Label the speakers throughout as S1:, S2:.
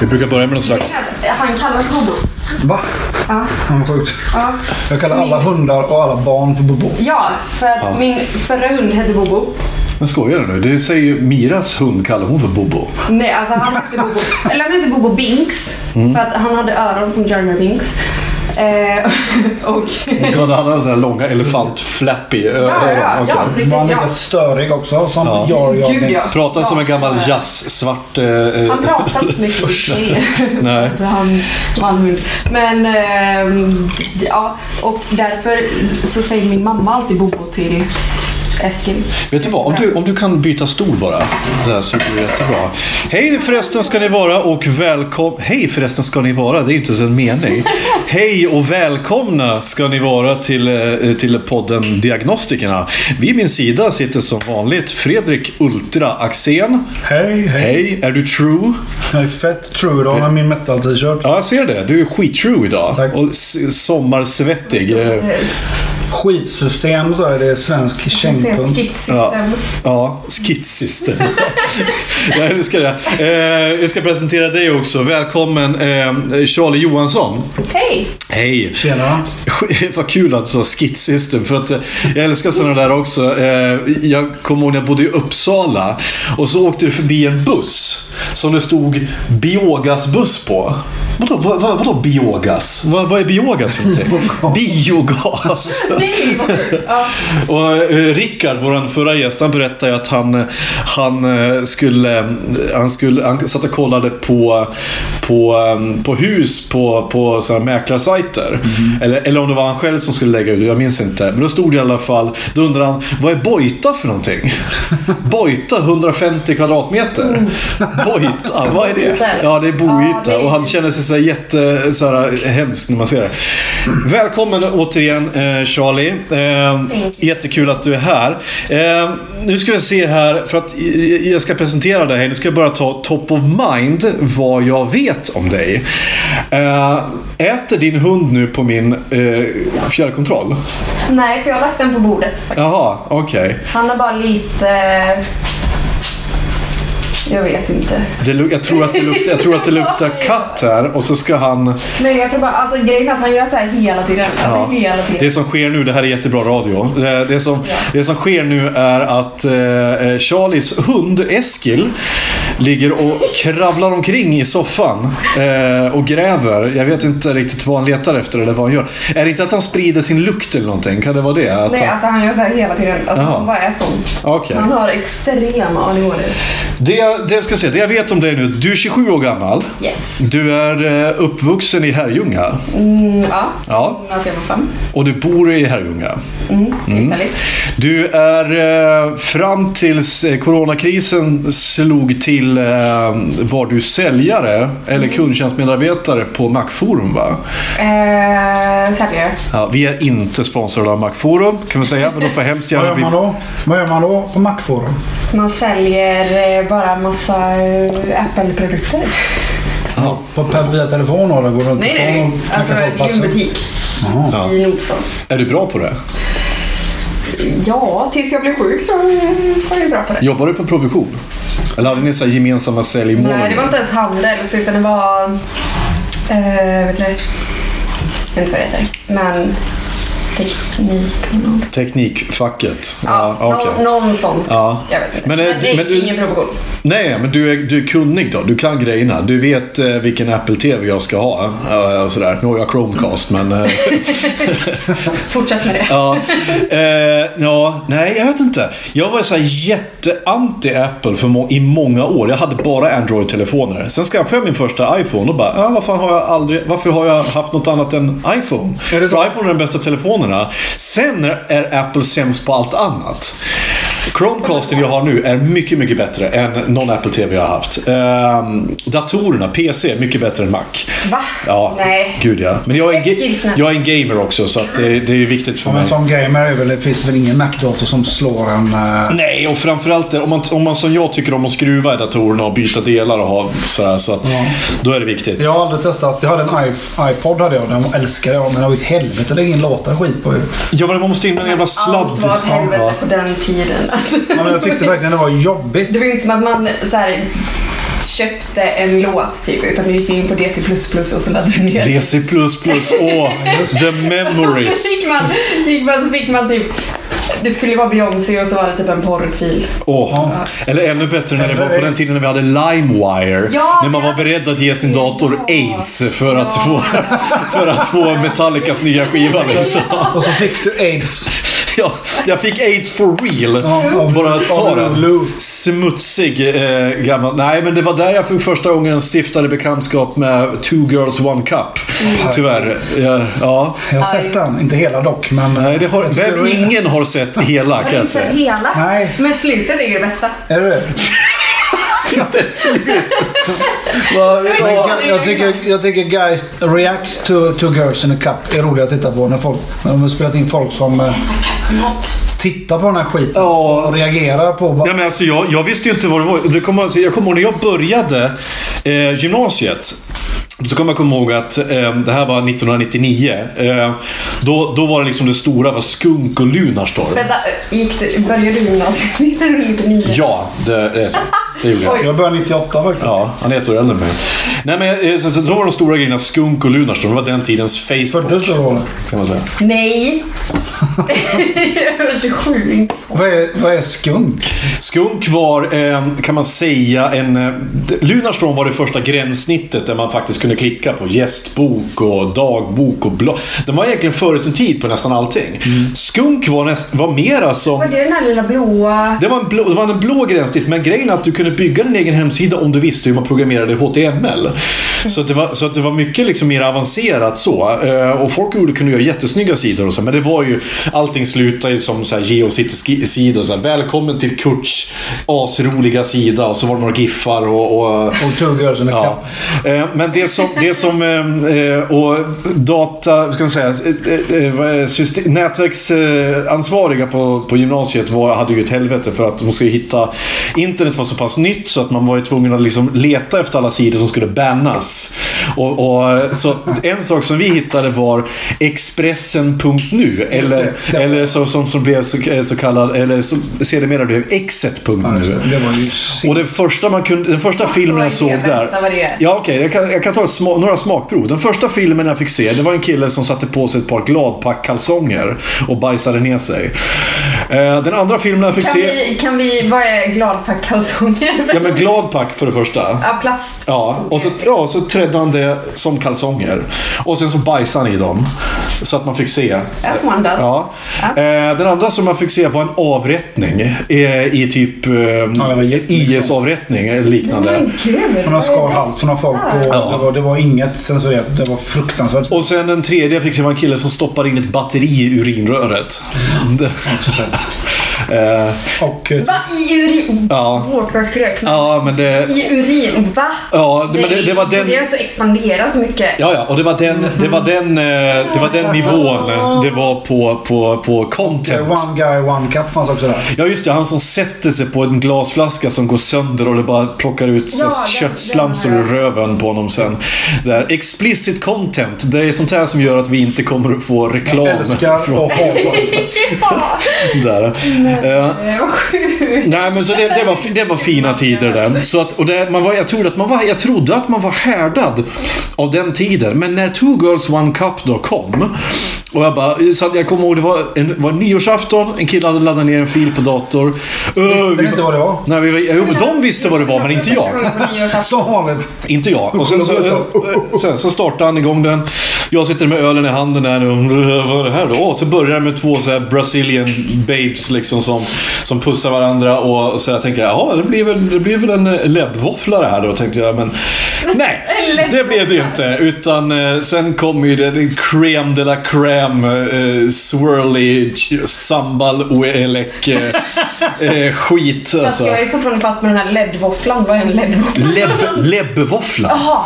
S1: Vi brukar börja med någon slags...
S2: Han kallas Bobo.
S3: Va? Ja. Vad sjukt. Jag kallar alla hundar och alla barn för Bobo.
S2: Ja, för att min förra hund hette Bobo.
S1: Men skojar du nu? Det säger ju Miras hund kallar hon för Bobo.
S2: Nej, alltså han hette Bobo. Eller han hette Bobo Binks.
S1: Mm.
S2: För att han hade öron som Jeremy Binks. Eh, och...
S1: Hon hade alla sådana här långa elefantflappy öron.
S2: ja, ja,
S1: Okej.
S2: ja, riktigt,
S3: Var han
S2: ja.
S3: lika störig också? Som Jar Jar
S2: Gud, ja.
S3: Binks?
S1: Pratar som en gammal
S2: Ja.
S1: jazz-svart... Eh, eh,
S2: Han pratade inte så mycket i sig.
S1: Nej.
S2: För han var en hund. Men ehm, ja, och därför så säger min mamma alltid Bobo till Eskil.
S1: Vet du vad? Om du, om du kan byta stol bara. Det här så blir det jättebra. Hej förresten ska ni vara och välkomna... Hej förresten ska ni vara. Det är inte ens en mening. Hej och välkomna ska ni vara till, eh, till podden Diagnostikerna. Vid min sida sitter som vanligt Fredrik Ultra Axén.
S3: Hej, hej.
S1: Hej, är du true?
S3: Jag är fett true idag med min metal-t-shirt.
S1: Ja, jag ser det. Du är skittrue idag.
S3: Tack.
S1: Och s- sommarsvettig. Eh,
S3: Skitsystem så är det svensk
S2: Se
S3: kängpung.
S1: Ja,
S2: skitsystem.
S1: Eh, ja skitsyster. jag älskar det. Eh, jag ska presentera dig också. Välkommen eh, Charlie Johansson.
S2: Hej!
S1: Hej.
S3: Tjena.
S1: Sk- Vad kul att du sa skitsyster, för att eh, jag älskar sådana där också. Eh, Jag kommer ihåg när jag bodde i Uppsala och så åkte vi förbi en buss som det stod Biogas buss på. Vadå, vad, vad, vadå biogas? Vad, vad är biogas för någonting? Biogas.
S2: Nej, vad kul. Ja.
S1: Och eh, Rickard, vår förra gäst, han berättade ju att han, eh, han eh, skulle... eh, Han, skulle, han satt och kollade på, på, eh, på hus på, på såna här mäklarsajter. Eller, eller om det var han själv som skulle lägga ut det, jag minns inte. Men då stod det i alla fall... Då undrade han, vad är Bojta för någonting? Bojta, 150 kvadratmeter. Bojta, vad är det?
S2: Boyta, eller?
S1: Ja, det är
S2: Ja, det
S1: boyta.
S2: är-
S1: Och han känner sig så här jätte... Så här, hemskt när man ser det. Välkommen återigen eh, Charlie. Eh, jättekul att du är här. Eh, nu ska vi se här, för att eh, jag ska presentera dig. Nu ska jag bara ta top of mind, vad jag vet om dig. Eh, äter din hund nu på min eh, fjärrkontroll?
S2: Nej, för jag har lagt den på bordet faktiskt.
S1: Jaha, okej.
S2: Han har bara lite... Jag vet inte.
S1: Det lu- Jag, tror att det luktar- jag tror att det luktar katt här och så ska han...
S2: Men jag tror bara, alltså grejen är att han gör så här hela tiden.
S1: Ja.
S2: Alltså, hela tiden.
S1: Det som sker nu, det här är jättebra radio. Eh, Det, det, som, det som sker nu är att eh, Charlies hund Eskil ligger och kravlar omkring i soffan eh, och gräver. Jag vet inte riktigt vad han letar efter eller vad han gör. Är det inte att han sprider sin lukt eller någonting? Kan det vara det? Att
S2: Nej,
S1: han...
S2: alltså han gör så här hela tiden. Alltså,
S1: Jaha.
S2: han bara är sån.
S1: Okej.
S2: Han har extrema ADHD.
S1: Det, jag- det, jag ska säga, det jag vet om dig nu, du är 27 år gammal.
S2: Yes.
S1: Du är eh, uppvuxen i Herrljunga.
S2: Mm, ja.
S1: Ja.
S2: Att jag var fem.
S1: Och du bor i Herrljunga.
S2: Tillfälligt.
S1: Du är eh, fram tills eh, coronakrisen slog till eh, var du säljare eller
S2: Mm.
S1: kundtjänstmedarbetare på Macforum va?
S2: Eh, Säljare.
S1: Ja, vi är inte sponsrade av Macforum kan man säga, men de får hemskt
S3: Vad
S1: gärna
S3: gör
S1: bli...
S3: man då? Vad gör man då på Macforum?
S2: Man säljer eh, bara massa eh, Apple-produkter.
S1: Ja,
S3: På per, via telefon då? eller Går det inte
S2: Nej, nej, nej. Alltså, det är ju en butik
S1: ja.
S2: i Nordstan.
S1: Är du bra på det?
S2: Ja, tills jag blev sjuk så eh, var jag bra på det.
S1: Jobbar du på provision? Eller hade ni så här gemensamma säljmål?
S2: Nej, det var inte ens handel, så utan det var... Eh, vet du det? Jag vet inte vad det heter. Men teknik på någon.
S1: Teknikfacket.
S2: Ja,
S1: Ja, okej.
S2: någon, någon sån.
S1: Ja.
S2: Jag vet inte.
S1: Men,
S2: Men,
S1: eh,
S2: det är
S1: men du-
S2: ingen provision.
S1: Nej, men du är, du är kunnig då. Du kan grejerna. Du vet eh, vilken Apple TV jag ska ha. eh, och sådär. Nu har jag Chromecast, men... Eh,
S2: Fortsätt med det.
S1: ja. Eh, ja, nej, jag vet inte. Jag var så här jätteanti Apple för må- i många år. Jag hade bara Android-telefoner. Sen skaffade jag min första iPhone och bara, ah, vad fan har jag aldrig, varför har jag haft något annat än iPhone?
S3: Är det så?
S1: För iPhone är den bästa telefonerna. Sen är- är Apple sämst på allt annat. Chromecasten jag har nu är mycket, mycket bättre än någon Apple TV jag har haft. Ehm, datorerna, PC, mycket bättre än Mac.
S2: Va?
S1: Ja,
S2: Nej.
S1: gud ja. Men jag är, en
S2: Eskilsna.
S1: ga- jag är en gamer också, så att det, det är viktigt för
S3: Om
S1: mig.
S3: en sån gamer är väl, det finns väl ingen Mac-dator som slår en... eh,
S1: Nej, och framförallt det, om man, om man som jag tycker om att skruva i datorerna och byta delar och ha sådär. Så att,
S3: Ja.
S1: Då är det viktigt.
S3: Jag har aldrig testat. Jag hade en iP- iPod, hade jag. den älskade jag. Men det var ju ett helvete att lägga in låtar och skit på.
S1: Ja, men man måste in med en jävla sladd.
S2: Allt var ett helvete
S1: Ja.
S2: på den tiden. Alltså.
S3: Ja, men jag tyckte verkligen det var jobbigt.
S2: Det var ju inte som att man så här, köpte en låt typ, utan vi gick in på DC++ och så laddade vi ner.
S1: DC++, åh, the memories.
S2: Så fick man, gick man, så fick man typ, det skulle vara Beyoncé och så var det typ en porrfil.
S1: Åh. Eller ännu bättre när det var på den tiden när vi hade LimeWire.
S2: Ja,
S1: när man var
S2: ja.
S1: beredd att ge sin dator
S2: Ja.
S1: aids för att, få, för att få Metallicas nya skiva. Liksom.
S3: Och så fick du aids.
S1: Ja, jag fick aids for real.
S3: Ja, av-
S1: Bara ta
S3: av
S1: den.
S3: Lou.
S1: Smutsig eh, gammal. Nej, men det var där jag för första gången stiftade bekantskap med Two Girls One Cup.
S3: Mm.
S1: Tyvärr. Ja, ja.
S3: Jag har sett den. Inte hela dock, men...
S1: Nej, det har,
S3: Jag tycker
S1: vem,
S3: det var-
S1: ingen har sett hela kan jag säga.
S2: hela.
S3: Nej.
S2: Men slutet är ju det bästa.
S3: Är det det?
S1: Finns det ett slut? Va,
S3: Men
S1: ja.
S3: jag, jag, tycker, jag tycker guys reacts to, to girls in a cup är roliga att titta på. När folk, när de har spelat in folk som eh, tittar på den här skiten
S1: Ja.
S3: och reagerar på vad...
S1: Ja, men alltså, jag, jag visste ju inte vad det var. Det kom, alltså, jag kommer ihåg när jag började eh, gymnasiet. Så kommer jag komma ihåg att eh, det här var 1999. Eh, då, då var det liksom det stora var Skunk och Lunarstorm.
S2: Vänta, gick du, började du gymnasiet 1999?
S1: Ja, det, det är så. Det gjorde jag.
S3: Jag började 98 faktiskt.
S1: Ja, han är ett år äldre än mig. Nej, men eh, så, så, då var de stora grejerna Skunk och Lunarstorm. Det var den tidens
S3: Föddes
S1: Facebook.
S3: du då?
S1: Kan man säga.
S2: Nej! jag var 27. inte.
S3: Vad är, vad är skunk?
S1: Skunk var, eh, kan man säga, en... eh, Lunarstorm var det första gränssnittet där man faktiskt kunde klicka på gästbok och dagbok och blogg. Den var egentligen före sin tid på nästan allting. Skunk var, näst, var mera
S2: Var
S1: som...
S2: det den här lilla blåa?
S1: Det var, en blå, det var en blå gränssnitt, men grejen är att du kunde bygga din egen hemsida om du visste hur man programmerade HTML. Så, att det, var, så att det var mycket liksom mer avancerat så. Eh, och folk gjorde, kunde göra jättesnygga sidor och så, men det var ju... Allting slutade ju som så här GeoCities-sidor. Så här, Välkommen till Kurts asroliga sida. Och så var det några giffar och... och
S3: Och two girls in a
S1: Ja.
S3: cup.
S1: Eh, Men det som, det som eh, eh, och data, ska man säga, eh, eh, vad är syste- nätverksansvariga på, på gymnasiet var, hade ju ett helvete för att de skulle hitta, internet var så pass nytt så att man var ju tvungen att liksom leta efter alla sidor som skulle bannas. Och, och, så en sak som vi hittade var Expressen.nu eller,
S3: det.
S1: eller så, som, som blev så, så kallad, eller som sedermera blev
S3: Ja,
S1: Exet.nu.
S3: just det. Det var ju sick.
S1: Och den första, man kunde, den första filmen
S2: vad är
S1: jag
S2: det?
S1: såg där...
S2: Berätta vad det är.
S1: Ja, okej. jag, kan, jag kan ta ett sma, några smakprov. Den första filmen jag fick se, det var en kille som satte på sig ett par gladpackkalsonger och bajsade ner sig. Eh, den andra filmen jag fick
S2: Kan
S1: se...
S2: vi, kan vi, vad är gladpackkalsonger?
S1: Ja, men gladpack för det första.
S2: Ja, plast.
S1: Ja, och så, ja, så trädde han det som kalsonger. Och sen så bajsade han i dem. Så att man fick se.
S2: As one does.
S1: Ja.
S2: Ja.
S1: Eh, den andra som man fick se var en avrättning. Eh, I typ eh,
S3: det var jättekul.
S1: IS-avrättning eller eh, liknande.
S2: Men gud!
S3: Hon har skar halsen av folk och
S1: Ja.
S3: det, var, det var inget censurerat. Det var fruktansvärt.
S1: Och sen den tredje fick se var en kille som stoppade in ett batteri i urinröret.
S3: Mm.
S1: Det- Eh,
S3: Och, eh,
S2: Va? I urin?
S1: ja.
S2: Vårdkvartskräk?
S1: ja, men det...
S2: I urin? Va?
S1: Ja, det- men det, det var den...
S2: Det är alltså expandera så mycket.
S1: Ja, ja, och det var den, det var den, eh, det var den nivån det var på, på på, på
S3: Det är
S1: content.
S3: Eh, One guy, one cup fanns också där.
S1: Ja just det, han som sätter sig på en glasflaska som går sönder och det bara plockar ut
S2: Ja,
S1: ja,
S2: den-
S1: köttslamsor
S2: den
S1: ur
S2: har jag
S1: röven på honom sen. Det här explicit content, det är sånt här som gör att vi inte kommer att få reklam.
S3: Älskar och hatar.
S2: Ja,
S1: där.
S2: Mm.
S1: Eh,
S2: det var sjukt.
S1: Nej men så det, det, var, det var fina tider där. Så att, och det, man var, jag, trodde att man var, jag trodde att man var härdad av den tiden. Men när Two Girls One Cup då kom. Och jag bara, så att jag kommer ihåg det var, en, var nyårsafton, en kille hade laddat ner en fil på dator. Öh,
S3: Visste ni inte vad det var?
S1: Nej, vi, var- jo, men de visste vad det var men inte jag.
S3: Som vanligt.
S1: Inte jag. Och sen, så, eh, sen så startade han igång den. Jag sitter med ölen i handen där och vad är det här då? Och så börjar det med två så här Brazilian babes liksom som, som pussar varandra och så jag tänker ja det blir väl, det blir väl en eh, läbbvåffla det här då tänkte jag men nej det blev det ju inte utan eh, sen kom ju den crème de la crème eh, swirly ch- sambal oelek eh, eh, skit
S2: Fast
S1: alltså.
S2: jag är fortfarande fast med den här LED-våfflan. Vad är en LED-våffla?
S1: Lebb- Lebbvåffla.
S2: Jaha!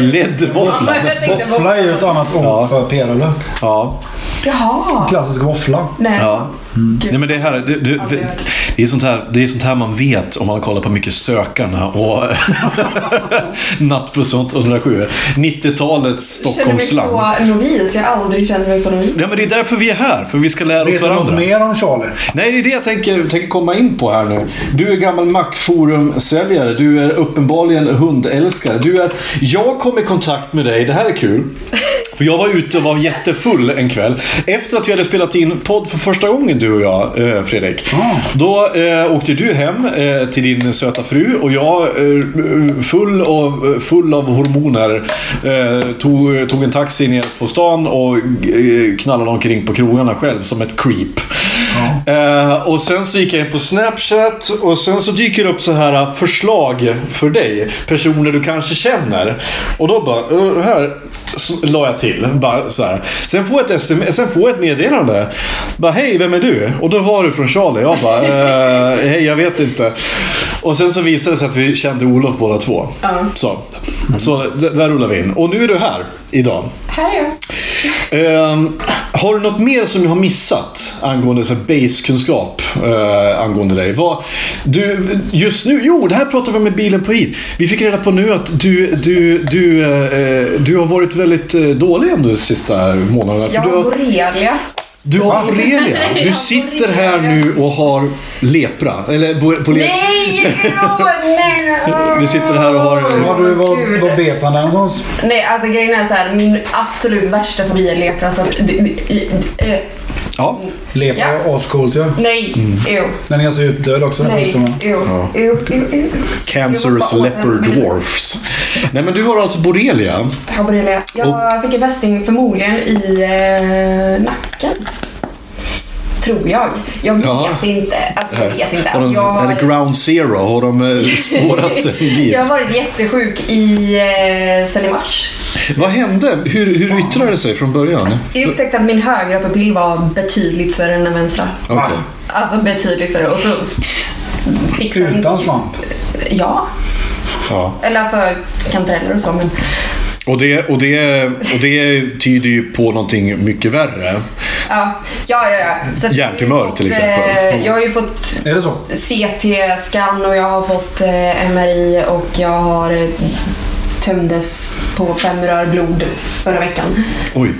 S1: Leddvåffla.
S2: Jag tänkte
S3: Våffla är ju ett annat ord
S1: Ja.
S3: för pelare.
S1: Ja.
S2: Jaha!
S3: Klassisk våffla.
S2: Nej.
S1: ja.
S3: Mm.
S1: Nej, men det, här, det, det, det, är sånt här, det är sånt här man vet om man kollar på mycket Sökarna och Nattbuss och sånt, 107. 90-talets
S2: Jag känner mig
S1: Stockholmsland.
S2: så novis. Jag har aldrig känt mig så novis.
S1: Nej, men det är därför vi är här, för vi ska lära oss
S3: Vet du något
S1: varandra.
S3: mer om Charlie?
S1: Nej, det är det jag tänker, tänker komma in på här nu. Du är gammal Macforum-säljare. Du är uppenbarligen hundälskare. Du är, jag kom i kontakt med dig, det här är kul. För jag var ute och var jättefull en kväll. Efter att vi hade spelat in podd för första gången du och jag, eh, Fredrik. Då eh, åkte du hem eh, till din söta fru och jag, eh, full, av, full av hormoner, eh, tog, tog en taxi ner på stan och eh, knallade omkring på krogarna själv som ett creep. Eh, och sen så gick jag in på Snapchat och sen så dyker det upp så här eh, förslag för dig. Personer du kanske känner. Och då bara, eh, här så la jag till. Bara så här. Sen får jag ett sms, sen får jag ett meddelande. Bara, hej vem är du? Och då var du från Charlie. Jag bara, eh, hej jag vet inte. Och sen så visade det sig att vi kände Olof båda två. Så, så d- där rullar vi in. Och nu är du här idag.
S2: Här är jag.
S1: Ehm, har du något mer som jag har missat angående så här base-kunskap eh, angående dig? Vad, du, just nu, jo det här pratade vi med bilen på hit. Vi fick reda på nu att du, du, du, eh, du har varit väldigt eh, dålig ändå de sista månaderna. För
S2: Jag
S1: du
S2: har
S1: har,
S2: borrelia.
S1: du har borrelia. Du
S2: har
S1: sitter här nu
S2: borrelia.
S1: och har lepra. Eller bo- borrelia.
S2: Nej! nej.
S1: Vi sitter här och har...
S3: Har du, var,
S2: Gud.
S3: var bet han där någonstans?
S2: Nej, alltså grejen är så här, min absolut värsta fobi är lepra. Så att, det- det- i- eh,
S1: Ja.
S3: Leper
S2: Ja.
S3: är ascoolt ju.
S2: nej,
S1: Mm.
S2: ew,
S3: Den är alltså utdöd också den här
S2: nej,
S3: sjukdomen.
S2: ew, ew, ew, ew.
S1: Cancerous leopard dwarfs. Nej men du har alltså borrelia.
S2: Jag har borrelia. Jag fick en fästing förmodligen i eh, nacken. Tror jag. Jag vet
S1: Jaha.
S2: inte. Alltså jag vet inte.
S1: Har de,
S2: Alltså, jag,
S1: Är det
S2: har,
S1: ground zero? Har de eh, spårat dit?
S2: jag har varit jättesjuk i, eh, sen i mars.
S1: Vad hände? Hur, hur yttrade det sig från början?
S2: Jag upptäckte att min högra pupill var betydligt större än den vänstra.
S1: Okej.
S2: Alltså betydligt större. Och så fick den-
S3: Utan svamp.
S2: Ja.
S1: Ja.
S2: Eller alltså kantareller och så. Men
S1: Och, det, och, det, och det tyder ju på någonting mycket värre.
S2: ja, ja, ja. ja. Så att
S1: Hjärntumör,
S2: jag har ju
S1: till
S2: fått,
S1: exempel.
S2: eh, Jag har ju fått
S3: Är det så?
S2: CT-scan och jag har fått eh, MRI och jag har eh, tömdes på fem rör blod förra veckan.
S1: Oj.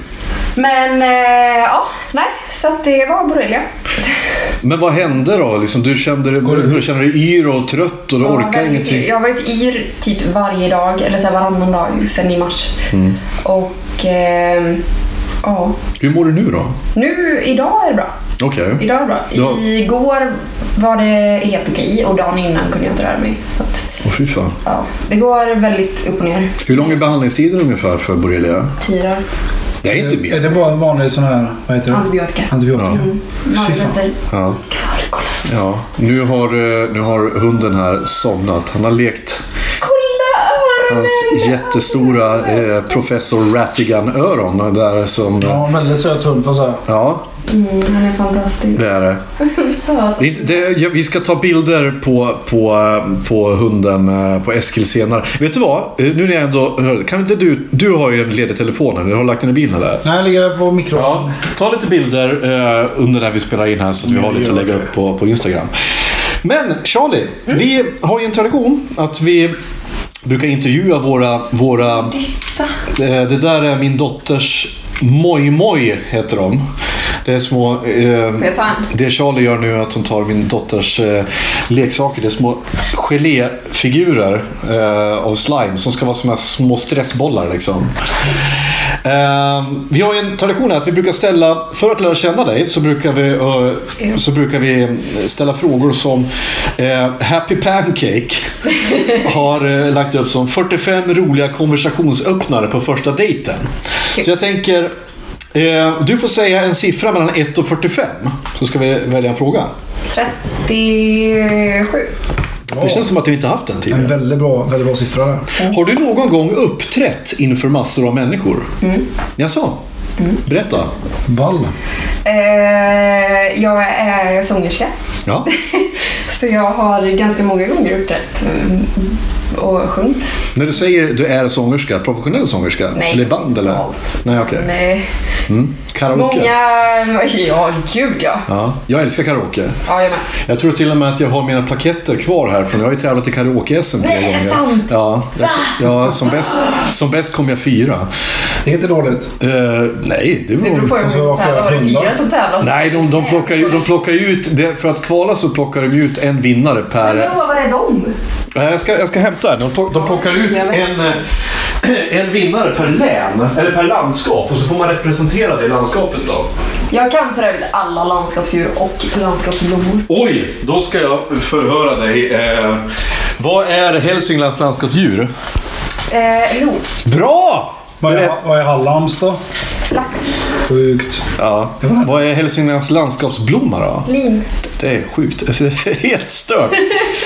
S2: Men eh, ja, nej. Så att det var borrelia.
S1: Men vad hände då? Liksom, du kände dig, du kände dig yr och trött och du
S2: Jag har
S1: orkar
S2: väldigt-
S1: ingenting.
S2: Jag har varit yr typ varje dag, eller så här varannan dag sedan i mars.
S1: Mm.
S2: Och eh, ja,
S1: Hur mår du nu då?
S2: nu idag är det bra.
S1: Okej.
S2: Idag är det bra.
S1: Ja.
S2: Igår var det helt okej och dagen innan kunde jag inte röra mig. Så att,
S1: Åh fy fan.
S2: ja. Det går väldigt upp och ner.
S1: Hur lång är behandlingstiden ungefär för borrelia?
S2: Tio dagar.
S1: Det är inte mer.
S3: Är det bara en vanlig sån här, vad heter det?
S2: Antibiotika.
S3: Antibiotika.
S2: Magvässor.
S1: Ja. ja. Nu, har, eh, nu har hunden här somnat. Han har lekt
S2: Kolla öronen!
S1: Hans jättestora eh, professor Rattigan-öron där som...
S3: Ja, en väldigt söt hund får jag säga.
S1: Ja,
S2: Mm, han är fantastisk.
S1: Det är det.
S2: Söt.
S1: Det är inte- Det, ja, vi ska ta bilder på, på, eh, på hunden eh, på Eskil senare. Vet du vad? Eh, Nu när jag ändå hör- Kan inte du... Du har ju en ledig telefon här. Du har lagt den i bilen där.
S3: Nej, jag ligger där på mikron.
S1: Ja, ta lite bilder eh, under när vi spelar in här så att vi har lite att lägga upp på, på Instagram. Men Charlie, vi har ju en tradition att vi brukar intervjua våra... våra Eh, det där är min dotters mojmoj, heter de. Det är små... eh,
S2: Får jag ta en?
S1: det Charlie gör nu är att hon tar min dotters eh, leksaker. Det är små geléfigurer eh, av slime som ska vara som här små stressbollar. Liksom. Ehm, vi har ju en tradition här att vi brukar ställa, för att lära känna dig, så brukar vi, eh, så brukar vi ställa frågor som eh, Happy Pancake har eh, lagt upp som 45 roliga konversationsöppnare på första dejten. Så jag tänker, eh, du får säga en siffra mellan 1 och 45, så ska vi välja en fråga.
S2: 37.
S1: Det känns som att du inte haft den
S3: En
S1: tidigare.
S3: väldigt bra, väldigt bra siffra där.
S1: Har du någon gång uppträtt inför massor av människor? Mm. Jaså?
S2: Mm.
S1: Berätta.
S3: Ball.
S2: Eh, jag är sångerska.
S1: Ja.
S2: Så jag har ganska många gånger uppträtt eh, och sjungit.
S1: När du säger du är sångerska, professionell sångerska?
S2: Nej.
S1: Eller band eller?
S2: Allt.
S1: Nej, okej.
S2: Nej.
S1: Mm. Karaoke?
S2: eh, Många... Ja, gud ja.
S1: Ja, jag älskar karaoke.
S2: Ja, jag med.
S1: Jag tror till och med att jag har mina plaketter kvar här, för jag har ju tävlat i karaoke-SM tre
S2: Nej, är
S1: gånger.
S2: det sant?
S1: Ja, jag, ja som, bäst, som bäst kom jag fyra.
S3: Det är inte dåligt.
S1: Eh, nej, det
S2: Det beror på
S1: var...
S2: hur
S3: Alltså,
S2: många
S3: varför
S2: tävlar. Var det
S3: hundar?
S2: fyra som tävlar?
S1: Nej, de, de, plockar ju, de plockar ju ut... det- För att kvala så plockar de ut en vinnare per...
S2: Men vad är de?
S1: Nej, Jag ska, jag ska hämta den. De, plock- de plockar ut en, eh, en vinnare per län, eller per landskap, och så får man representera det landskapet då.
S2: Jag kan för övrigt alla landskapsdjur och landskapsblommor.
S1: Oj, då ska jag förhöra dig. Eh, vad är Hälsinglands landskapsdjur?
S2: Eh, lo,
S1: Bra!
S3: Vad
S1: Berätt-
S3: är, vad är Hallands då?
S2: lax,
S3: Sjukt.
S1: Ja. Vad är Hälsinglands landskapsblomma då?
S3: Mm.
S2: lin.
S1: Det är sjukt. Helt stört.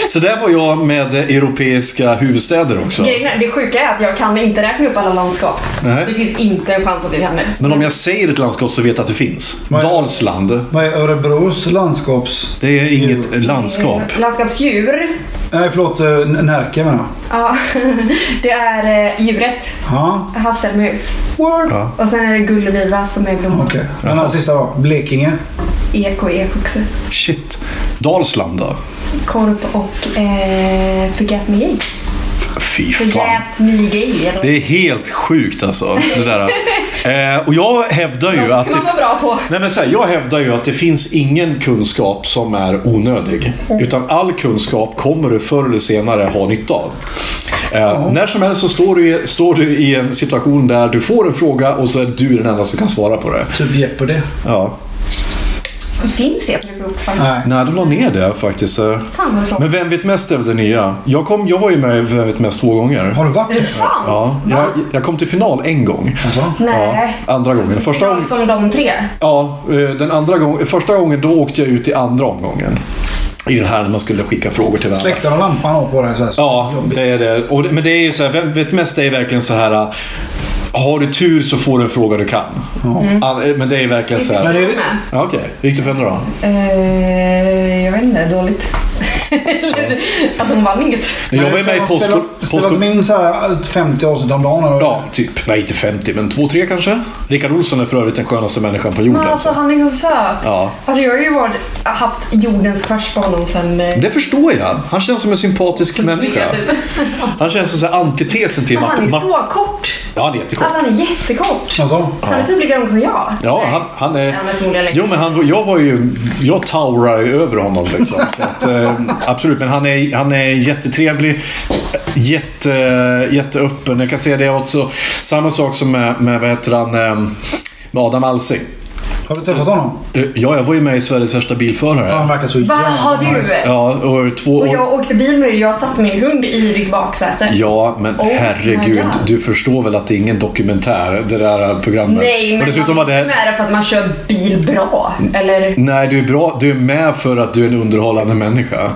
S1: Så där var jag med europeiska huvudstäder också.
S2: Grejen är- Det sjuka är att jag kan inte räkna upp alla landskap.
S1: Nej.
S2: Det finns inte en chans att det händer.
S1: Men om jag säger ett landskap så vet jag att det finns.
S3: Vad är-
S1: Dalsland.
S3: Vad är Örebros landskaps...
S1: Det är inget landskap.
S2: Eh, Landskapsdjur.
S3: Nej, förlåt. eh, N- Närke menar jag.
S2: Ja, det är eh, djuret.
S3: Ja,
S2: Hasselmus.
S1: Ja.
S2: Och sen är det gullviva som är blomman.
S3: okej. Den här sista då. Blekinge.
S2: Ek och ekoxe.
S1: Shit. Dalsland då?
S2: Korp och eh, förgät mig ej.
S1: Fy fan.
S2: Förgät mig ej. eller-
S1: Det är helt sjukt alltså. Det där. Eh, och jag hävdar ju
S2: Något
S1: att...
S2: ska man
S1: Det,
S2: vara bra på.
S1: nej men så här, jag hävdar ju att det finns ingen kunskap som är onödig. Utan all kunskap kommer du förr eller senare ha nytta av. Eh, när som helst så står du, i, står du i en situation där du får en fråga och så är du den enda som kan svara på det.
S3: Typ Jeopardy.
S1: Ja.
S2: Finns jag fortfarande?
S3: Nej.
S1: Nej, de la ner det faktiskt. eh.
S2: Fan vad
S1: Men
S2: tråkigt.
S1: Vem vet mest är väl det nya. Jag, kom, jag var ju med i Vem vet mest två gånger.
S3: Har du varit
S2: Är det sant?
S1: Ja, jag, jag kom till final en gång.
S3: Alltså?
S1: Ja,
S2: Nej.
S1: andra gången. Första gången,
S2: Jag som de tre.
S1: ja, eh, den andra gången, första gången då åkte jag ut i andra omgången. I den här när man skulle skicka frågor till varandra.
S3: Släkte de lampan av på dig så här?
S1: Ja, det är det. Och det men det är ju så här, vem vet mest är verkligen så här. eh, Har du tur så får du en fråga du kan. Ja, eh, Men det är verkligen så
S3: Men
S1: här.
S3: det är-
S2: Med.
S1: Ja, Okej, hur gick det för henne då?
S2: Eh, jag vet inte, dåligt. Eller, alltså hon vann inget.
S1: Men Jag var ju med i
S3: Spela-
S1: Postko-
S3: Spela
S1: Postko-
S3: min så här 50 avsnitt om dagen. eller?
S1: Ja, typ. Nej, inte 50, men 2-3 kanske. Rickard Olsson är för övrigt den skönaste människan på jorden.
S2: Men alltså
S1: så.
S2: han är så söt.
S1: Ja.
S2: Alltså jag har ju varit, haft jordens crush på honom sen... eh,
S1: Det förstår jag. Han känns som en sympatisk människa. Han känns som så här antitesen till
S2: Men han
S1: Martin.
S2: är
S1: Mart-
S2: så kort.
S1: ja, han är jättekort.
S2: Alltså han är jättekort.
S3: Alltså?
S2: Han är typ lika lång som jag.
S1: Ja,
S2: Nej.
S1: han, han är...
S2: Han är förmodligen längre.
S1: Jo, men han, jag var ju... Jag towrar ju över honom liksom. Så att, eh, absolut, men han är, han är jättetrevlig. Jätte, jätteöppen. Jag kan säga det också. Samma sak som med, med vad heter han, eh, med Adam Alsing.
S3: Har du träffat honom?
S1: Eh, Ja, jag var ju med i Sveriges värsta bilförare.
S3: Han verkar så
S2: Vad har du?
S1: Ja, och två
S2: Och jag åkte bil med dig jag satte min hund i ditt baksäte.
S1: Ja, men
S2: Oh my
S1: herregud.
S2: God.
S1: Du förstår väl att det är ingen dokumentär, det där programmet?
S2: Nej, men
S1: och dessutom Mm. var
S2: man är
S1: det...
S2: med det för att man kör bil bra. Eller?
S1: Nej, du är bra. Du är med för att du är en underhållande människa.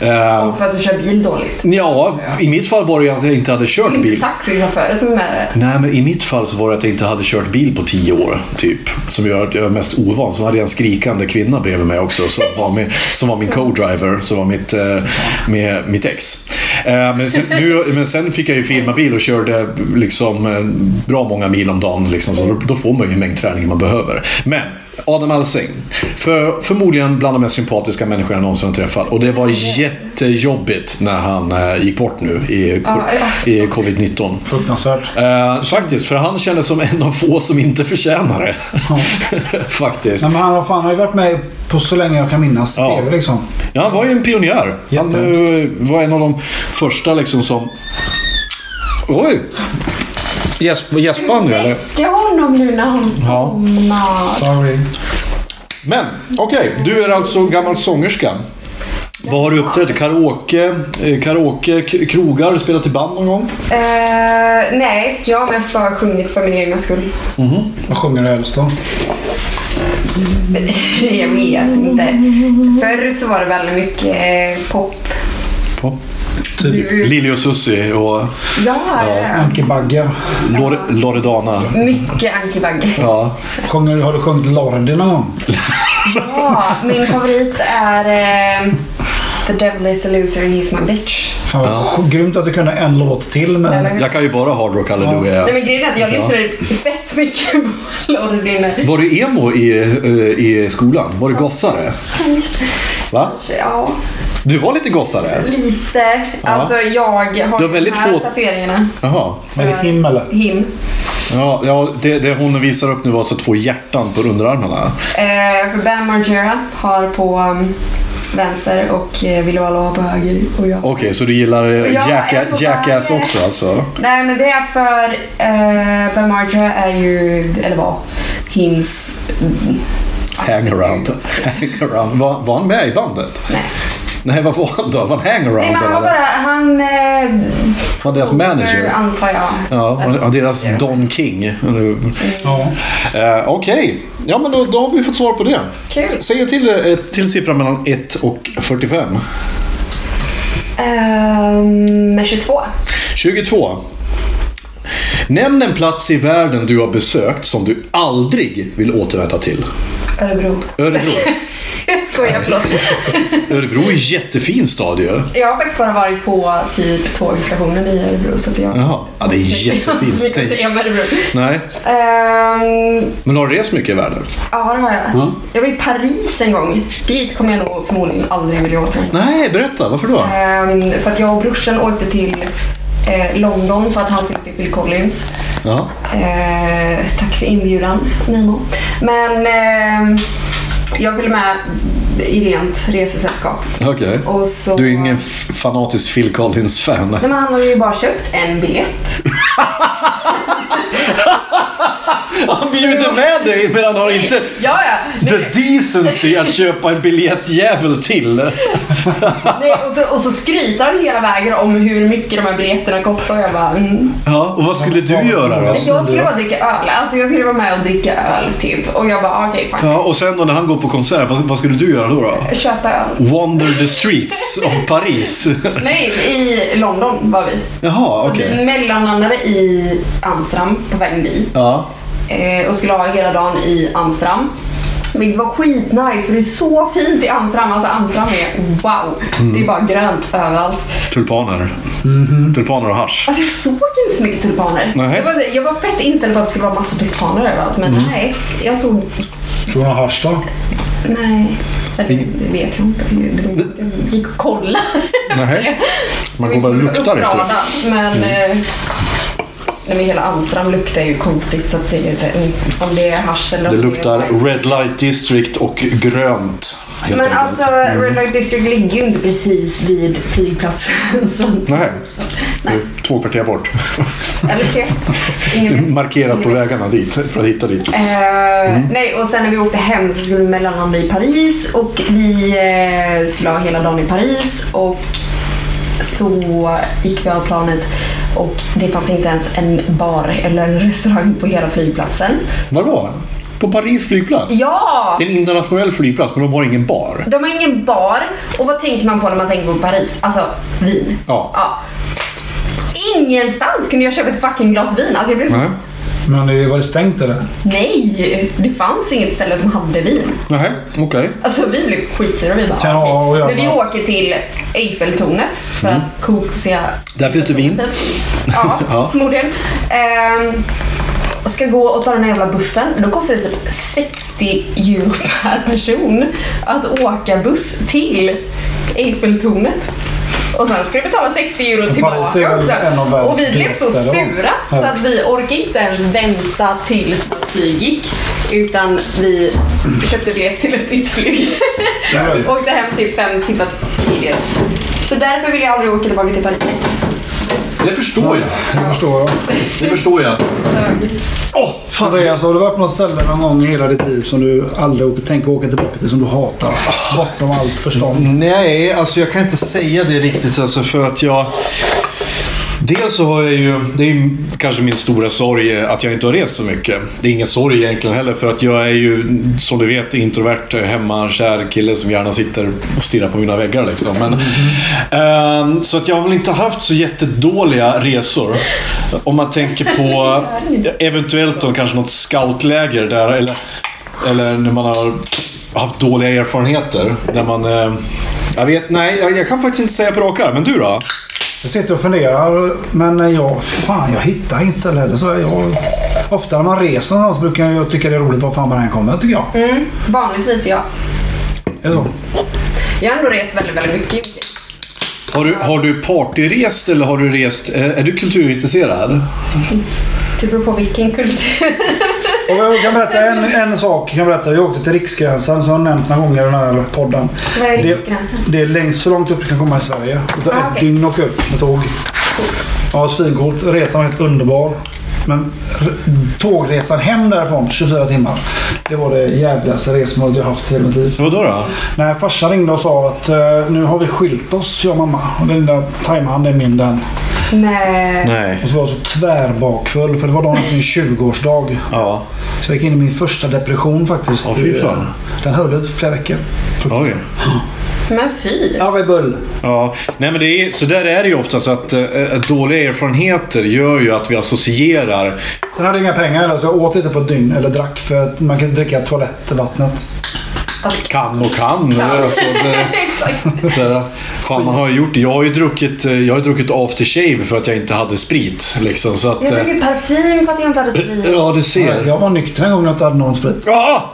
S1: Eh,
S2: Och för att du kör bil dåligt.
S1: ja, i mitt fall var det ju att jag inte hade
S2: Det är
S1: kört
S2: inte
S1: bil.
S2: taxichaufförer som är med där.
S1: Nej, men i mitt fall så var det att jag inte hade kört bil på tio år, typ. Som gör att jag är mest ovan. Så hade jag en skrikande kvinna bredvid mig också, som var min, som var min co-driver, som var mitt, eh, med, mitt ex. Eh, men, sen, nu, men sen fick jag ju filma bil och körde liksom, eh, bra många mil om dagen. Liksom, så då, då får man ju en mängd träning man behöver. Men Adam Alsing, för, förmodligen bland de mest sympatiska människor jag någonsin har träffat. Och det var jättejobbigt när han eh, gick bort nu i,
S2: Ja,
S1: i covid-19.
S3: Fruktansvärt.
S1: Eh, faktiskt, för han kändes som en av få som inte förtjänar det. faktiskt.
S3: Nej, men han, vad fan, han har ju varit med på så länge jag kan minnas.
S1: Ja.
S3: TV liksom.
S1: Ja, han var ju en pionjär. Han
S3: Jättehemskt.
S1: eh, var en av de första liksom som... Oj! Gäsp- Gäspar han nu eller?
S2: Väcka honom nu när han somnar.
S3: Sorry.
S1: Men okej, du är alltså gammal sångerska. Vad har du uppträtt i? Karaoke, eh, karaoke, k- krogar, spelat i band någon gång?
S2: Eh, nej, jag har mest bara sjungit för min egna skull.
S3: Vad sjunger du helst då?
S2: jag vet inte. Förr så var det väldigt mycket eh, pop.
S1: På.
S3: Typ
S1: Lili och Susie och
S2: Ja, ja.
S3: Anke Bagger.
S1: Lore- Loredana.
S2: mycket Anki Bagge.
S1: Ja.
S3: Sjunger, har du sjungit Lordi någon gång?
S2: Ja, min favorit är eh, The Devil is a loser and he's my bitch.
S3: Fan, ja. Grymt att du kunde en låt till men...
S2: Eller hur?
S1: Jag kan ju bara hardrock halleluja.
S2: Nej men grejen är att jag lyssnade fett mycket på Lordi
S1: Var du emo i, eh, i skolan? Var du gothare? Va?
S2: Ja,
S1: Du var lite gothare?
S2: lite. Alltså jag har
S1: Du har väldigt
S2: de här
S1: få-
S2: tatueringarna.
S1: Jaha.
S3: Är det him eller?
S2: Him.
S1: Ja, ja det, det hon visar upp nu var alltså två hjärtan på underarmarna.
S2: Eh, för Bam Margera har på um, vänster och eh, Willow Allo har på höger. Och jag.
S1: Okej, så du gillar eh,
S2: Ja, jag är
S1: jacka,
S2: på
S1: Jackass
S2: väg.
S1: också alltså?
S2: Nej men det är för eh, Bam Margera är ju, eller var, Hims... mm,
S1: Hangaround. hangaround. Var, var han med i bandet?
S2: Nej.
S1: Nej, vad var han då? Var han
S2: Nej
S1: hangaround?
S2: men han var
S1: eller?
S2: bara, han... Eh,
S1: var deras
S2: för,
S1: manager?
S2: antar jag.
S1: Ja, var deras Don King.
S3: Ja.
S1: Eh, Okej, ja men då, då har vi fått svar på det.
S2: Kul.
S1: Säg en till, eh, till siffra mellan 1 och 45.
S2: Ehm, 22.
S1: 22. Nämn en plats i världen du har besökt som du aldrig vill återvända till.
S2: Örebro.
S1: Örebro.
S2: Jag skojar, förlåt.
S1: Örebro är en jättefin stad ju.
S2: Jag har faktiskt bara varit på typ tågstationen i Örebro så att jag...
S1: Jaha. Ja, det är
S2: Inte så
S1: jättefint.
S2: mycket att säga om Örebro.
S1: Nej,
S2: Ehm,
S1: men har du rest mycket i världen?
S2: Ja, det har jag.
S1: Ja.
S2: Jag var i Paris en gång. Dit kommer jag nog förmodligen aldrig vilja åka.
S1: Nej, berätta. Varför då?
S2: Ehm, för att jag och brorsan åkte till eh, London för att han skulle se Phil Collins.
S1: Ja.
S2: Eh, tack för inbjudan, Mimo. Men ehm, jag följde med i rent resesällskap.
S1: Okej.
S2: Och så...
S1: Du är ingen f- fanatisk Phil Collins-fan.
S2: Nej, men han har ju bara köpt en biljett.
S1: Han bjuder med dig, men han har inte
S2: Ja, ja.
S1: the decency att köpa en biljettjävel till.
S2: Nej, och, så, och så skryter han hela vägen om hur mycket de här biljetterna kostar. Och jag bara, mm.
S1: Ja, och vad skulle du göra då?
S2: Men Jag skulle bara dricka öl. Alltså jag skulle vara med och dricka öl typ. Och jag bara, okej fine.
S1: Ja, och sen då när han går på konsert, vad, vad skulle du göra då? då?
S2: Köpa öl.
S1: Wander the streets of Paris.
S2: Nej, i London var vi.
S1: Jaha,
S2: Och
S1: okej.
S2: Vi mellanlandade i Amsterdam på vägen dit.
S1: Ja.
S2: Eh, och skulle ha hela dagen i Amsterdam. Vilket var skitnice för det är så fint i Amsterdam. Alltså Amsterdam är wow.
S1: Mm.
S2: Det är bara grönt överallt.
S1: Tulpaner. Tulpaner och hasch.
S2: Alltså jag såg inte så mycket tulpaner.
S1: Nej. Mm.
S2: Jag var, jag var fett inställd på att det skulle vara massa tulpaner överallt. Men nej, jag såg...
S3: Tror du han hörs då?
S2: Nej. Eller, det vet jag inte. Jag gick och kollade.
S1: Nej. Man går bara och
S2: liksom
S1: luktar efter det. Mm.
S2: det. Men, eh, nej, men hela Amsterdam luktar ju konstigt så att det är så här, mm, om det är hasch eller om
S1: Det luktar
S2: är bajs.
S1: Red Light District och grönt. Helt
S2: Men
S1: enkelt. Mm.
S2: alltså Red Light District ligger ju inte precis vid flygplatsen. så-
S1: Nej. Det är Två kvarter bort.
S2: Eller tre. Ingen vet.
S1: Markerat på vägarna dit, för att hitta dit.
S2: Eh, Nej, och sen när vi åkte hem så skulle vi mellanlanda i Paris och vi eh, skulle ha hela dagen i Paris och så gick vi av planet och det fanns inte ens en bar eller restaurang på hela flygplatsen.
S1: Vadå? På Paris flygplats?
S2: Ja!
S1: Det är en internationell flygplats, men de har ingen bar.
S2: De har ingen bar. Och vad tänker man på när man tänker på Paris? Alltså, vin.
S1: Ja.
S2: Ingenstans kunde jag köpa ett fucking glas vin. Alltså, jag blev så...
S1: Nej.
S2: Nej.
S3: Men det var det stängt eller?
S2: det fanns inget ställe som hade vin.
S1: Nej, okej.
S2: Alltså vi blev skitsura. Vi bara,
S3: Kan jag
S2: okej.
S3: och jag
S2: Men vi
S3: bara-
S2: åker till Eiffeltornet för att coolt se.
S1: Där finns det vin.
S2: Typ. Ja,
S1: Ja.
S2: förmodligen. Ehm, ska gå och ta den här jävla bussen. Då kostar det typ 60 euro per person att åka buss till Eiffeltornet. Och sen ska du betala 60 euro
S3: Paris är
S2: tillbaka
S3: väl en av
S2: också.
S3: världens
S2: Och vi blev så
S3: dyraste, va?
S2: sura så
S3: Ja.
S2: att vi orkade inte ens vänta tills vårt flyg gick. Utan vi köpte biljett till ett nytt flyg. Åkte hem typ fem timmar tidigare. Så därför vill jag aldrig åka tillbaka till Paris.
S1: Det förstår jag.
S3: Det förstår jag.
S1: Det förstår jag.
S3: Åh, fan. Andreas, har du varit på något ställe någon gång i hela ditt liv som du aldrig åker, tänker åka tillbaka till, som du hatar? Bortom allt förstånd.
S1: Nej, alltså jag kan inte säga det riktigt alltså för att jag... Dels så har jag ju, det är ju kanske min stora sorg eh, att jag inte har rest så mycket. Det är ingen sorg egentligen heller för att jag är ju, som du vet, introvert, hemma, kär kille som gärna sitter och stirrar på mina väggar liksom. Men, ehm, så att jag har väl inte haft så jättedåliga resor. Om man tänker på eventuellt då kanske något scoutläger där eller, eller när man har haft dåliga erfarenheter. När man, eh, jag vet, nej, jag, jag kan faktiskt inte säga på rak arm. Men du då?
S3: Jag sitter och funderar, men jag, fan, jag hittar inget ställe heller. Så jag, ofta när man reser någonstans brukar jag tycka det är roligt var fan man än kommer, tycker jag.
S2: Vanligtvis ja.
S3: Är det så?
S2: Jag har ändå rest väldigt, väldigt mycket.
S1: Har du, har du partyrest eller har du rest... Är, är du kulturintresserad?
S2: Det beror på vilken kultur.
S3: Och jag kan berätta en, en sak. Jag, kan berätta. jag åkte till Riksgränsen som jag har nämnt några gånger i den här podden.
S2: Vad är
S3: Det-
S2: riksgränsen?
S3: Det är längst så långt upp du kan komma i Sverige. Det tar
S2: Ah,
S3: ett
S2: okej.
S3: dygn att åka upp med tåg. Ja, svincoolt. Resan var helt underbar. Men r- tågresan hem därifrån, 24 timmar. Det var det jävligaste resmålet jag haft i hela mitt liv.
S1: Vadå då?
S3: När farsan ringde och sa att eh, nu har vi skilt oss, jag och mamma. Och den där tajmade han, det är min den.
S2: Nej.
S1: Nej.
S3: Och så var jag så tvärbakfull för det var dagen efter min 20-årsdag.
S1: Ja.
S3: Så jag gick in i min första depression faktiskt.
S1: Åh, fy fan.
S3: Den höll i flera veckor.
S1: Oj.
S2: Men fy.
S3: Ja, vad är bull.
S1: Ja. Nej, men det är, så där är det ju oftast att eh, dåliga erfarenheter gör ju att vi associerar.
S3: Sen hade jag inga pengar heller så jag åt inte på ett dygn eller drack för att man kan inte dricka toalettvattnet.
S1: Kan och kan. Alltså, det,
S2: Exakt.
S1: så här, fan, man har ju gjort, jag har ju druckit, eh, jag har ju druckit aftershave för att jag inte hade sprit. Liksom, så att,
S2: Jag
S1: eh,
S2: dricker parfym för att jag inte hade sprit.
S1: ja, du ser.
S3: Jag var nykter en gång när jag inte hade någon sprit.
S1: Ja!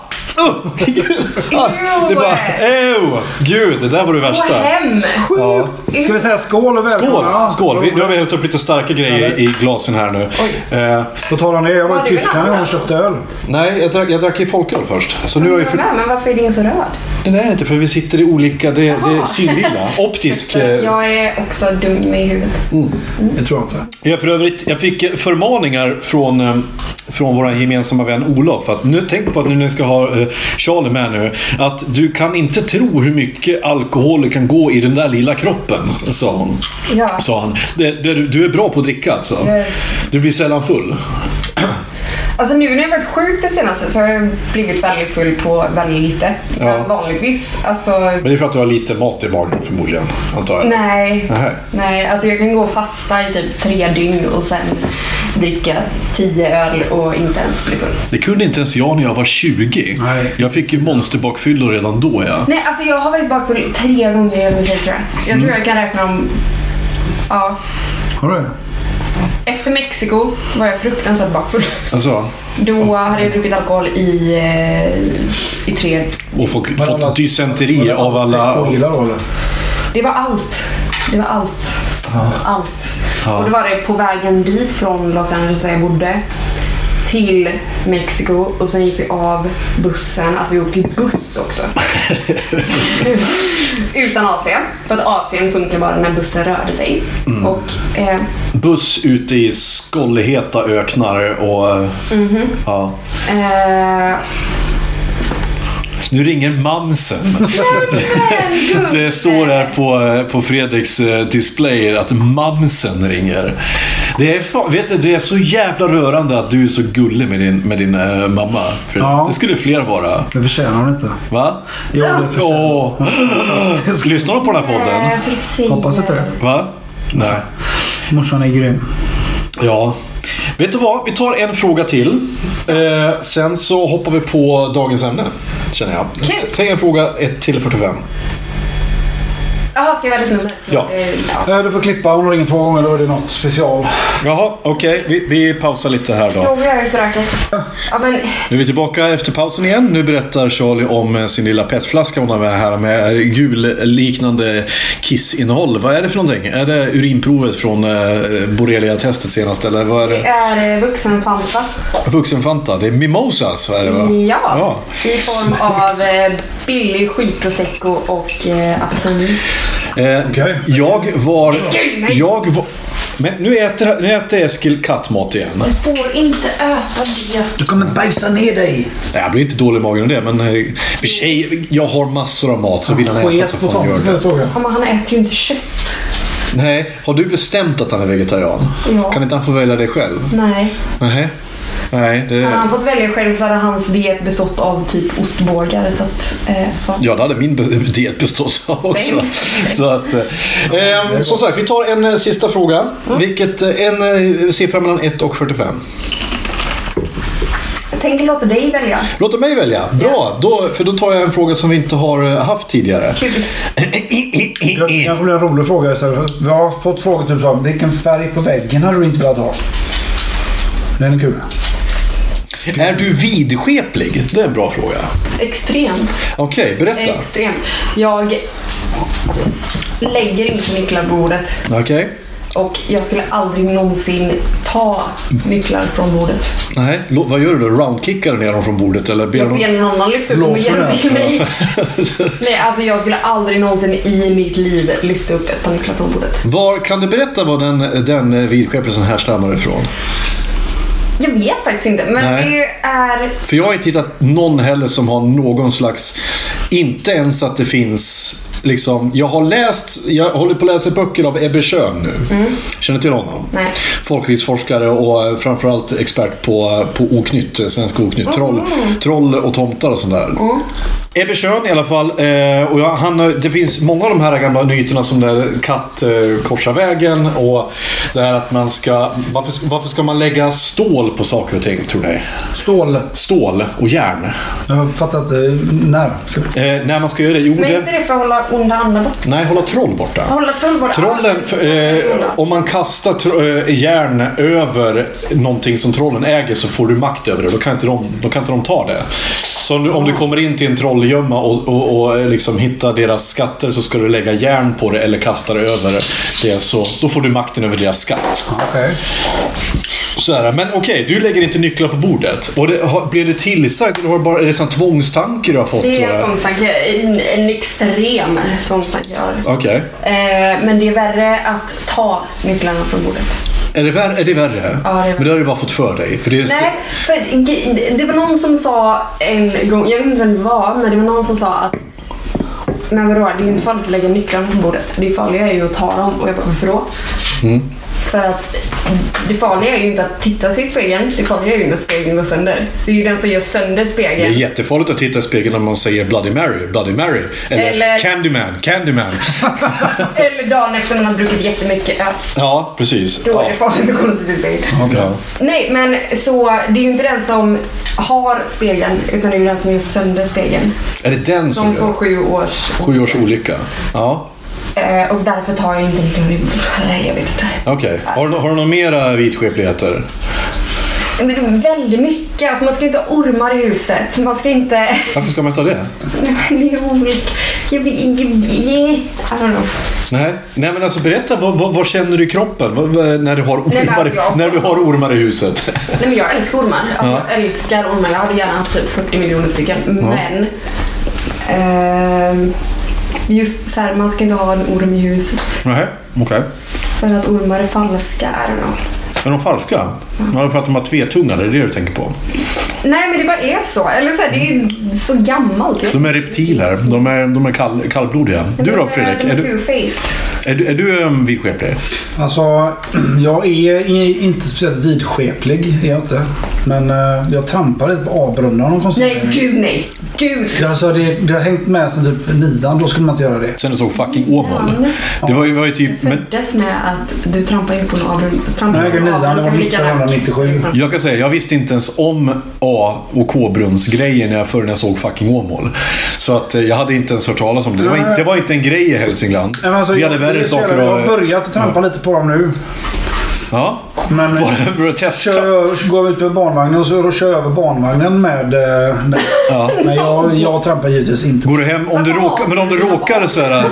S1: Uh! Det är bara, ew! Gud, det där var det
S2: Gå
S1: värsta.
S2: hem.
S1: Ja.
S3: Ska vi säga skål och välkomna?
S1: Skål!
S3: Ja.
S1: Skål! Vi, nu har vi hällt upp lite starka grejer i glasen här nu. Eh,
S3: På tal om det, jag var
S2: Ja, det
S3: i
S2: är väl
S3: Tyskland en gång och
S2: annat.
S3: köpte öl.
S1: nej, jag drack, jag drack i folköl först. Så nu har jag för...
S2: Men, men varför är din så röd?
S1: Den är inte för vi sitter i olika... Det, det är synvilla. Optisk. eh,
S2: Jag är också dum i huvudet.
S3: Det tror jag inte.
S1: Jag, för övrigt, jag fick eh, förmaningar från, eh, från vår gemensamma vän Olof. Att nu, tänk på att nu när ni ska ha eh, Charlie med nu. Att du kan inte tro hur mycket alkohol det kan gå i den där lilla kroppen. Sa, hon.
S2: Ja.
S1: sa han. Det, det, du är bra på att dricka alltså.
S2: Ja.
S1: Du blir sällan full.
S2: Alltså nu när jag varit sjuk det senaste så har jag blivit väldigt full på väldigt lite.
S1: Ja.
S2: Men vanligtvis. Alltså,
S1: Men det är för att du har lite mat i magen förmodligen. Antar jag.
S2: nej.
S1: Nej.
S2: Nej, alltså jag kan gå och fasta i typ tre dygn och sen dricka tio öl och inte ens bli full.
S1: Det kunde inte ens jag när jag var 20.
S3: Nej.
S1: Jag fick ju monsterbakfyllor redan då. Ja.
S2: Nej, alltså jag har varit bakfull tre gånger i hela mitt liv tror jag. Jag tror jag kan räkna om... Ja.
S3: Har du?
S2: Efter Mexiko var jag fruktansvärt bakfull.
S1: Alltså,
S2: Då hade jag druckit alkohol i, eh, i tre...
S1: och fått,
S3: Men alla-
S1: fått dysenteri av alla...
S3: Alkoholar då eller?
S2: Det var allt. Det var allt. Allt.
S1: Ja.
S2: Och det var det på vägen dit från Los Angeles där jag bodde till Mexiko och sen gick vi av bussen. Alltså vi åkte ju buss också. Utan AC. För att AC'n funkar bara när bussen rörde sig.
S1: Mm.
S2: Och eh,
S1: Buss ute i skållheta
S3: Mhm.
S1: öknar och... Ja.
S2: Eh,
S1: Nu ringer mamsen. Det står här på, eh, på Fredriks eh, displayer att mamsen ringer. Det är, fa- vet du, det är så jävla rörande att du är så gullig med din, med din eh, mamma. Fredrik.
S3: Ja.
S1: Det skulle fler vara.
S3: Det förtjänar hon inte.
S1: Va?
S3: Jo, det förtjänar hon.
S1: Åh. Lyssnar de på den här podden?
S2: Alltså, du säger-
S3: Hoppas inte det.
S1: Va? Nej.
S3: Morsan är grym.
S1: Ja. Vet du vad? Vi tar en fråga till. Eh, sen så hoppar vi på dagens ämne, känner jag. S- Säg en fråga, 1 till 45.
S2: Jaha, ska jag välja ett nummer?
S1: Ja.
S2: Eh, ja.
S3: Eh, Du får klippa. Hon ringer två gånger. Då är det något special.
S1: Jaha, okej. Vi, vi pausar lite här då.
S2: Frågor jag ju förankrat. Ja, men
S1: Nu är vi tillbaka efter pausen igen. Nu berättar Charlie om eh, sin lilla petflaska hon har med här med gulliknande kissinnehåll. Vad är det för någonting? Är det urinprovet från eh, borrelia-testet senast eller vad är
S2: det
S1: det?
S2: är eh, vuxenfanta.
S1: Vuxenfanta? Det är mimosas, vad är det va?
S2: Ja.
S1: Ja.
S2: I form av eh, billig skitprosecco och eh, apelsinjuice.
S1: Eh,
S3: Okej.
S1: Jag var...
S2: Eskil, nej!
S1: Jag var... Men nu äter, nu äter Eskil kattmat igen.
S2: Du får inte äta det.
S3: Du kommer bajsa ner dig.
S1: Nej, Jag blir inte dålig i magen av det, men eh, för sig, jag har massor av mat så vill han äta
S3: Sket
S1: så
S3: på
S1: får han göra
S3: tomten,
S1: det.
S3: frågar jag.
S2: Ja, men han äter ju inte kött.
S1: Nej, har du bestämt att han är vegetarian?
S2: Ja.
S1: Kan inte han få välja det själv?
S2: Nej.
S1: Nej. Nej,
S2: Hade
S1: det...
S2: han fått välja själv så hade hans diet bestått av typ ostbågar. Så att, eh, så.
S1: Ja, det hade min be- diet bestått av också. Så att, eh, eh, som sagt, vi tar en eh, sista fråga.
S2: Mm.
S1: Vilket, eh, en eh, siffra mellan 1 och 45.
S2: Jag tänker låta dig välja.
S1: Låt mig välja. Bra, då, för då tar jag en fråga som vi inte har eh, haft tidigare.
S2: Kul.
S3: Jag- Det kanske blir en rolig fråga istället. för- Vi har fått frågor typ som vilken färg på väggen hade du inte velat ha? Den är kul.
S1: Är du vidskeplig? Det är en bra fråga.
S2: Extremt.
S1: Okej, berätta.
S2: Extremt. Jag lägger inte nycklar på bordet.
S1: Okej.
S2: Och jag skulle aldrig någonsin ta nycklar från bordet.
S1: Nej, lo- vad gör du då? Roundkickar du ner dem från bordet eller ber
S2: Jag
S1: någon...
S2: ber någon annan lyfta upp dem och
S3: Blåser
S2: ge dem
S3: den?
S2: till mig. Nej, alltså jag skulle aldrig någonsin i mitt liv lyfta upp ett par nycklar från bordet.
S1: Var, kan du berätta var den, den eh, vidskepelsen härstammar ifrån?
S2: Jag vet faktiskt inte, men
S1: Nej.
S2: det är...
S1: För jag har inte hittat någon heller som har någon slags... Inte ens att det finns... Liksom, jag har läst, jag håller på att läsa böcker av Ebbe Schön nu. Känner till honom?
S2: Nej.
S1: Folklivsforskare och eh, framförallt expert på, på oknytt, eh, svensk oknytt. Troll, troll och tomtar och sånt där. Ebbe Schön i alla fall. Eh, och jag, han, har- det finns många av de här gamla myterna som där katt eh, korsar vägen och det här att man ska... Varför, ska- varför ska man lägga stål på saker och ting, tror ni?
S3: Stål.
S1: Stål och järn.
S3: Jag har fattat eh, när.
S1: Eh, när man ska göra det? Jo,
S2: Men inte
S1: det...
S2: det för att hålla onda andar borta?
S1: Nej, hålla troll borta.
S2: Hålla troll borta?
S1: Trollen, f- eh, om man kastar tro- eh, järn över någonting som trollen äger så får du makt över det. Då kan inte de, då kan inte de ta det. Så om du, om du kommer in till en trollgömma och, och, och eh, liksom hittar deras skatter så ska du lägga järn på det eller kasta det över det. Så, då får du makten över deras skatt.
S3: Okej.
S1: Så är det. Men okej, du lägger inte nycklar på bordet. Och det, har, blev det tillsagt? Eller har det bara, är det en tvångstanke du har fått?
S2: Det
S1: tror
S2: är en
S1: jag?
S2: tvångstanke. En, en extrem tvångstanke jag har.
S1: Okej.
S2: Eh, men det är värre att ta nycklarna från bordet.
S1: Är det värre? Är det värre?
S2: Ja, det är värre.
S1: Men det har du bara fått för dig. För det är...
S2: Nej, för att ge- det var någon som sa en gång, jag vet inte vem det var, men det var någon som sa att men vadå, det är ju inte farligt att lägga nycklarna på bordet. Det farliga är ju att ta dem. Och jag bara, varför då?
S1: Mm.
S2: För att det farliga är ju inte att titta sig i spegeln. Det farliga är ju när spegeln går sönder. Det är ju den som gör sönder
S1: Det är
S2: spegeln.
S1: jättefarligt att titta i spegeln när man säger Bloody Mary, Bloody Mary. Eller,
S2: Eller-
S1: Candyman, Candyman.
S2: Eller dagen efter man har druckit jättemycket. Ja,
S1: ja, precis.
S2: då är
S1: Ja.
S2: det farligt att kolla sig i spegeln.
S1: Ja.
S2: Nej, men så det är ju inte den som har spegeln, utan det är ju den som gör sönder spegeln.
S1: Är det den som
S2: Som får
S1: gör
S2: sju års...
S1: sju års olycka? Ja,
S2: Eh, och därför tar jag inte riktigt... Nej, jag vet inte.
S1: okej. Har, du nå- har du några mera vidskepligheter?
S2: Men det är väldigt mycket. Alltså, man ska inte ha ormar i huset. Man ska inte...
S1: Varför ska man ta det?
S2: Nej, men det är olika. Jag blir... Jag, jag, I don't know.
S1: Nej, Nej men alltså berätta, vad, vad, vad känner du i kroppen vad, vad, när, du har
S2: men
S1: ormar,
S2: alltså, jag-
S1: när du har ormar i huset?
S2: Nej, men jag älskar ormar. Alltså,
S1: Ja.
S2: Jag älskar ormar. Jag hade gärna haft typ 40 miljoner stycken. Mm, Men... ehm, just så här, man ska inte ha en orm i huset.
S1: Nej, okej.
S2: För att ormar är falska. I don't know.
S1: Är de falska? Ja, för att de har tvetungar, det är det du tänker på?
S2: Nej, men det bara är så. Eller så här, det är så gammalt.
S1: De är reptiler. De är, de är kall, kallblodiga. Du då Fredrik?
S2: Är
S1: Är du,
S2: two-faced.
S1: är du, är du en vidskeplig?
S3: Alltså, jag är i- inte speciellt vidskeplig, är jag inte. Men eh, jag trampar lite på avbrunnar någon konstig
S2: Nej,
S3: anledning.
S2: gud nej. Gud.
S3: Alltså, det, det har hängt med sen typ nian, då skulle man inte göra det.
S1: Sen jag såg fucking Åmål. Det var ju, var ju typ... Men,
S2: Föddes med att du trampade in på någon avrund. trampade
S3: Nej,
S2: på någon
S3: gud, nej, det var
S2: avrund-
S3: 1997.
S1: Jag kan säga, jag visste inte ens om A och K-brunnsgrejen när jag- förrän jag såg fucking Åmål. Så att eh, jag hade inte ens hört talas om det. Det var, inte, det var inte en grej i Hälsingland.
S3: Nej, men alltså,
S1: Vi hade
S3: jag,
S1: värre
S3: det är så
S1: saker
S3: jävla- Jag har
S1: att...
S3: börjat att trampa lite på dem nu.
S1: Ja.
S3: Men
S1: Bara- Bara testa.
S3: kör, går ut med barnvagnen och så kör jag över barnvagnen med... eh, den. Men jag, jag trampar givetvis inte.
S1: Går du hem, om du råkar, men om du råkar så här,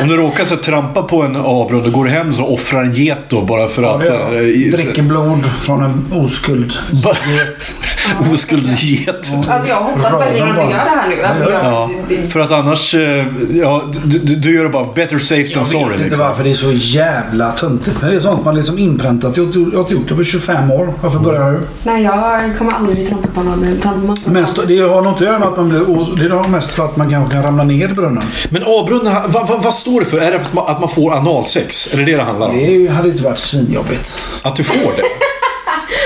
S1: om du råkar så här, trampa på en avbrunn, då går du hem och offrar en get då bara för att... eh, i-
S3: Dricker blod från en oskuld.
S1: Ba- Oskuldsget.
S2: Alltså jag hoppas
S3: Bra,
S2: verkligen att
S3: bra.
S2: du gör det här nu. Alltså, jag,
S1: Ja,
S2: det,
S1: för att annars... eh, Ja, du, du, du gör det bara better safe than
S3: Jag
S1: sorry.
S3: vet inte
S1: Liksom.
S3: varför det är så jävla töntigt. Men det är sånt man liksom inpräntat. Jag har gjort- jag har gjort det på 25 år. Varför börjar jag nu?
S2: nej, jag kommer aldrig trampa på någon avrund. Trampar man på
S3: Men st- det har nog inte att göra med att man blir os- Det har mest för att man kanske kan ramla ner i brunnen.
S1: Men avbrunnen, vad, vad, vad står det för? Är det att man, att man får analsex? Är det det det handlar om?
S3: Det är ju- hade ju inte varit svinjobbigt.
S1: Att du får det?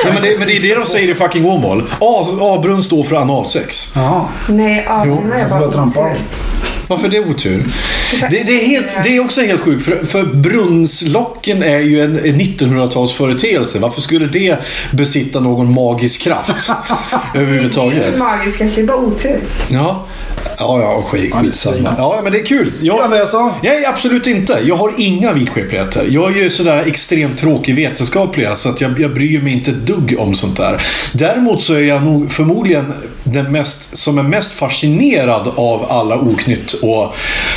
S1: Nej, men, det, men det är det de säger i fucking Åmål. A- Avbrunn står för analsex.
S3: Jaha.
S2: Nej, avrund är
S3: Jag
S2: bara
S3: får trampa.
S1: Varför är det otur? Det, det, är, helt, det är också helt sjukt, för, för brunnslocken är ju en, en 1900-talsföreteelse. Varför skulle det besitta någon magisk kraft
S2: Det är
S1: överhuvudtaget?
S2: magiskt, det är bara otur.
S1: Ja, ja, ja skit, skitsamma. Ja, men det är kul. Jag,
S3: Andreas då?
S1: Nej, absolut inte. Jag har inga vidskepligheter. Jag är ju sådär extremt tråkig vetenskaplig, så att jag, jag bryr mig inte ett dugg om sånt där. Däremot så är jag nog förmodligen den mest, som är mest fascinerad av alla oknytt och,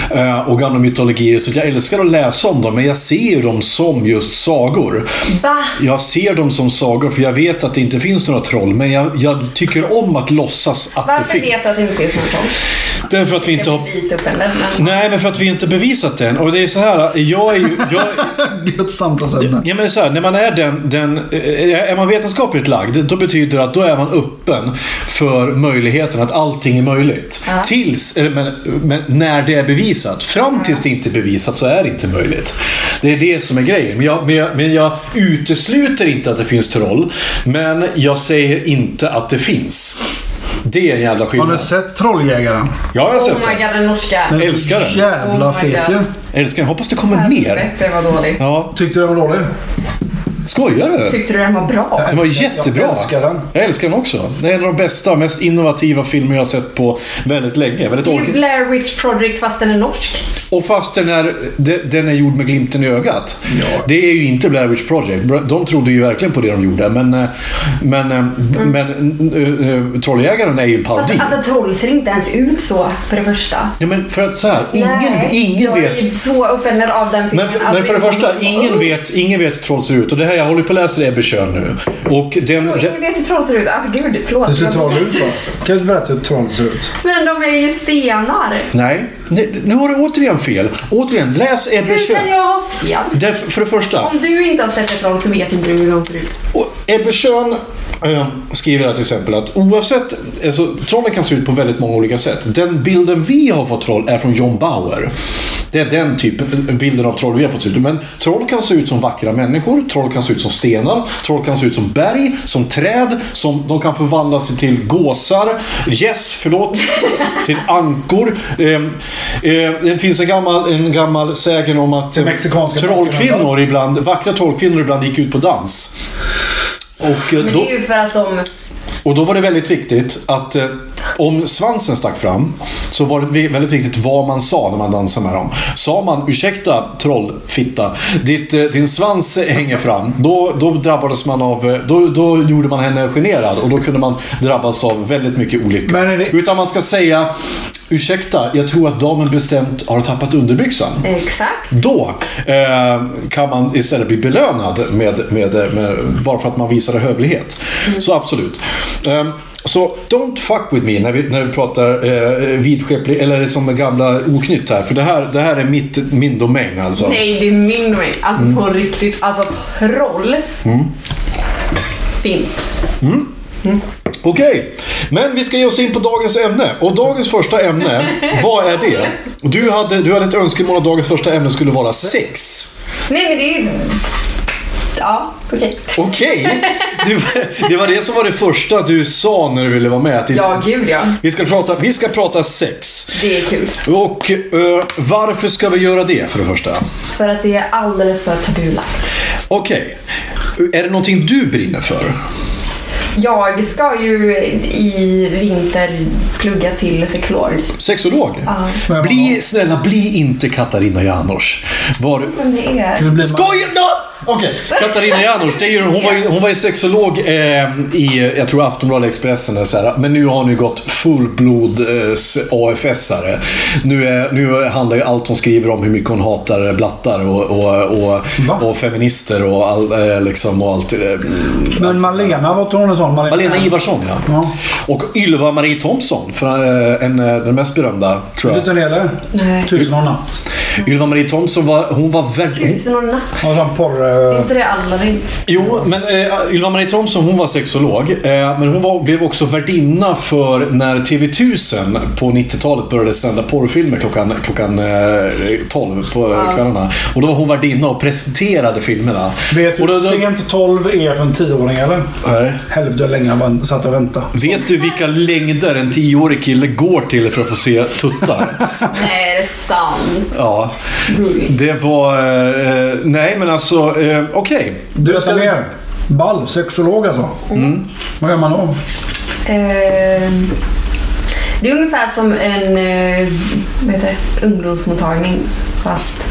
S1: eh, och gamla mytologier. Så att jag älskar att läsa om dem, men jag ser ju dem som just sagor.
S2: Va?
S1: Jag ser dem som sagor, för jag vet att det inte finns några troll, men jag, jag tycker om att låtsas att det
S2: Varför
S1: finns.
S2: vet du att det inte finns någon sån?
S1: Därför att vi inte
S2: Jag
S1: har
S2: blir lite uppänden. Men...
S1: Nej, men för att vi inte bevisat det än. Och det är så här, jag är ju... Jag,
S3: Gött samtalsämne.
S1: ja, men det är så här, när man är den, den... eh, Är man vetenskapligt lagd, då betyder det att då är man öppen för möjligheten att allting är möjligt. Tills, eller, men, men när det är bevisat. Fram tills det inte är bevisat så är det inte möjligt. Det är det som är grejen. Men jag, men jag, men jag utesluter inte att det finns troll, men jag säger inte att det finns. Det är en jävla
S3: Har du
S1: skillnad.
S3: sett Trolljägaren?
S1: Ja, jag har
S2: Oh
S1: sett
S2: my
S1: den.
S2: god, den norska.
S3: Den är
S1: Älskar den.
S3: Jävla
S2: Oh my
S3: fet
S2: God.
S3: ju.
S1: Älskar den. Hoppas det kommer mer.
S2: Helvete vad dåligt.
S1: Ja,
S3: Tyckte du den var dålig?
S1: Skojar du?
S2: Tyckte du den var bra?
S1: Den var
S3: Jag
S1: jättebra.
S3: älskar den.
S1: Jag älskar den också. Det är en av de bästa, mest innovativa filmer jag har sett på väldigt länge. Väldigt
S2: Det är ju
S1: ork-
S2: Blair Witch Project fast den är norsk.
S1: och fast den är, de- den är gjord med glimten i ögat. Det är ju inte Blair Witch Project. Bra- De trodde ju verkligen på det de gjorde. Men, eh, men, eh, men eh, eh, Trolljägaren är ju en
S2: Fast
S1: parodi.
S2: Mm. alltså troll ser inte ens ut så för det första.
S1: Ja, men för att så här, ingen, ingen
S2: jag
S1: vet...
S2: är typ så offended av den filmen. Alltså,
S1: Men, men för det första, ingen vet, ingen vet hur troll ser ut. Och det här, jag håller på att läsa Ebbe Schön nu. Och den,
S2: Och
S1: den,
S2: ingen vet hur troll ser ut. Alltså gud, förlåt.
S3: Hur ser
S2: Jag-
S3: troll ut då? Kan du berätta hur troll ser ut?
S2: Men de är ju stenar.
S1: nej, nej, nu har du återigen fel. Återigen, läs Ebbe
S2: Hur
S1: Schön.
S2: kan jag ha fel?
S1: Därför, för det första,
S2: Om du inte har sett ett troll så vet inte du typ hur de ser ut.
S1: och Ebbe Schön eh, skriver här till exempel att oavsett, alltså, trollen kan se ut på väldigt många olika sätt. Den bilden vi har fått troll är från John Bauer. Det är den typen, bilden av troll vi har fått se ut. Men troll kan se ut som vackra människor, troll kan se ut som stenar, troll kan se ut som berg, som träd, som, de kan förvandla sig till gåsar, gäss, förlåt, till ankor. Ehm, eh, det finns en gammal, en gammal sägen om att eh,
S3: mexikanska
S1: trollkvinnor ibland, vackra trollkvinnor ibland gick ut på dans. Och, eh,
S2: Men
S1: då,
S2: det är ju för att de...
S1: och då var det väldigt viktigt att eh, om svansen stack fram så var det vi- väldigt viktigt vad man sa när man dansade med dem. Sa man ursäkta trollfitta, ditt, eh, din svans hänger fram. Då, då drabbades man av, eh, då, då gjorde man henne generad och då kunde man drabbas av väldigt mycket olyckor.
S3: Men är det-
S1: Utan man ska säga ursäkta, jag tror att damen bestämt har tappat underbyxan.
S2: Exakt.
S1: Då eh, kan man istället bli belönad med, med, eh, med, bara för att man visade hövlighet. Så absolut. Eh, så don't fuck with me när vi, när vi pratar eh, vidskeplig, eller som gamla oknytt här. För det här, det här är mitt, min domän alltså.
S2: Nej, det är min domän. Alltså
S1: Mm.
S2: på riktigt. Alltså troll finns.
S1: Okej, men vi ska ge oss in på dagens ämne. Och dagens första ämne, vad är det? Du hade, du hade ett önskemål att dagens första ämne skulle vara sex.
S2: Nej men det är ju... Ja, okej.
S1: Okej! Det, det var det som var det första du sa när du ville vara med. Att inte-
S2: Ja, gud ja.
S1: vi, ska prata, vi ska prata sex.
S2: Det är kul.
S1: Och eh, varför ska vi göra det för det första?
S2: För att det är alldeles för tabulagt.
S1: Okej. Är det någonting du brinner för?
S2: Jag ska ju i vinter plugga till sexolog.
S1: Sexolog?
S3: Men vad-
S1: Bli, snälla, bli inte Katarina Janouch. Var...
S2: Men det är...
S3: Hur blir man-
S1: Skojar du? Okej, Katarina Janouch, det är ju, hon, var ju, hon var ju sexolog eh, i, jag tror Aftonbladet Expressen eller så här, men nu har hon ju gått fullblod eh, s- AFS-are. Nu, är, nu handlar ju allt hon skriver om hur mycket hon hatar blattar och, och,
S3: Va?
S1: och, och feminister och, all, eh, liksom, och allt. eh,
S3: Men Malena, vad tror hon är sån? Malena,
S1: Malena Ivarsson, ja.
S3: Ja.
S1: Och Ylva Marie Thomsson, för, eh, en, eh, den mest berömda, tror
S3: Vet du
S1: jag.
S3: vem det är?
S2: Nej.
S3: Tusen och en natt.
S1: Ylva Marie Thomsson, var, hon var verkligen...
S2: Tusen och en natt.
S3: Hon har sån porr...
S2: Är
S3: eh,
S2: inte det Aladdin?
S1: Jo, men eh, Ylva-Marie Thomsson hon var sexolog. Eh, men hon var, blev också värdinna för när TV1000 på 90-talet började sända porrfilmer klockan, klockan eh, 12 på kvällarna. Och då var hon värdinna och presenterade filmerna.
S3: Vet du
S1: och då,
S3: hur
S1: då,
S3: typ sent 12 är för en 10-åring eller?
S1: Nej.
S3: Helvete hur länge jag bara satt och väntade.
S1: Vet du vilka längder en tioårig kille går till för att få se tuttar?
S2: Nej, är det sant?
S1: Ja,
S2: Gulligt.
S1: det var... eh, Eh, nej, men alltså, eh, okej.
S3: Du ska ner. Ball. Sexolog alltså.
S1: Mm.
S3: Vad gör man då?
S2: Ehm, Det är ungefär som en eh, vad heter det? ungdomsmottagning fast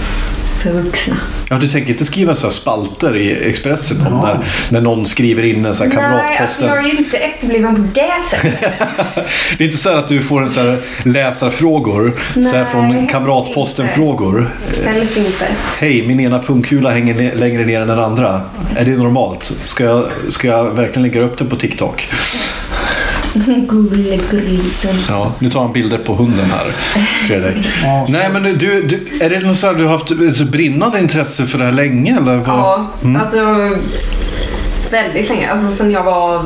S2: för vuxna.
S1: Ja, du tänker inte skriva så här spalter i Expressen om när, när någon skriver in en så här
S2: Nej, alltså
S1: kamratposten?
S2: jag är ju inte efterbliven på det sättet.
S1: Det är inte så här att du får en så här läsarfrågor så här
S2: Nej,
S1: från
S2: helst
S1: kamratposten-frågor.
S2: Helst inte.
S1: Hej, min ena pungkula hänger ne- längre ner än den andra. Är det normalt? Ska jag, ska jag verkligen lägga upp det på TikTok?
S2: Gullegrisen.
S1: Ja, nu tar han bilder på hunden här, Fredrik.
S3: Ja, så-
S1: Nej, men du, du, är det något så här, du har haft ett så brinnande intresse för det här länge? Eller vad?
S2: Ja,
S1: mm.
S2: alltså väldigt länge. Alltså sen jag var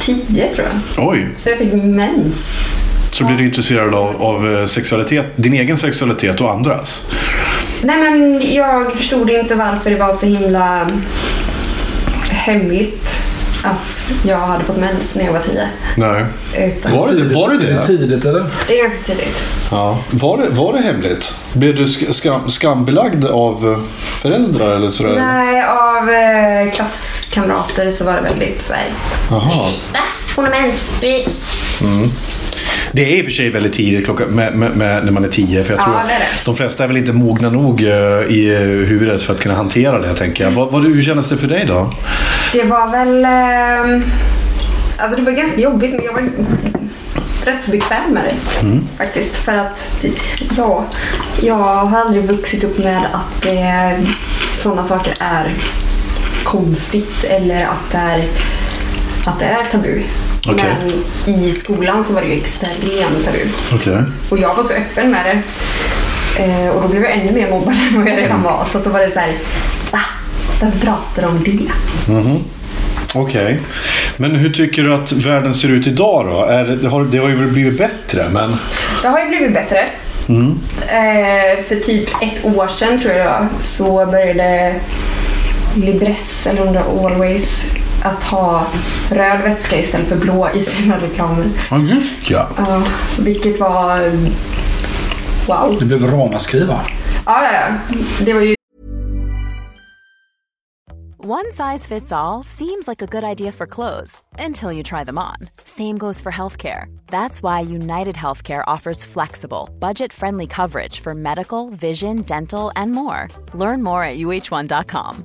S2: tio tror jag.
S1: Oj,
S2: Så jag fick mens.
S1: så blir du intresserad av, av eh, sexualitet, din egen sexualitet och andras?
S2: Nej men jag förstod inte varför det var så himla hemligt att jag hade fått mens när jag var tio.
S1: Nej.
S2: Utan
S1: Var det var det?
S3: Är det
S1: det?
S3: tidigt eller?
S2: det är ganska tidigt.
S1: Ja. Var, det var det hemligt? Blev du sk- skam, skambelagd av eh, föräldrar eller sådär?
S2: Nej, av eh, klasskamrater så var det väldigt såhär...
S1: Jaha. Mm.
S2: Va? Hon har mens? Vi-
S1: Det är i och för sig väldigt tidigt klockan, med, med, med, när man är tio. För jag
S2: Ja,
S1: tror
S2: det är det.
S1: att de flesta är väl inte mogna nog eh, i eh, huvudet för att kunna hantera det, tänker jag. Vad, vad, hur kändes det för dig då?
S2: Det var väl... ehm, alltså det var ganska jobbigt men jag var rätt så bekväm med det. Faktiskt. För att ja, jag har aldrig vuxit upp med att eh, sådana saker är konstigt eller att det är, att det är tabu.
S1: Okej.
S2: Men i skolan så var det ju extremt tabu.
S1: Okej.
S2: Och jag var så öppen med det. Eh, och då blev jag ännu mer mobbad än vad jag redan var. Så att då var det så här, va? Varför pratar de om det?
S1: Okej. Men hur tycker du att världen ser ut idag då? Är, det- har, det har ju blivit bättre, men...
S2: Det har ju blivit bättre.
S1: Mm.
S2: Eh, för typ ett år sedan tror jag det var, så började Libresse, eller om det var Always, att ha röd vätska istället för blå i sina reklamer.
S1: Ja, just ja.
S2: Ja, vilket var... Wow.
S3: Det blev ramaskri va?
S2: Ja, ja, ja. Det var ju
S4: One size fits all seems like a good idea for clothes until you try them on. Same goes for healthcare. That's why United Healthcare offers flexible, budget friendly coverage for medical, vision, dental, and more. Learn more at uh1.com.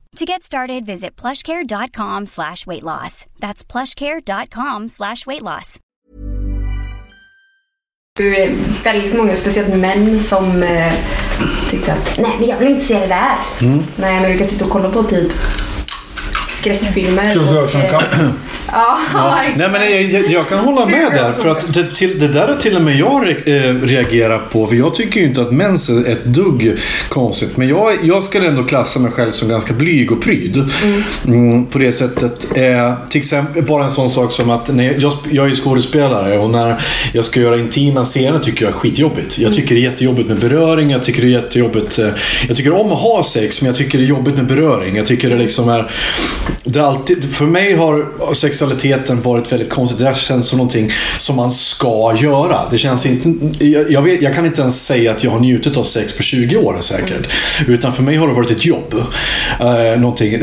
S5: To get started, visit plushcare.com slash weight loss. That's plushcare.com slash weight loss.
S2: ju eh, väldigt många, speciellt män, som eh, tyckte att nej, men jag vill inte se det där.
S1: Mm.
S2: Nej, men du kan sitta och kolla på typ skräckfilmer. eh,
S3: Two girls and a cup.
S2: Ja,
S1: Nej, men jag, jag, jag kan hålla med där. För att det, till, det där har till och med jag re, eh, reagerar på. För jag tycker ju inte att mens är ett dugg konstigt. Men jag, jag skulle ändå klassa mig själv som ganska blyg och pryd. Mm, på det sättet. Eh, till exempel bara en sån sak som att när jag, jag, sp- jag är ju skådespelare och när jag ska göra intima scener tycker jag är skitjobbigt. Jag tycker det är jättejobbigt med beröring. Jag tycker det är jättejobbigt. eh, Jag tycker om att ha sex men jag tycker det är jobbigt med beröring. Jag tycker det liksom är... Det är alltid, för mig har sexualiteten varit väldigt konstigt. Det här känns som någonting som man ska göra. Det känns inte, jag, jag, vet, jag kan inte ens säga att jag har njutit av sex på 20 år säkert. Utan för mig har det varit ett jobb. Eh, någonting.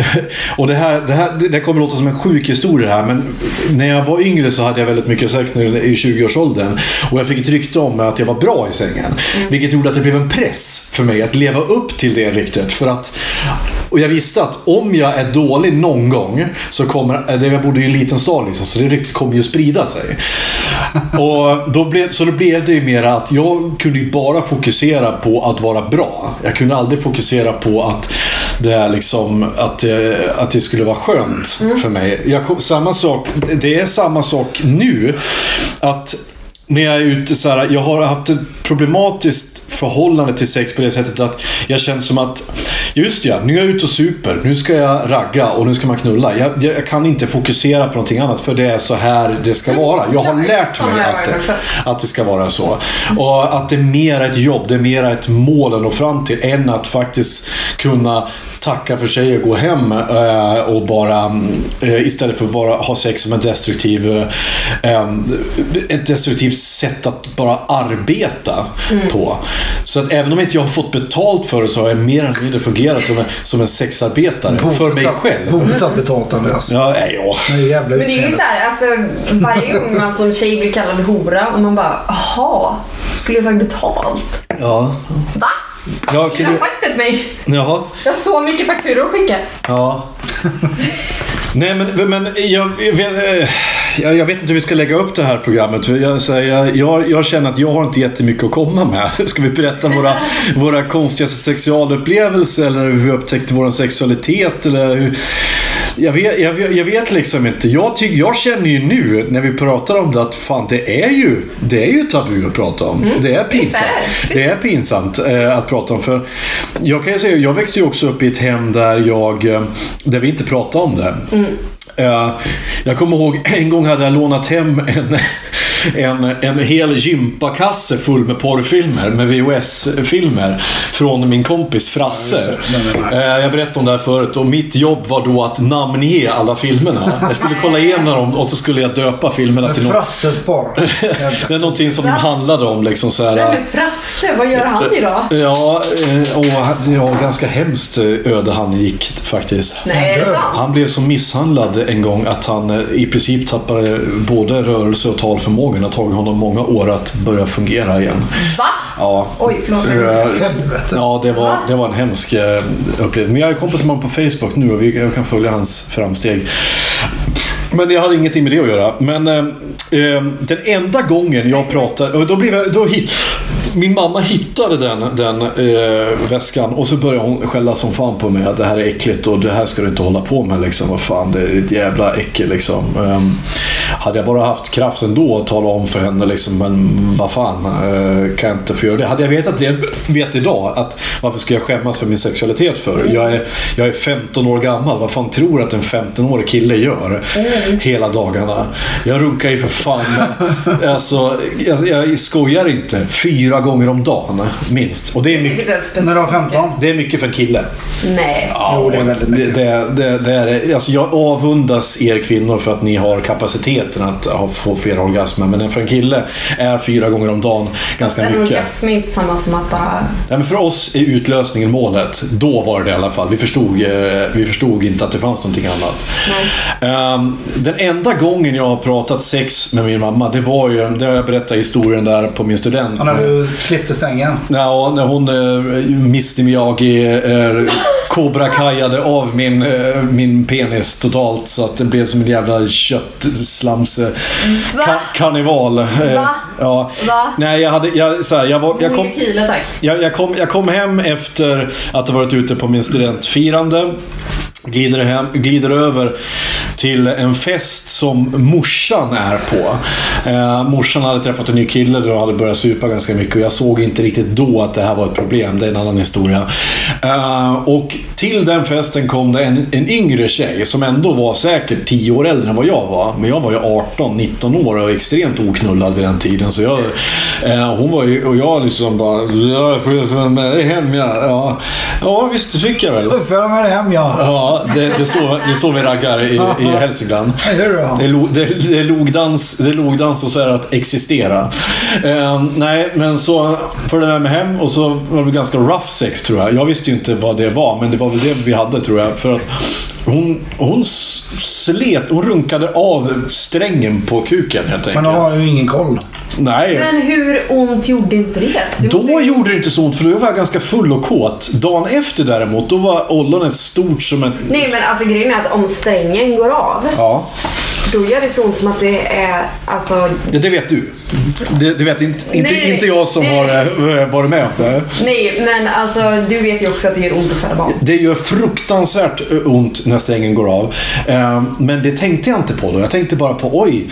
S1: Och det här, det här det det kommer låta som en sjuk historia här men när jag var yngre så hade jag väldigt mycket sex när jag- i 20-årsåldern. Och jag fick ett rykte om mig att jag var bra i sängen. Vilket gjorde att det blev en press för mig att leva upp till det ryktet. För att, och jag visste att om jag är dålig någon gång så kommer, eh, det- jag bodde i en liten stad liksom, så det ryktet kommer ju sprida sig. Och då blev, så då blev det ju mer att jag kunde ju bara fokusera på att vara bra. Jag kunde aldrig fokusera på att det, är liksom, att det, att det skulle vara skönt för mig. Jag, kom- samma sak, det är samma sak nu. Att när jag är ute så här, jag har haft ett problematiskt förhållande till sex på det sättet att jag känner som att just ja, nu är jag ute och super, nu ska jag ragga och nu ska man knulla. Jag, jag, jag kan inte fokusera på någonting annat för det är så här det ska vara. Jag har lärt mig att det, att det ska vara så. Och att det är mer ett jobb, det är mer ett mål att nå fram till än att faktiskt kunna tacka för sig och gå hem eh, och bara mm, eh, istället för att vara, ha sex som en destruktiv, eh, em, ett destruktivt sätt att bara arbeta på. Så att även om inte jag har fått betalt för det så har jag mer eller mindre fungerat som en, som en sexarbetare för mig själv.
S3: Borde ta betalt Andreas.
S1: Ja, nej, ja.
S3: alltså- Det är jävla
S2: Men det är ju
S3: utseendet.
S2: såhär, alltså varje gång man som tjej blir kallad hora och man bara aha, skulle jag tagit betalt?
S1: ja.
S2: Va?
S1: Jag
S2: Du har
S1: kunde,
S2: sagt det till mig.
S1: jaha.
S2: Jag har så mycket fakturor att skicka.
S1: Ja. Nej men, men jag, jag, vet- jag, jag vet inte hur vi ska lägga upp det här programmet. För Jag, så här, jag, jag, jag känner att jag har inte jättemycket att komma med. Ska vi berätta våra, våra konstigaste sexualupplevelser eller hur vi upptäckte vår sexualitet? Eller hur? Jag, vet, jag, vet- jag vet liksom inte. Jag, tyck, jag känner ju nu när vi pratar om det att fan det är ju, det är ju tabu att prata om. Det Mm. är pinsamt. Det är pinsamt eh, att prata om. För jag kan ju säga, jag växte ju också upp i ett hem där, jag, eh, där vi inte pratade om det. Eh, Jag kommer ihåg en gång hade jag lånat hem en, en, en hel gympakasse full med porrfilmer, med VHS-filmer, från min kompis Frasse. Eh, Jag berättade om det här förut och mitt jobb var då att namnge alla filmerna. Jag skulle kolla igenom dem och så skulle jag döpa filmerna till något.
S3: Frasses porr.
S1: Det är någonting som de handlade om. Liksom, så här,
S2: Nej men Frasse, vad gör han idag?
S1: Ja, eh, och, ja, ganska hemskt eh, öde han gick faktiskt.
S2: Nej, är det sant?
S1: Han blev så misshandlad en gång att han eh, i princip tappade både rörelse och talförmågan. Det har tagit honom många år att börja fungera igen.
S2: Va?
S1: Ja.
S2: Oj, förlåt.
S1: Eh,
S3: Helvete.
S1: Ja, det var, det var en hemsk eh, upplevelse. Men jag är kompis med honom på Facebook nu och vi, jag kan följa hans framsteg. Men jag hade ingenting med det att göra. Men eh, eh, den enda gången jag pratade... och Då blev jag, då hit, min mamma hittade den, den eh, väskan och så började hon skälla som fan på mig. Att det här är äckligt och det här ska du inte hålla på med. Liksom. Vad fan, det är ett jävla äckel liksom. Ehm, hade jag bara haft kraften då att tala om för henne liksom, men vad fan, eh, kan jag inte få göra det? Hade jag vetat det vet idag, att varför ska jag skämmas för min sexualitet för? Jag är, jag är 15 år gammal, vad fan tror du att en 15-årig kille gör hela dagarna? Jag runkar ju för fan, men, alltså, jag, jag skojar inte. Fyra gånger om dagen, minst. Och det är mycket,
S2: Vilket är speciellt.
S3: När du var 15?
S1: det är mycket för en kille.
S2: Nej.
S1: Ja,
S3: Jo, det är väldigt mycket.
S1: Det, det, det, det är, det. alltså jag avundas er kvinnor för att ni har kapaciteten att ha, få flera orgasmer. Men för en kille är fyra gånger om dagen ganska
S2: En
S1: mycket.
S2: orgasm är inte samma som att bara...
S1: Nej, men för oss är utlösningen målet. Då var det det i alla fall. Vi förstod, eh, vi förstod inte att det fanns någonting annat. Ehm, den enda gången jag har pratat sex med min mamma, det var ju, det har jag berättat historien där på min student.
S3: Ja, När du klippte stängen?
S1: Ja, när hon, eh, Mr Miyagi, eh, Cobra Kajade av min, eh, min penis totalt så att det blev som en jävla köttslank slums... eh, Ka- karneval. Eh,
S2: Va?
S1: Ja.
S2: Va?
S1: Nej, jag hade... Jag, så här, jag, var, jag, kom,
S2: Tequila, tack.
S1: jag, jag, kom, jag kom hem efter att ha varit ute på min studentfirande. Glider, hem, glider över till en fest som morsan är på. Eh, morsan hade träffat en ny kille då och hade börjat supa ganska mycket. Och jag såg inte riktigt då att det här var ett problem. Det är en annan historia. Eh, och till den festen kom det en, en yngre tjej som ändå var säkert 10 år äldre än vad jag var. Men jag var ju 18-19 år och extremt oknullad vid den tiden. Så jag, eh, hon var ju, och jag liksom bara... Jag får ju följa med dig hem ja. ja. Ja, visst det fick jag väl.
S3: Uppföra mig hem ja.
S1: Ja, det, det, är så, det är så vi raggar i, i Hälsingland.
S3: Eller
S1: Det är,
S3: då?
S1: lo, det, det, är logdans, det är logdans och så är det att existera. Ehm, nej, men så följde jag med mig hem och så var det ganska rough sex tror jag. Jag visste ju inte vad det var, men det var väl det vi hade tror jag. För att hon, hon s- slet, hon runkade av strängen på kuken helt
S3: Men
S1: enkelt.
S3: de har ju ingen koll.
S1: Nej.
S2: Men hur ont gjorde inte det? det måste
S1: Då
S2: ju-
S1: gjorde det inte så ont för då var jag ganska full och kåt. Dagen efter däremot, då var ollonet stort som ett...
S2: Nej men alltså grejen är att om strängen går av,
S1: Ja.
S2: då gör det så ont som att det är alltså
S1: Ja, det vet du. Det, det vet inte, inte,
S2: Nej,
S1: inte jag som
S2: det-
S1: har eh, varit med om det.
S2: Nej, men alltså du vet ju också att det gör ont att föda barn.
S1: Det gör fruktansvärt eh, ont när strängen går av. Eh, Men det tänkte jag inte på då. Jag tänkte bara på oj,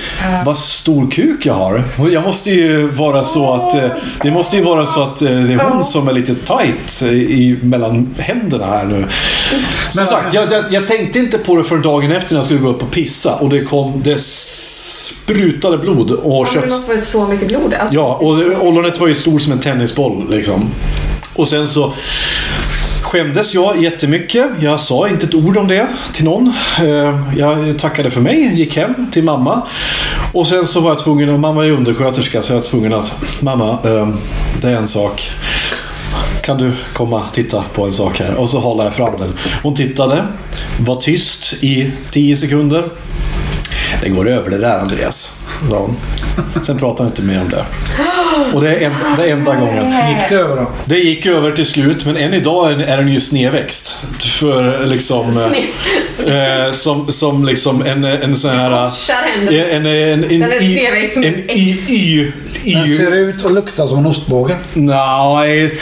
S1: vad stor kuk jag har. Och Jag måste ju vara så att eh, det måste ju vara så att eh, det är hon som är lite tight eh, i, mellan händerna här nu. Som sagt, jag, jag, jag tänkte inte på det för dagen efter när jag skulle gå upp och pissa och det kom, det sprutade blod och
S2: Men det
S1: kött.
S2: måste varit så mycket blod. Alltså,
S1: Ja, och det- ollonet var ju stor som en tennisboll liksom. Och sen så skämdes jag jättemycket. Jag sa inte ett ord om det till någon. Eh, Jag tackade för mig, gick hem till mamma. Och sen så var jag tvungen, och mamma är undersköterska, så jag var tvungen att Mamma, eh, det är en sak. Kan du komma och titta på en sak här? Och så halade jag fram den. Hon tittade, var tyst i 10 sekunder. Det går över det där Andreas, sa hon. Sen pratade hon inte mer om det. Och det är en, det är enda gången.
S3: Gick det över då?
S1: Det gick över till slut, men än idag är den- är den ju snedväxt. För liksom... Eh, som, som liksom en, en sån här... eh,
S2: Korsar händerna.
S1: En, en, en, en,
S2: Den är
S1: y-
S2: snedväxt som
S1: en
S2: ett
S1: y,
S2: X.
S1: y,
S3: Den
S1: y,
S3: ser ut och luktar som en ostbåge.
S1: Nej.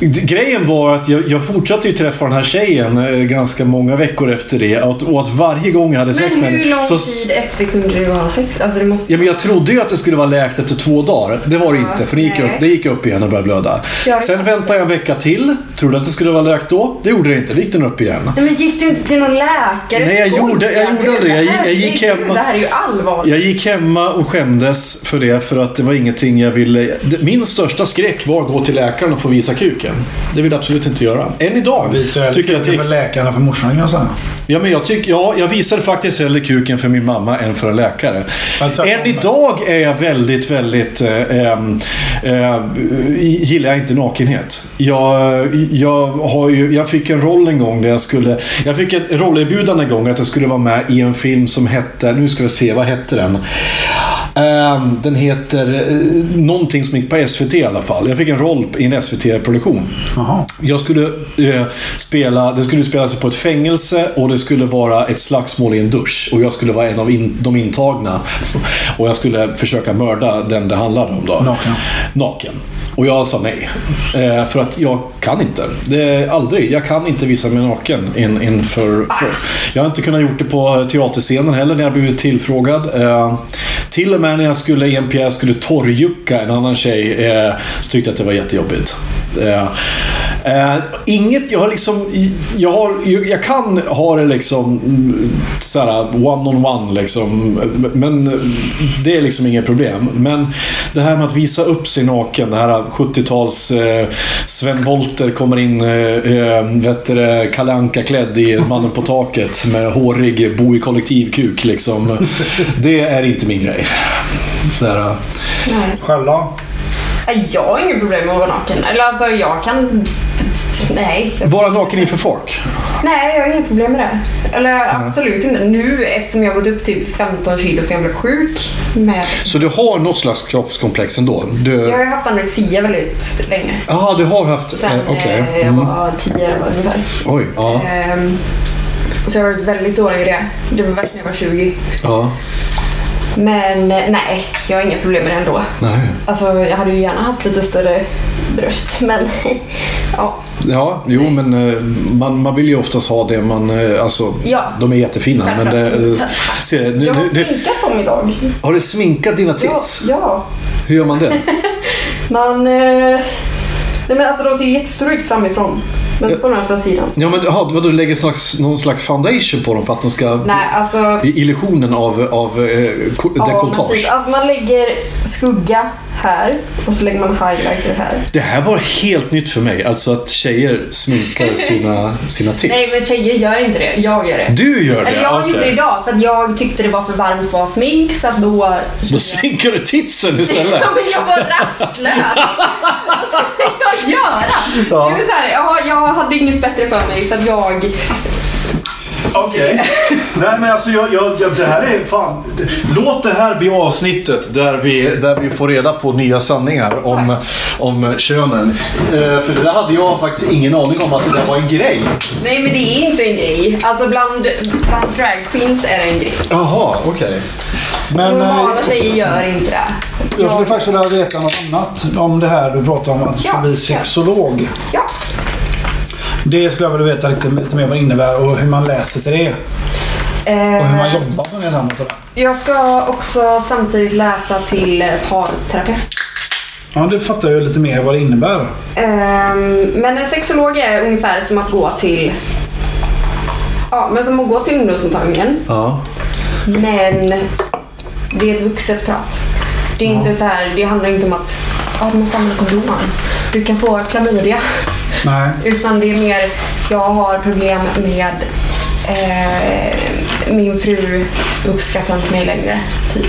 S1: Grejen var att jag, jag fortsatte ju träffa den här tjejen eh, ganska många veckor efter det. Och att, och att varje gång jag hade sett
S2: men hur lång
S1: så-
S2: tid efter kunde du ha sex? Alltså det måste...
S1: Ja, men jag trodde ju att det skulle vara läkt efter två dagar. Det var det inte, för det gick, upp,
S2: nej.
S1: det gick upp igen och började blöda.
S2: Ja.
S1: Sen väntade jag en vecka till. Trodde att det skulle vara läkt då. Det gjorde det inte. Då gick den upp igen.
S2: Nej men gick du inte till någon läkare?
S1: Nej, jag
S2: Skojar
S1: gjorde- jag
S2: du?
S1: gjorde aldrig det. Jag gick- jag
S2: Herregud,
S1: gick hem och-
S2: Det här är ju allvarligt.
S1: Jag gick hemma och skämdes för det, för att det var ingenting jag ville... Min största skräck var att gå till läkaren och få visa kuken. Det vill jag absolut inte göra. Än idag
S3: Visar jag
S1: tycker jag att det är
S3: kuken för läkarna för morsan kan jag säga.
S1: Ja, men jag, tyck, ja, jag visade faktiskt hellre kuken för min mamma än för en läkare.
S3: Men tvärtom.
S1: Än idag är jag väldigt, väldigt... Eh, ehm, eh, gillar jag inte nakenhet. Jag, jag, har ju, jag fick en roll en gång där jag skulle... Jag fick ett rollerbjudande en gång att jag skulle vara med i en film som hette... Nu ska vi se, vad hette den? Ehm, den heter eh, någonting som gick på SVT i alla fall. Jag fick en roll i en SVT-produktion.
S3: Jaha.
S1: Jag skulle eh, spela, det skulle spelas på ett fängelse och det skulle vara ett slagsmål i en dusch. Och jag skulle vara en av in, de intagna. Och jag skulle försöka mörda den det handlade om. Då.
S3: Naken.
S1: Naken. Och jag sa nej. Eh, för att jag kan inte. Det, aldrig. Jag kan inte visa mig naken in, inför... För. Jag har inte kunnat gjort det på teaterscenen heller när jag blivit tillfrågad. Eh, till och med när jag skulle i en pjäs skulle torrjucka en annan tjej eh, så tyckte jag att det var jättejobbigt. Eh, eh, inget, jag har liksom... Jag, har, jag kan ha det liksom mm, såhär one-on-one liksom. Men det är liksom inget problem. Men det här med att visa upp sig naken. Det här 70-tals eh, Sven Wollter kommer in, eh, eh, vet du, det, Kalle Anka klädd i Mannen på taket med hårig bo i kollektivkuk liksom. Det är inte min grej. Det här, eh,
S3: Själv då?
S2: Nej, Jag har inget problem med att vara naken. Eller alltså jag kan... Nej. Jag...
S1: vara naken inför folk.
S2: Nej, jag har inget problem med det. Eller absolut inte. Nu eftersom jag har gått upp typ 15 kilo sen jag blev sjuk. Med...
S1: Så du har något slags kroppskomplex ändå?
S2: Jag har
S1: Du,
S2: ju haft anorexia väldigt länge.
S1: aha, du har haft...
S2: Sen
S1: eh, Okej. Mm,
S2: eh, jag var 10 år ungefär.
S1: Oj, ja.
S2: Ehm, så jag har varit väldigt dålig i det. Det var värst när jag var 20.
S1: ja.
S2: Men eh, nej, jag har inga problem med det ändå.
S1: Nej.
S2: Alltså jag hade ju gärna haft lite större bröst men ja.
S1: Ja, jo men eh, man, man vill ju oftast ha det man... eh, Alltså,
S2: Ja.
S1: de är jättefina. Men det, eh, se, nu,
S2: Jag har
S1: nu, nu,
S2: sminkat dem idag.
S1: har du sminkat dina
S2: Ja,
S1: tits?
S2: ja.
S1: Hur gör man det?
S2: Man... Eh, nej men alltså de ser jättestora ut framifrån. Men
S1: Ja.
S2: på den här från sidan.
S1: Ja men aha, vadå, du lägger slags, någon slags foundation på dem för att de ska...
S2: Nej alltså...
S1: I illusionen av, av eh, ko-
S2: Ja, men
S1: dekolletage.
S2: typ, alltså man lägger skugga här och så lägger man highlighter här.
S1: Det här var helt nytt för mig. Alltså att tjejer sminkar sina, sina tits.
S2: Nej men tjejer gör inte det, jag gör det.
S1: Du gör det?
S2: Eller jag
S1: Okej.
S2: gjorde det idag för att jag tyckte det var för varmt för att vara smink så att då...
S1: Då sminkar du titsen istället?
S2: Ja, men jag var rastlös. Vad ska jag göra?
S3: Ja.
S2: Det är så här, jag, jag hade inget bättre för mig så att jag...
S1: Okej.
S3: Nej men alltså jag, jag, jag, det här är fan...
S1: Låt det här bli avsnittet där vi, där vi får reda på nya sanningar om, om könen. Eh, för det där hade jag faktiskt ingen aning om att det där var en grej.
S2: Nej men det är inte en grej. Alltså bland, bland drag queens är det en grej.
S1: Jaha, okej.
S3: Men eh,
S2: Normala tjejer gör inte det.
S3: jag skulle faktiskt vilja veta något annat om det här du pratade om att du skulle
S2: Ja,
S3: bli
S2: ja.
S3: sexolog.
S2: Ja.
S3: Det skulle jag vilja veta lite, lite mer vad det innebär och hur man läser till det. Och hur man
S2: Eh,
S3: jobbar som det samma för det.
S2: jag ska också samtidigt läsa till parterapeut.
S3: Ja, det fattar jag lite mer vad det innebär.
S2: Ehm, men en sexolog är ungefär som att gå till... Ja, men som att gå till ungdomsmottagningen.
S1: Ja.
S2: Men det är ett vuxet prat. Det är inte så här, det handlar inte om att ja, du måste använda kondom. Du kan få klamydia.
S3: Nej.
S2: Utan det är mer, jag har problem med eh, min fru uppskattar inte mig längre. Typ.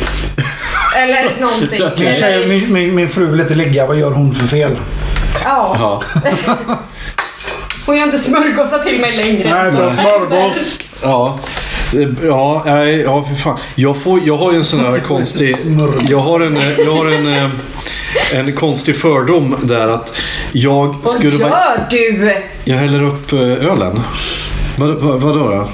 S2: Eller någonting.
S3: Tjejer,
S2: Eller,
S3: Min, min, min fru vill inte ligga, vad gör hon för fel?
S2: ja,
S1: ja.
S2: hon gör inte smörgåsar till mig längre.
S3: det smörgås.
S1: Ja. Eh, Ja, nej, ja för fan. Jag, får, jag har ju en sån här konstig...
S3: Smörgås.
S1: Jag har en, eh, jag har en, eh, en konstig fördom där att jag
S2: Vad
S1: skulle vara...
S2: gör du?
S1: Jag häller upp eh, ölen. Vad, vad, vadå då?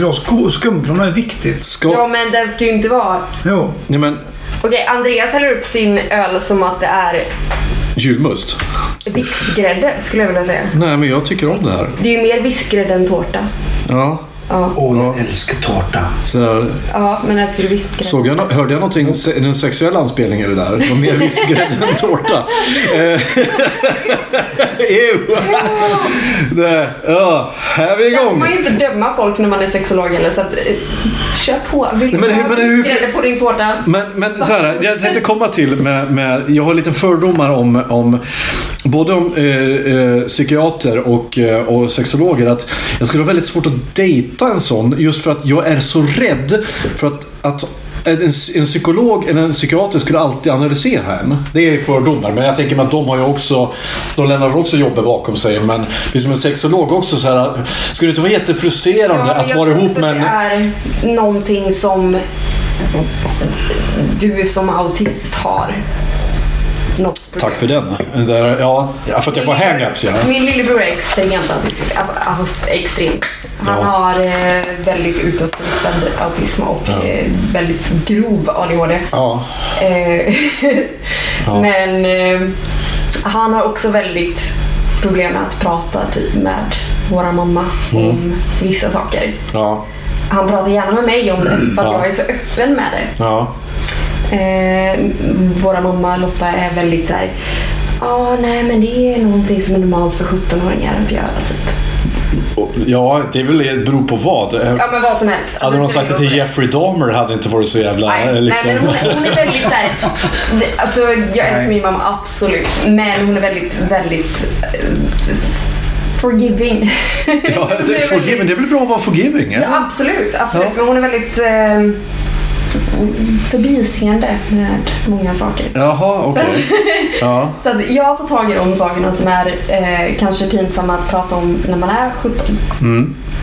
S3: Ja, sko- Skumkronan är viktigt.
S1: Ska...
S2: Ja men den ska ju inte vara...
S3: Jo.
S1: Nej men,
S2: Okej, Andreas häller upp sin öl som att det är
S1: julmust?
S2: vispgrädde skulle jag vilja säga.
S1: Nej men jag tycker om det här.
S2: Det är ju mer vispgrädde än tårta.
S1: Ja.
S2: Ja,
S3: Åh, jag älskar tårta.
S1: Så där.
S2: ja men älskar du vispgrädde?
S1: Såg jag, no- hörde jag någonting, se- en sexuell anspelning i det där? Det var mer vispgrädde än tårta. Eh, Ew. Det- Ja, här är vi
S2: Sen får
S1: igång.
S2: man ju inte döma folk när man är sexolog eller så att... eh, Kör på. Vill
S1: Nej,
S2: du
S1: men-
S2: ha
S1: men hur-
S2: vispgrädde på din tårta?
S1: Men, men så här, jag tänkte komma till med, med jag har lite fördomar om, om både om eh, eh, psykiater och, eh, och sexologer. Att jag skulle ha väldigt svårt att dejta en sån just för att jag är så rädd för att, att en, en psykolog eller en psykiater skulle alltid analysera en. Det är fördomar, men jag tänker mig att de har ju också... De lämnar väl också jobbet bakom sig, men precis som en sexolog också så här... Skulle det inte vara jättefrustrerande
S2: men
S1: att
S2: jag
S1: vara
S2: tror
S1: ihop
S2: också
S1: med
S2: att
S1: en...
S2: Det är någonting som du som autist har. Något problem.
S1: Tack för den. Den Där, ja, för att jag får
S2: Min lillebror-
S1: hang-ups. Ja.
S2: Min lillebror är extremt autistisk. Alltså, alltså extremt. Han
S1: Ja.
S2: har eh, väldigt utåtriktad autism och eh, väldigt grov ADHD.
S1: Ja.
S2: Eh, Men eh, han har också väldigt problem med att prata typ med våra mamma
S1: Mm.
S2: om vissa saker.
S1: Ja.
S2: Han pratar gärna med mig om det för att
S1: Ja.
S2: jag är så öppen med det.
S1: Ja.
S2: Eh, våra mamma Lotta är väldigt så här. Ja, nej men det är någonting som är normalt för 17-åringar att göra typ.
S1: Och- ja, det är väl det beror på vad. Eh,
S2: Ja men vad som helst.
S1: Hade någon sagt det till Jeffrey Dahmer hade det inte varit så jävla... eh,
S2: Nej,
S1: liksom.
S2: nej men hon är, hon är väldigt såhär, alltså jag älskar min mamma absolut, men hon är väldigt, väldigt eh, forgiving.
S1: ja,
S2: Hon är
S1: det, är forgiving.
S2: väldigt-
S1: det är väl bra att vara forgiving? eller?
S2: Ja, absolut, absolut.
S1: Ja.
S2: Men hon är väldigt eh, förbiseende med många saker.
S1: Jaha, okej. Ja.
S2: Så att jag tar tag i de sakerna som är eh, kanske pinsamma att prata om när man är 17.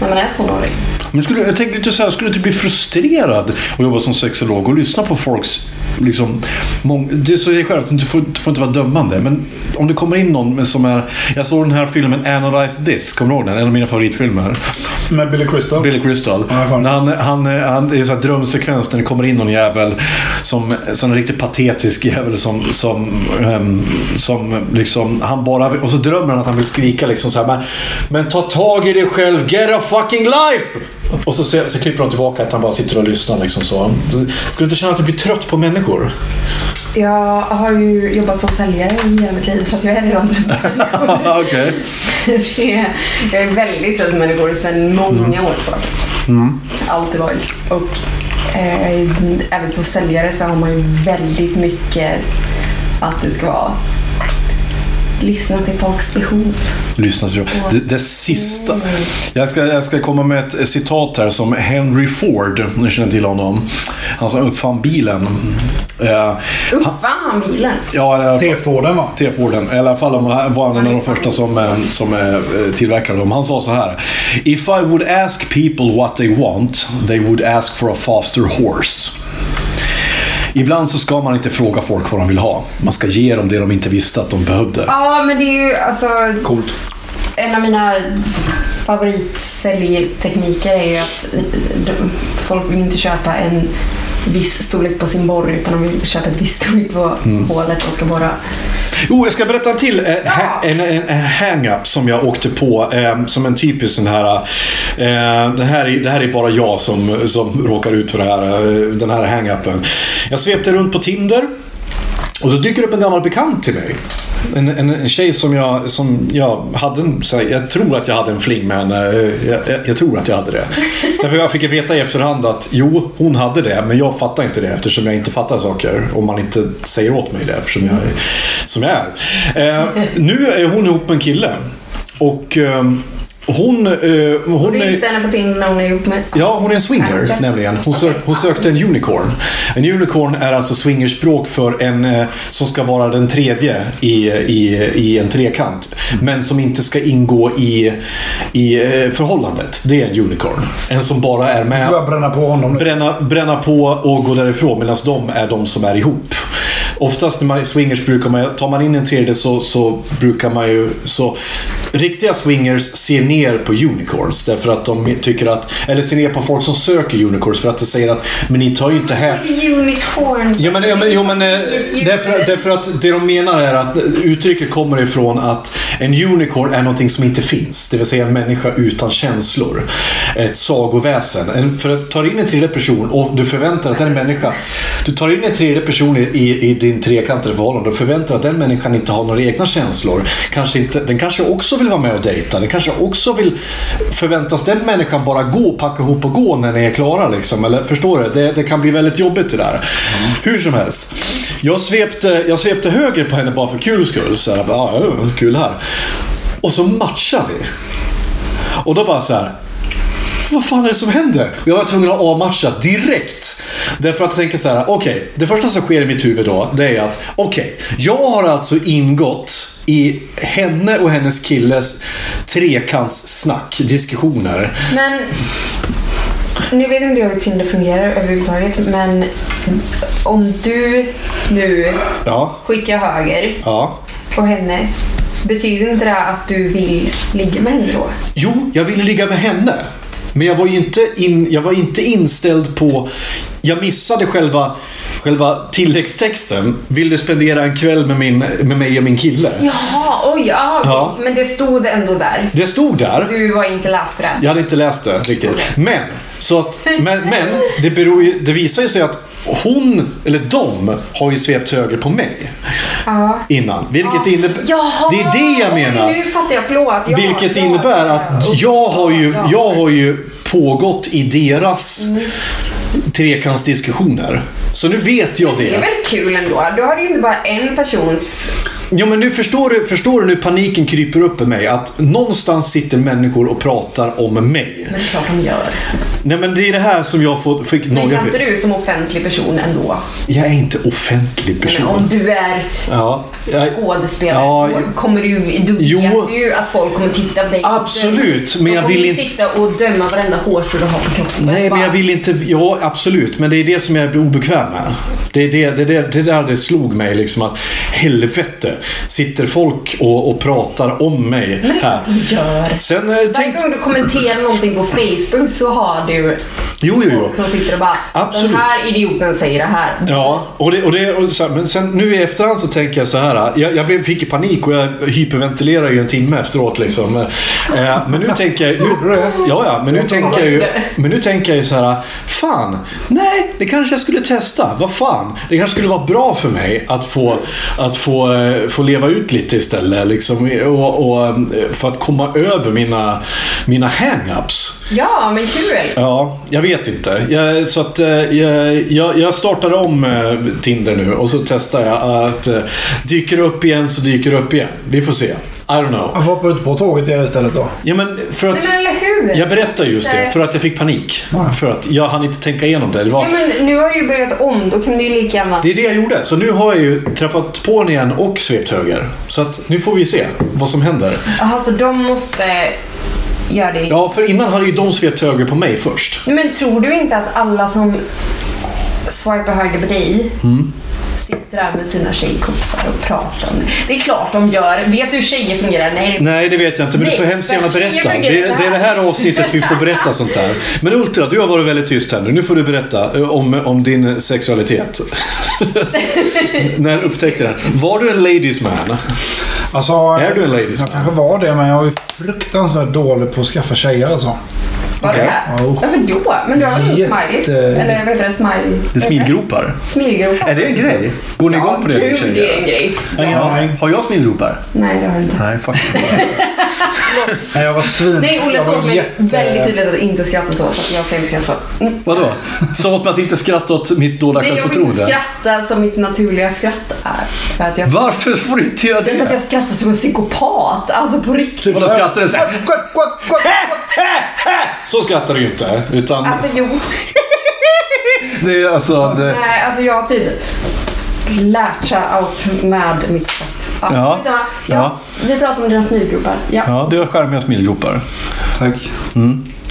S2: När man är tonåring.
S1: Men skulle, jag tänkte inte så här, skulle du inte bli frustrerad att jobba som sexolog och lyssna på folks liksom, mång, det säger själv att du får, du får inte vara dömande. Men om det kommer in någon med, som är... Jag såg den här filmen Analyze This, kommer du ihåg den? En av mina favoritfilmer.
S3: Med Billy Crystal.
S1: Billy Crystal.
S3: Ja, jag kommer.
S1: När han, han, han, det är en sån här drömsekvens när det kommer in någon jävel. Som, som en riktigt patetisk jävel som, som, ehm, som liksom, han bara vill- Och så drömmer han att han vill skrika liksom så här, men, men ta tag i dig själv, get a fucking life! Och så, se- så klipper de tillbaka att han bara sitter och lyssnar liksom så. Skulle du inte känna att du blir trött på människor?
S2: Jag har ju jobbat som säljare i hela mitt liv så att jag är redan
S1: Okej.
S2: Det är- Jag är väldigt trött på människor sedan många år tillbaka. Alltid varit. Och eh, även som säljare så har man ju väldigt mycket att det ska vara lyssna till folks behov.
S1: Lyssna till det, det sista. Jag ska, jag ska komma med ett citat här som Henry Ford, ni känner till honom. Han som uppfann bilen. Eh,
S2: Uppfann bilen.
S1: ja, eller-
S3: T-Forden va?
S1: T-Forden. I alla fall om han var en av de första som, eh, som eh, tillverkade dem. Han sa så här. If I would ask people what they want, they would ask for a faster horse. Ibland så ska man inte fråga folk vad de vill ha. Man ska ge dem det de inte visste att de behövde.
S2: Ja, men det är ju alltså
S3: Coolt.
S2: en av mina favoritsäljtekniker är ju att eh, de- folk vill inte köpa en viss storlek på sin borr utan de vill köpa ett visst storlek på
S1: Mm.
S2: hålet de ska borra.
S1: Jo, jag ska berätta en till eh, ha- en, en, en hang-up som jag åkte på. Eh, som en typisk sån här... Eh, det, här är, det här är bara jag som, som råkar ut för det här, eh, den här hang-upen. Jag svepte runt på Tinder. Och så dyker det upp en gammal bekant till mig. En, en, en tjej som jag, som jag hade en, så här, Jag tror att jag hade en fling med henne. Eh, Jag, jag, jag tror att jag hade det. Därför jag fick veta i efterhand att jo, hon hade det. Men jag fattar inte det eftersom jag inte fattar saker. Om man inte säger åt mig det eftersom jag, är- som jag är. Eh, nu är hon ihop med en kille. Och eh, hon... Eh, hon
S2: Du
S1: är-
S2: är inte henne på Tinder när hon är ihop med...
S1: Ja, hon är en swinger
S2: Okej.
S1: nämligen. Hon, sök, hon sökte en unicorn. En unicorn är alltså swingerspråk för en eh, som ska vara den tredje i, i, i en trekant. Men som inte ska ingå i, i eh, förhållandet. Det är en unicorn. En som bara är med
S3: Får jag bränna på honom nu?
S1: bränna, bränna på och gå därifrån medan de är de som är ihop. Oftast när man swingers brukar man, tar man in en tredje så, så brukar man ju, så riktiga swingers ser ner på unicorns därför att de tycker att, eller ser ner på folk som söker unicorns för att de säger att, men ni tar ju inte hem
S2: Unicorns.
S1: Jo men, jo, men, jo, men eh, därför, därför att det de menar är att uttrycket kommer ifrån att en unicorn är någonting som inte finns. Det vill säga en människa utan känslor. Ett sagoväsen. En, för att ta in en tredje person och du förväntar att den människan... Du tar in en tredje person i, i, i din trekantade förhållande och förväntar dig att den människan inte har några egna känslor. Kanske inte, den kanske också vill vara med och dejta. Den kanske också vill... Förväntas den människan bara gå, packa ihop och gå när ni är klara? Liksom? Eller, förstår du? Det, det kan bli väldigt jobbigt det där. Hur som helst. Jag svepte, jag svepte höger på henne bara för kul skull. Så här, bara, "Ah, ja, kul här. Och så matchar vi. Och då bara så här. Vad fan är det som händer? Och jag var tvungen att avmatcha direkt. Därför att jag tänker så här, okej. det första som sker i mitt huvud då, det är att okej. jag har alltså ingått i henne och hennes killes trekantssnack, diskussioner.
S2: Men... Nu vet inte jag hur Tinder fungerar överhuvudtaget, men om du nu
S1: Ja,
S2: skickar höger
S1: ja.
S2: på henne, betyder inte det att du vill ligga med henne då?
S1: Jo, jag ville ligga med henne. Men jag var ju inte, in, jag var inte inställd på... Jag missade själva, själva tilläggstexten. Ville spendera en kväll med, min, med mig och min kille.
S2: Jaha, oj, ja, okej.
S1: Ja.
S2: Men det stod ändå där.
S1: Det stod där.
S2: Du var inte läst det.
S1: Jag hade inte läst det riktigt. Men, så att, men, men det, beror ju, det visar ju sig att hon, eller de, har ju svept höger på mig. Innan. Vilket innebär...
S2: Jaha!
S1: Det är det jag menar.
S2: Nu fattar jag, förlåt. Ja,
S1: Vilket
S2: ja,
S1: innebär
S2: ja. Mm.
S1: att jag har ju, jag har ju pågått i deras trekantsdiskussioner. Så nu vet jag
S2: Det är
S1: det.
S2: väl kul ändå? Då har du ju inte bara en persons...
S1: Jo, men nu förstår du, förstår du nu paniken kryper upp i mig. Att någonstans sitter människor och pratar om mig.
S2: Men det är klart de gör.
S1: Nej men det är det här som jag får- fick
S2: Men
S1: några...
S2: kan inte du som offentlig person ändå?
S1: Jag är inte offentlig
S2: Men
S1: person.
S2: om du är
S1: Ja, jag...
S2: skådespelare,
S1: Ja,
S2: då kommer du, du
S1: Jo.
S2: vet ju att folk kommer titta på dig.
S1: Absolut, men
S2: De
S1: jag
S2: kommer
S1: vill
S2: ju
S1: inte-
S2: sitta och döma varenda hårstrå du har på kroppen.
S1: Nej, men jag vill inte... Ja, absolut. Men det är det som jag blir obekväm med. Det är det, det, det, det där det slog mig liksom att helvete, sitter folk och, och pratar om mig här?
S2: Gör.
S1: Sen eh,
S2: Varje
S1: tänk...
S2: gång du kommenterar någonting på Facebook så har du
S1: Jo, jo, jo.
S2: folk som sitter och bara
S1: Absolut.
S2: “Den här idioten säger det här”.
S1: Ja, och det, och det, och så här, men sen, nu i efterhand så tänker jag så här. Jag, jag blev- fick panik och jag hyperventilerar ju en timme efteråt. Liksom. Eh, men nu tänker jag nu, ja, ja, men nu tänker jag ju men nu tänker jag ju så här. Fan, nej, det kanske jag skulle testa. Vad fan, det kanske skulle vara bra för mig att få, att få, eh, få leva ut lite istället. Liksom, och, och, eh, för att komma över mina, mina hang-ups.
S2: Ja, men kul!
S1: Ja, jag vet inte. Jag, så att, eh, jag, jag- jag startade om eh, Tinder nu och så testar jag att eh, dyker det upp igen så dyker det upp igen. Vi får se. I don't know.
S3: Varför hoppar du inte på tåget igen istället då?
S1: Ja, men för att,
S2: Nej, men eller hur?
S1: jag berättar just det, för att jag fick panik. För att jag hann inte tänka igenom det. Det, var,
S2: Ja, men nu har du ju börjat om, då kan du ju lika gärna...
S1: det är det jag gjorde. Så nu har jag ju träffat på henne igen och svept höger. Så att, nu får vi se vad som händer.
S2: Jaha, så Alltså, de måste göra det.
S1: Ja, för innan hade ju de svept höger på mig först.
S2: Men tror du inte att alla som swipar höger på dig
S1: Mm.
S2: sitter där med sina tjejkompisar och pratar om det? Det är klart de gör. Vet du hur tjejer fungerar? Nej, det-
S1: Nej, det vet jag inte. Men du får
S2: Nej,
S1: hemskt gärna
S2: men jag
S1: berätta.
S2: tycker
S1: Det är,
S2: det
S1: det är det här
S2: här.
S1: avsnittet vi får berätta sånt här. Men Ultra, du har varit väldigt tyst här nu. Nu får du berätta eh, om, om din sexualitet. När du upptäckte den. Var du en ladies man?
S3: Alltså,
S1: Är du en ladies
S3: Jag
S1: man?
S3: kanske var det, men jag är fruktansvärt dålig på att skaffa tjejer alltså.
S2: Var
S1: Okej.
S2: det här?
S3: Ja, usch.
S2: Varför då? Men du har väl en
S3: Jätte-
S2: smiley? Eller vad heter det? Smiley?
S1: Smilgropar?
S2: Smilgrop?
S1: Är det en grej? Går ni
S2: Ja,
S1: igång på det?
S2: gud
S1: tjejer?
S2: det är en grej.
S3: Ja.
S1: Ja. Har jag smilgropar?
S2: Nej, det har du inte.
S1: Nej, faktiskt inte.
S3: Nej, jag var svin...
S2: Nej, Olle
S3: jag var
S2: såg mig
S3: jätte-
S2: väldigt tydligt att inte skratta så, så att jag sen ska jag så. Mm.
S1: Vadå? Sa åt mig att inte skratta åt mitt dåliga
S2: Nej, jag vill inte
S1: självförtroende.
S2: skratta som mitt naturliga skratt är. För att jag,
S1: Varför får du inte göra
S2: det är för att
S1: det?
S2: jag skrattar som en psykopat. Alltså på riktigt.
S1: Vadå skrattar du såhär?
S3: Quack, quack, quack.
S1: Så skrattar du ju inte. Utan
S2: Alltså jo.
S1: det är alltså... Det...
S2: Nej, alltså jag har typ lärt sig out med mitt skratt. Ja,
S1: Ja.
S2: skitsamma. ja.
S1: Ja.
S2: Vi pratar om dina smilgropar. Ja.
S1: Ja, du har charmiga smilgropar.
S3: Tack.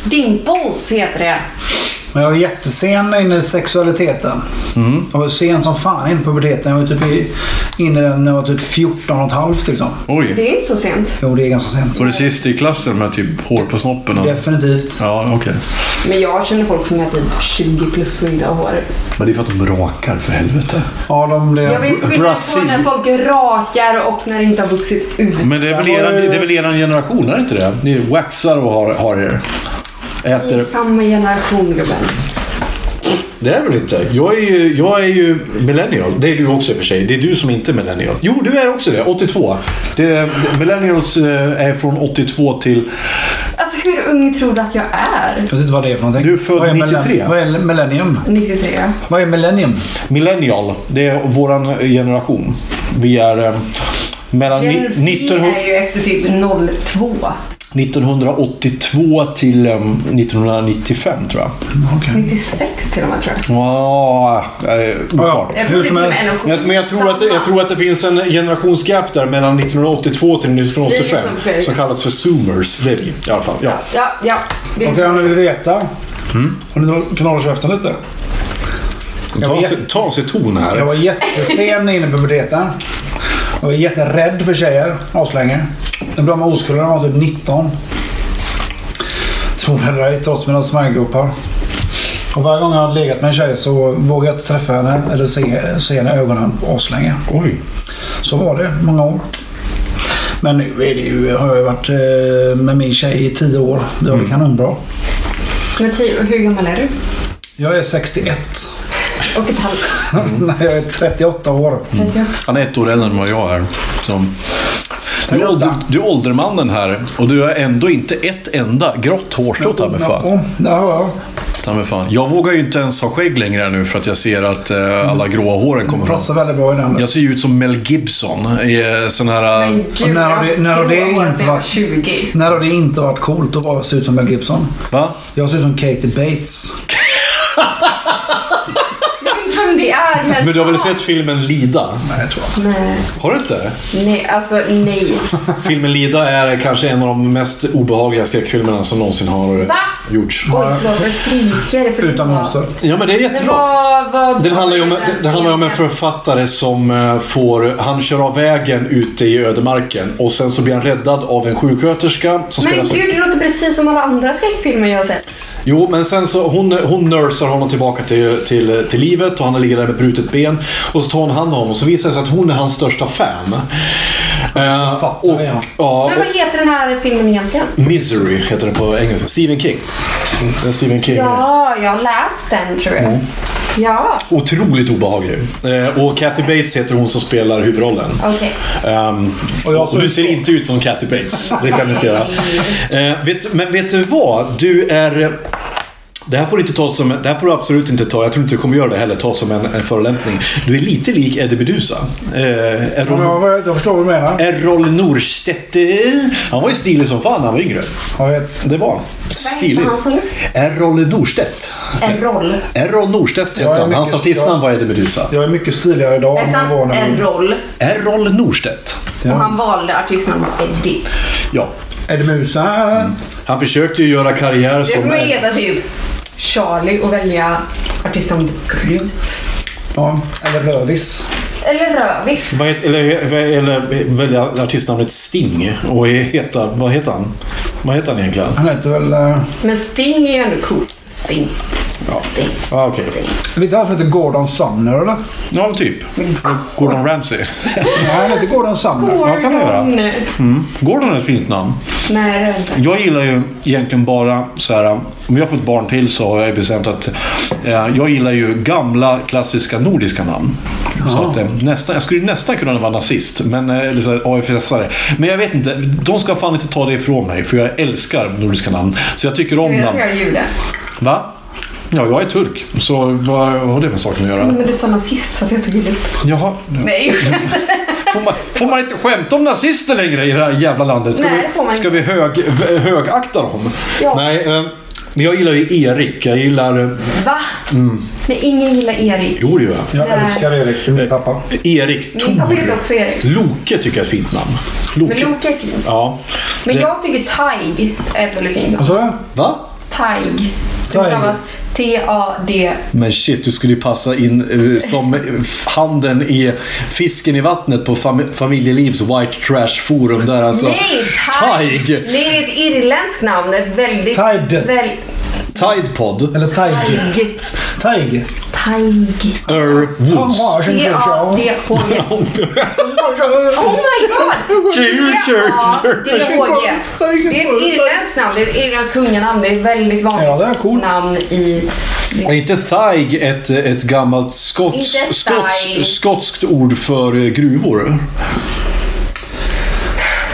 S2: Dimples heter det.
S3: Men jag var jättesen inne i sexualiteten.
S1: Mm.
S3: Jag var sen som fan inne i puberteten. Jag var typ i- inne när jag var typ 14 och ett halvt liksom.
S1: Oj.
S2: Det är inte så sent.
S3: Jo, det är ganska sent.
S1: Var det sist i klassen med typ hår på snoppen? Och...
S3: Definitivt.
S1: Ja, okej.
S2: Men jag känner folk som är typ 20 plus och inte har hår.
S1: Men det är för att de rakar, för helvete.
S3: Ja, de blev...
S2: Jag vet skillnad på
S1: Brasil.
S2: när folk rakar och när det inte har vuxit ut.
S1: Men det är väl eran, det är väl eran generation, är det inte det? Ni waxar och har, har er.
S2: Det är
S1: Äter.
S2: samma generation gubben.
S1: Det är väl inte? Jag är ju, jag är ju millennial. Det är du också i och för sig. Det är du som inte är millennial. Jo, du är också det. 82. Det är, millennials eh, är från 82 till...
S2: Alltså hur ung tror du att jag är?
S3: Jag vet inte vad det är för någonting.
S1: Du är född
S3: Vad millen-
S1: 93?
S3: Vad är millennium?
S2: 93.
S3: Vad är millennium?
S1: Millennial, det är våran generation. Vi är eh, mellan ni-
S2: Gen Z
S1: 1900...
S2: är ju efter typ 02.
S1: 1982 till em, 1995 tror jag.
S2: 96 till och med tror jag.
S1: Ja, eh, oklart.
S2: Jag tror
S3: Hur som
S2: det är
S3: helst.
S2: till och med
S1: Men jag tror, att det, jag tror att det finns en generationsgap där mellan 1982 till 1985
S2: Vi är som Fredrik.
S1: som kallas för zoomers. Det är vi i alla fall. Ja.
S2: Ja, ja. Det
S3: Okej, om ni vill veta. Om du kan hålla käften lite.
S1: Ta, sig, ta sig ton
S3: Jag
S1: här.
S3: var jättesen inne i puberteten. Jag var jätterädd för tjejer aslänge. Jag blev med oskulden när jag var typ 19. Tror det eller ej, trots mina smärtgropar. Och varje gång jag har legat med en tjej så vågar jag inte träffa henne eller se, se henne i ögonen aslänge.
S1: Oj.
S3: Så var det många år. Men nu är det ju, har jag ju varit eh, med min tjej i 10 år. Vi har det kanonbra.
S2: Men tio, hur gammal är du?
S3: Jag är 61.
S2: Och ett halvt.
S1: Mm.
S3: Nej, jag är 38 år.
S1: Han är ett år äldre än vad jag är. Som... Du, är ålder, du är åldermannen här och du har ändå inte ett enda grått hårstrå ta mig fan. Mm.
S3: Oh, där har jag.
S1: Ta mig fan. Jag vågar ju inte ens ha skägg längre nu för att jag ser att eh, alla gråa håren kommer
S3: Passar
S1: fram.
S3: väldigt bra i den.
S1: Jag ser ju ut som Mel Gibson i eh, sån här... eh,
S2: Men gud,
S3: när har det- när har det
S2: gråa håret
S3: inte
S2: när jag var
S3: varit-
S2: 20.
S3: När har det inte varit coolt att bara se ut som Mel Gibson?
S1: Va?
S3: Jag ser ut som Katie Bates.
S2: Jag vet inte vem det är, men...
S1: Men du har väl sett filmen Lida?
S3: Nej, jag tror jag.
S2: Nej,
S1: Har du inte?
S2: nej, alltså nej.
S1: Filmen Lida är kanske en av de mest obehagliga skräckfilmerna som någonsin har eh,
S2: Va?
S1: gjorts.
S2: Oj, förlåt, jag skriker. För
S3: Utan monster.
S1: Ja, men det är
S2: Men
S1: jättebra.
S2: vad, vad...
S1: Den handlar ju om, den- den handlar ju om en författare som eh, får, han kör av vägen ute i ödemarken och sen så blir han räddad av en sjuksköterska som
S2: Men
S1: spelas av-
S2: gud, det låter precis som alla andra skräckfilmer jag har sett.
S1: Jo, men sen så hon, hon nursar honom tillbaka till, till, till livet och han ligger där med brutet ben. Och så tar hon hand om honom och så visar det sig att hon är hans största fan. Eh,
S3: Författare,
S1: och,
S3: ja.
S1: ja,
S2: Men vad heter den här filmen egentligen?
S1: och Misery heter den på engelska. Stephen King. Den Stephen King.
S2: Ja, jag har läst den tror jag.
S1: Mm.
S2: Ja,
S1: Otroligt obehaglig. Eh, och Kathy Bates heter hon som spelar huvudrollen.
S2: okej.
S1: Ehm,
S3: Och jag
S1: och du ser inte ut som Kathy Bates. Det kan du inte göra. Eh, vet, men vet du vad? Du är... Det här får du inte ta som... Det här får du absolut inte ta, jag tror inte du kommer göra det heller, ta som en, en förolämpning. Du är lite lik Eddie Meduza. Eh,
S3: Men
S1: Errol,
S3: Jag, jag förstår vad du menar.
S1: Errol Norstedt. Han var ju stilig som fan när han var yngre.
S3: Jag vet.
S1: Det var han. Stilig.
S2: han, sa du?
S1: Errol Norstedt.
S2: En roll.
S1: Errol Norstedt
S3: Jag är
S1: hette han. Hans
S3: mycket-
S1: artistnamn var Eddie Meduza.
S3: Jag är mycket stiligare idag än
S2: Hette
S3: jag var
S2: han
S3: när
S2: en roll?
S1: Errol Norstedt.
S2: Och han valde artistnamnet Eddie.
S1: Ja.
S3: Eddie Musa.
S1: Han försökte ju göra karriär
S2: Det
S1: som...
S2: kommer heta typ Charlie och välja artistnamnet Grut.
S3: Ja, eller Rövis.
S2: Eller Rövis.
S1: Vad heter, eller, eller välja artistnamnet Sting och heta, vad heter han? Vad heter han egentligen?
S3: Han heter väl... eh,
S2: Men Sting är ju ändå cool. Sting.
S1: Ja.
S2: Sting.
S1: Ja, okej.
S2: Sting.
S3: Är det inte han som heter Gordon Sumner eller?
S1: Ja, typ. Gordon Ramsay.
S3: Nej, han heter Gordon Sumner.
S1: Ja, kan det göra.
S2: Nej,
S1: Gordon är ett fint namn.
S2: det är det inte.
S1: Jag gillar ju egentligen bara så här. Om jag får ett barn till så har jag bestämt att eh, jag gillar ju gamla klassiska nordiska namn. Så att, eh, nästan, jag skulle ju nästan kunna vara nazist, men, eh, eller så här, AFS-are. Men jag vet inte, de ska fan inte ta det ifrån mig för jag älskar nordiska namn. Så jag tycker om
S2: Jag vet att
S1: namn.
S2: jag är jude.
S1: Va? Ja, jag är turk. Så vad har det med saken att göra?
S2: Men du sa nazist så att jag tog illa upp.
S1: Jaha.
S2: Nej,
S1: Får man, får man inte skämta om nazister längre i det här jävla landet? Ska
S2: Nej,
S1: vi,
S2: det får man
S1: ska vi hög, v- högakta dem?
S2: Ja.
S1: Nej, eh, men jag gillar ju Erik. Jag gillar... eh,
S2: va? Nej, ingen gillar Erik.
S1: Jo, det gör jag. Eh,
S3: Jag älskar Erik, det är min pappa.
S1: Erik
S2: Min pappa heter
S1: Tor.
S2: också Erik.
S1: Loke tycker jag är ett fint namn.
S2: Men
S1: Loke.
S2: Loke är fint.
S1: Ja.
S2: Men
S1: Det-
S2: jag tycker Taig är ett väldigt fint namn.
S3: Vad sa du?
S1: Va?
S2: Taig. Det
S3: Alltså, Taig.
S2: stavas T-A-D.
S1: Men shit, du skulle ju passa in eh, som eh, handen i fisken i vattnet på fam- Familjelivs White Trash Forum där alltså.
S2: Nej, Taig.
S1: Taig!
S2: Nej, det är ett irländskt namn. Ett väldigt...
S3: Taid.
S2: Väl,
S1: Tidepod.
S3: Eller Taig.
S2: Taig.
S3: Taig.
S2: Taig.
S1: Er Wolves.
S2: T-A-D-H-G. Oh my god! T-A-D-H-G. Det är ett irländskt namn. Det är ett irländskt kunganamn. Det är ett väldigt vanligt
S3: Ja, det är coolt.
S2: namn i...
S1: Är inte thig ett, ett gammalt skots,
S2: Inte thigh.
S1: skots, skotskt ord för eh, gruvor?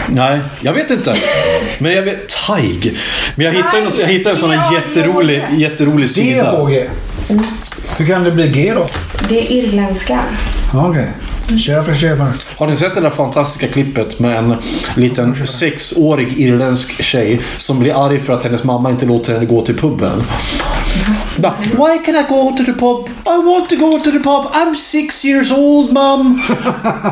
S1: Nej, jag vet inte. Men jag vet... Tig. Men jag hittade, en- jag hittade en sån här
S2: Ja,
S1: jätterolig,
S2: det är det.
S1: jätterolig sida.
S3: DHG. Hur kan det bli G då?
S2: Det är irländska.
S3: Ja, Okej. Kör för köpare.
S1: Har ni sett det där fantastiska klippet med en liten sexårig irländsk tjej som blir arg för att hennes mamma inte låter henne gå till puben? Bara, Why can I go to the pub? I want to go to the pub. I'm six years old, mom.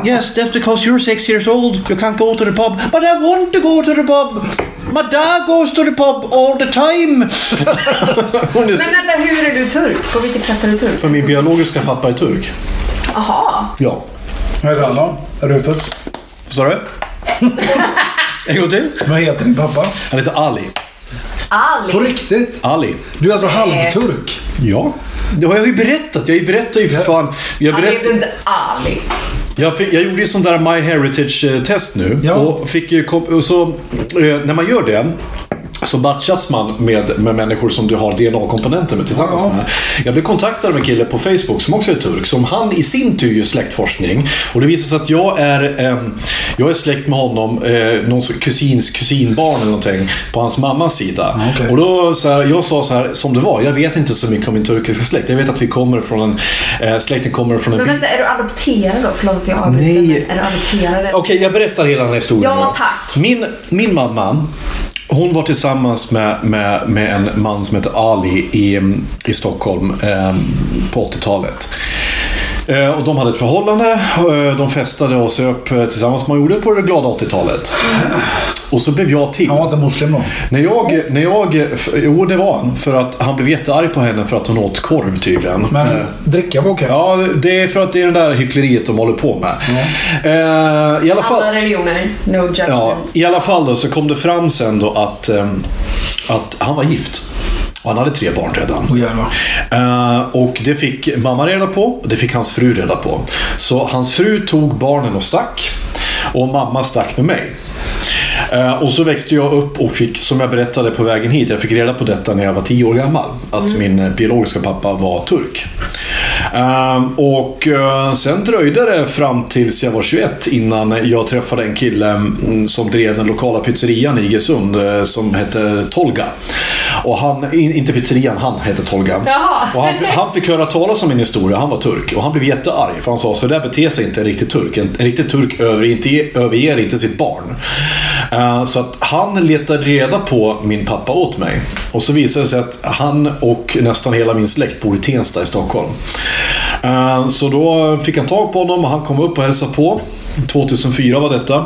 S1: Yes, that's because you're six years old. You can't go to the pub. But I want to go to the pub. My dad goes to the pub all the time. Hon är
S2: Men vänta, hur är du turk? På vilket sätt är du turk?
S1: för min biologiska pappa är turk.
S2: Jaha.
S1: Ja.
S3: Vad heter han då? Rufus.
S1: Vad sa du? En gång till.
S3: Vad heter din pappa?
S1: Han heter Ali.
S3: På
S2: Ali.
S3: riktigt?
S1: Ali.
S3: Du är alltså halvturk?
S1: Ja. Det har jag ju berättat. Jag berättar ju för fan. Jag,
S2: Han heter
S1: berätt,
S2: inte Ali.
S1: jag, fick, jag gjorde ju sån där My Heritage-test nu.
S3: Ja.
S1: Och fick ju, kom- och så, eh, när man eh, gör det så matchas man med, med människor som du har DNA-komponenter med tillsammans
S3: Ja.
S1: med. Jag blev kontaktad av en kille på Facebook som också är turk. Som han i sin tur gör släktforskning. Och det visar sig att jag är, eh, jag är släkt med honom, eh, någon sorts kusins kusinbarn eller någonting, på hans mammas sida.
S3: okej.
S1: Och då, så här, jag sa så här, som det var, jag vet inte så mycket om min turkiska släkt. Jag vet att vi kommer från en, eh, släkten kommer från en
S2: Men
S1: by.
S2: vänta, är du adopterad då? Förlåt jag avbryter.
S1: Nej.
S2: men Är du adopterad?
S1: Okej, jag berättar hela den här historien.
S2: Ja,
S1: då.
S2: tack.
S1: Min, min mamma, hon var tillsammans med, med, med en man som hette Ali i, i Stockholm eh, på 80-talet. Eh, Och de hade ett förhållande, eh, de festade och söp eh, tillsammans man gjorde på det glada 80-talet. Och så blev jag till.
S3: Han var inte muslim då.
S1: När jag, när jag, f- jo det var han, för att han blev jättearg på henne för att hon åt korv tydligen.
S3: Men
S1: Eh,
S3: dricka var okej.
S1: Ja, det är för att det är det där hyckleriet de håller på med. Eh, I alla fall...
S2: Alla religioner, no judgment.
S1: Ja, I alla fall då, så kom det fram sen då att, ehm, att han var gift. Och han hade tre barn redan.
S3: Åh, jävlar.
S1: Eh, och det fick mamma reda på och det fick hans fru reda på. Så hans fru tog barnen och stack. Och mamma stack med mig. Eh, och så växte jag upp och fick, som jag berättade på vägen hit, jag fick reda på detta när jag var tio år gammal. Att min eh, biologiska pappa var turk. Eh, och eh, sen dröjde det fram tills jag var 21 innan jag träffade en kille mm, som drev den lokala pizzerian i Iggesund eh, som hette Tolga. Och han, in- inte pizzerian, han hette Tolga.
S2: Jaha.
S1: Och han, han fick höra talas om min historia, han var turk. Och han blev jättearg för han sa så där beter sig inte en riktig turk. En, en riktig turk över, inte, överger inte sitt barn. Eh, så att han letade reda på min pappa åt mig. Och så visade det sig att han och nästan hela min släkt bor i Tensta i Stockholm. Eh, så då fick han tag på honom och han kom upp och hälsade på. 2004 var detta.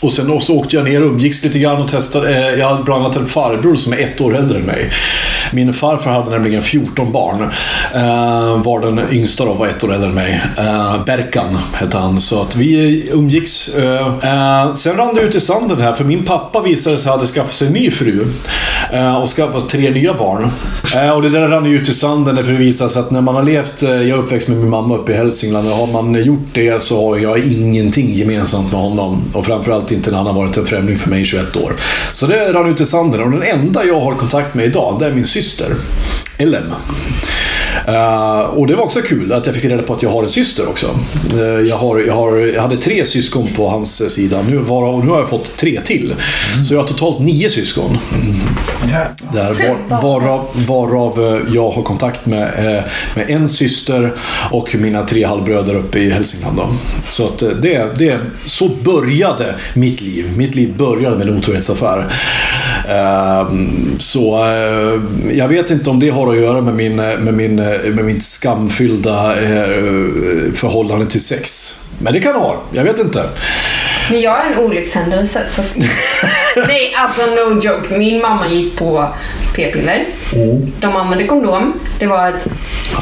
S1: Och sen också åkte jag ner och umgicks lite grann och testade. Eh, Jag hade bland annat en farbror som är ett år äldre än mig. Min farfar hade nämligen 14 barn. Eh, var den yngsta då, var ett år äldre än mig. Eh, Berkan hette han. Så att vi umgicks. Eh, eh, sen rann det ut i sanden här, för min pappa visade sig hade skaffat sig en ny fru. Eh, och skaffat tre nya barn. Eh, och det där rann ju ut i sanden för det visade sig att när man har levt, eh, jag är uppväxt med min mamma uppe i Hälsingland, och har man gjort det så har jag ingenting gemensamt med honom. Och framförallt inte när han har varit en främling för mig i 21 år. Så det rann ut i sanden och den enda jag har kontakt med idag, det är min syster. Ellen. Eh, och det var också kul att jag fick reda på att jag har en syster också. Eh, jag, har, jag, har, jag hade tre syskon på hans eh, sida, nu, var, nu har jag fått tre till. Så jag har totalt nio syskon.
S3: Jävlar.
S1: Där, var, varav, varav eh, jag har kontakt med, eh, med en syster och mina tre halvbröder uppe i Hälsingland. Då. Så, att eh, det, det, så började mitt liv. Mitt liv började med en otrohetsaffär. Ehm, Så eh, jag vet inte om det har att göra med min, eh, med min, eh, med mitt skamfyllda eh, förhållande till sex. Men det kan det ha. Jag vet inte.
S2: Men jag är en olyckshändelse. Så... Nej, alltså no joke. Min mamma gick på p-piller.
S1: Oh.
S2: De använde kondom. Det var ett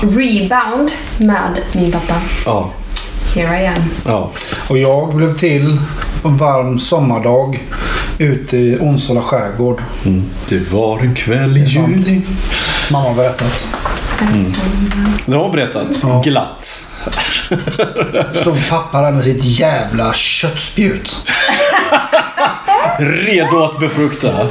S2: rebound med min pappa.
S1: Ja.
S2: Here I am.
S1: ja.
S3: Och jag blev till en varm sommardag ute i Onsala skärgård.
S1: Mm. Det var en kväll i
S3: sant.
S1: juni.
S3: Mamma har berättat.
S1: Det har hon berättat.
S3: Ja.
S1: Glatt.
S3: Stod pappa där med sitt jävla köttspjut.
S1: Redo att befrukta.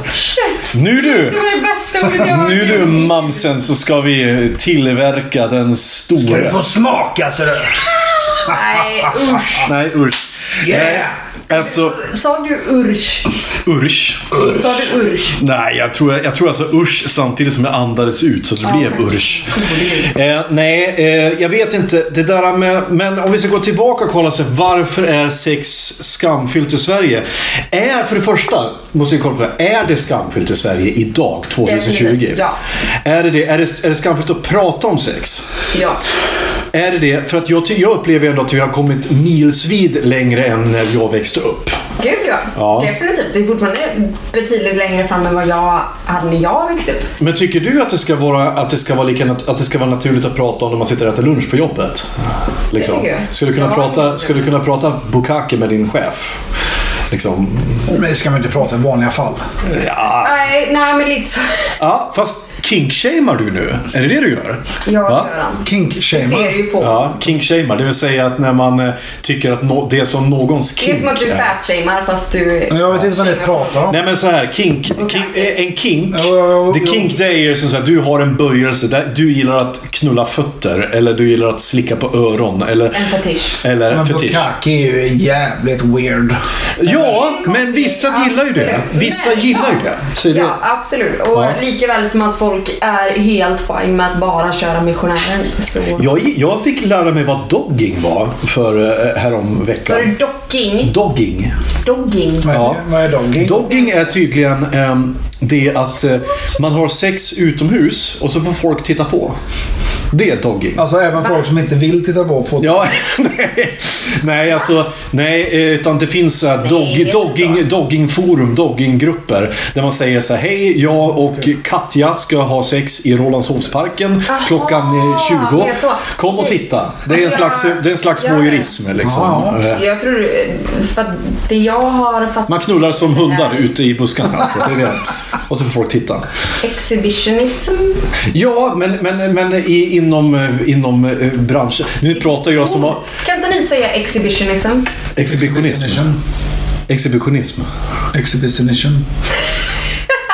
S1: Nu du!
S2: var det värsta ordet jag
S1: Nu du mamsen så ska vi tillverka den
S3: Ska du
S1: stora.
S3: få smaka ser du.
S2: Nej, usch.
S1: Nej usch.
S3: Yeah!
S1: Alltså
S2: Sa du ursch?
S1: usch.
S2: Sa du ursch?
S1: Nej, jag tror, jag tror alltså usch samtidigt som jag andades ut så det blev usch. Eh, nej, eh, jag vet inte. Det där med, men om vi ska gå tillbaka och kolla så varför är sex skamfyllt i Sverige? Är, för det första, måste vi kolla på det. här, Är det skamfyllt i Sverige idag, 2020?
S2: Definitivt, ja.
S1: Är det det? Är det, är det skamfyllt att prata om sex?
S2: Ja.
S1: Är det det? För att jag, ty- jag upplever ändå att vi har kommit milsvid längre än när jag växte upp.
S2: Gud ja.
S1: Ja.
S2: Definitivt. Det är fortfarande betydligt längre fram än vad jag hade när jag växte upp.
S1: Men tycker du att det ska vara, att det ska vara, lika, nat- att det ska vara naturligt att prata om när man sitter och äter lunch på jobbet? Liksom.
S2: Det tycker jag.
S1: Ska, du kunna
S2: Ja.
S1: prata, ska du kunna prata bukake med din chef? Liksom.
S3: Men det ska man inte prata i vanliga fall.
S1: Ja.
S2: Nej, nej men lite så.
S1: ja, fast Kinkshamar du nu? Är det det du gör?
S2: Ja,
S1: Va?
S2: Göran. Det ser
S3: Kink-shamer.
S2: ju på.
S1: Ja, kinkshamar. Det vill säga att när man eh, tycker att nå- det är som någons
S2: Det är
S1: kink
S2: som att du fatshamear fast du...
S3: Men Jag vet inte vad ni pratar om.
S1: Nej men så här, kink, kink, eh, en kink.
S3: Jo, jo, jo,
S1: The
S3: jo.
S1: kink det är ju som så här, du har en böjelse. Där du gillar att knulla fötter eller du gillar att slicka på öron eller,
S2: En fetisch.
S1: eller
S3: Men
S1: fetisch.
S3: Bukaki är ju jävligt weird.
S1: Ja, men vissa gillar ju det. Vissa gillar ju det. Så det
S2: Ja, absolut. Och
S1: Ja.
S2: lika väl som att folk är helt fine med att bara köra missionären så...
S1: jag, jag fick lära mig vad dogging var för eh, härom
S2: Så är
S1: veckan.
S2: det docking.
S1: Dogging.
S2: Dogging.
S3: Vad är,
S1: Ja.
S3: vad är dogging?
S1: Dogging är tydligen ehm, det att eh, man har sex utomhus och så får folk titta på. Det är dogging.
S3: Alltså även folk som inte vill titta på får...
S1: Ja, nej, nej, alltså, nej, eh, utan det finns så här
S2: det är
S1: dog,
S2: inte
S1: dogging, doggingforum, dogginggrupper. Där man säger så här, hej, jag och Katja ska ha sex i Rålambshovsparken klockan eh, 20.
S2: det är så.
S1: Kom och
S2: Okej.
S1: titta. Det är en slags, det är en slags
S2: Ja, ja.
S1: voyeurism liksom. Eh,
S2: Jag tror... För att det jag har fattat...
S1: Man knullar som hundar ute i buskarna. Alltså. Det är det. Och så får folk titta.
S2: Exhibitionism.
S1: Ja, men, men, men i, inom, eh, inom eh, branschen. Nu pratar jag som var-
S2: Kan inte ni säga exhibitionism?
S1: exhibitionism. Exhibitionism.
S3: Exhibitionism.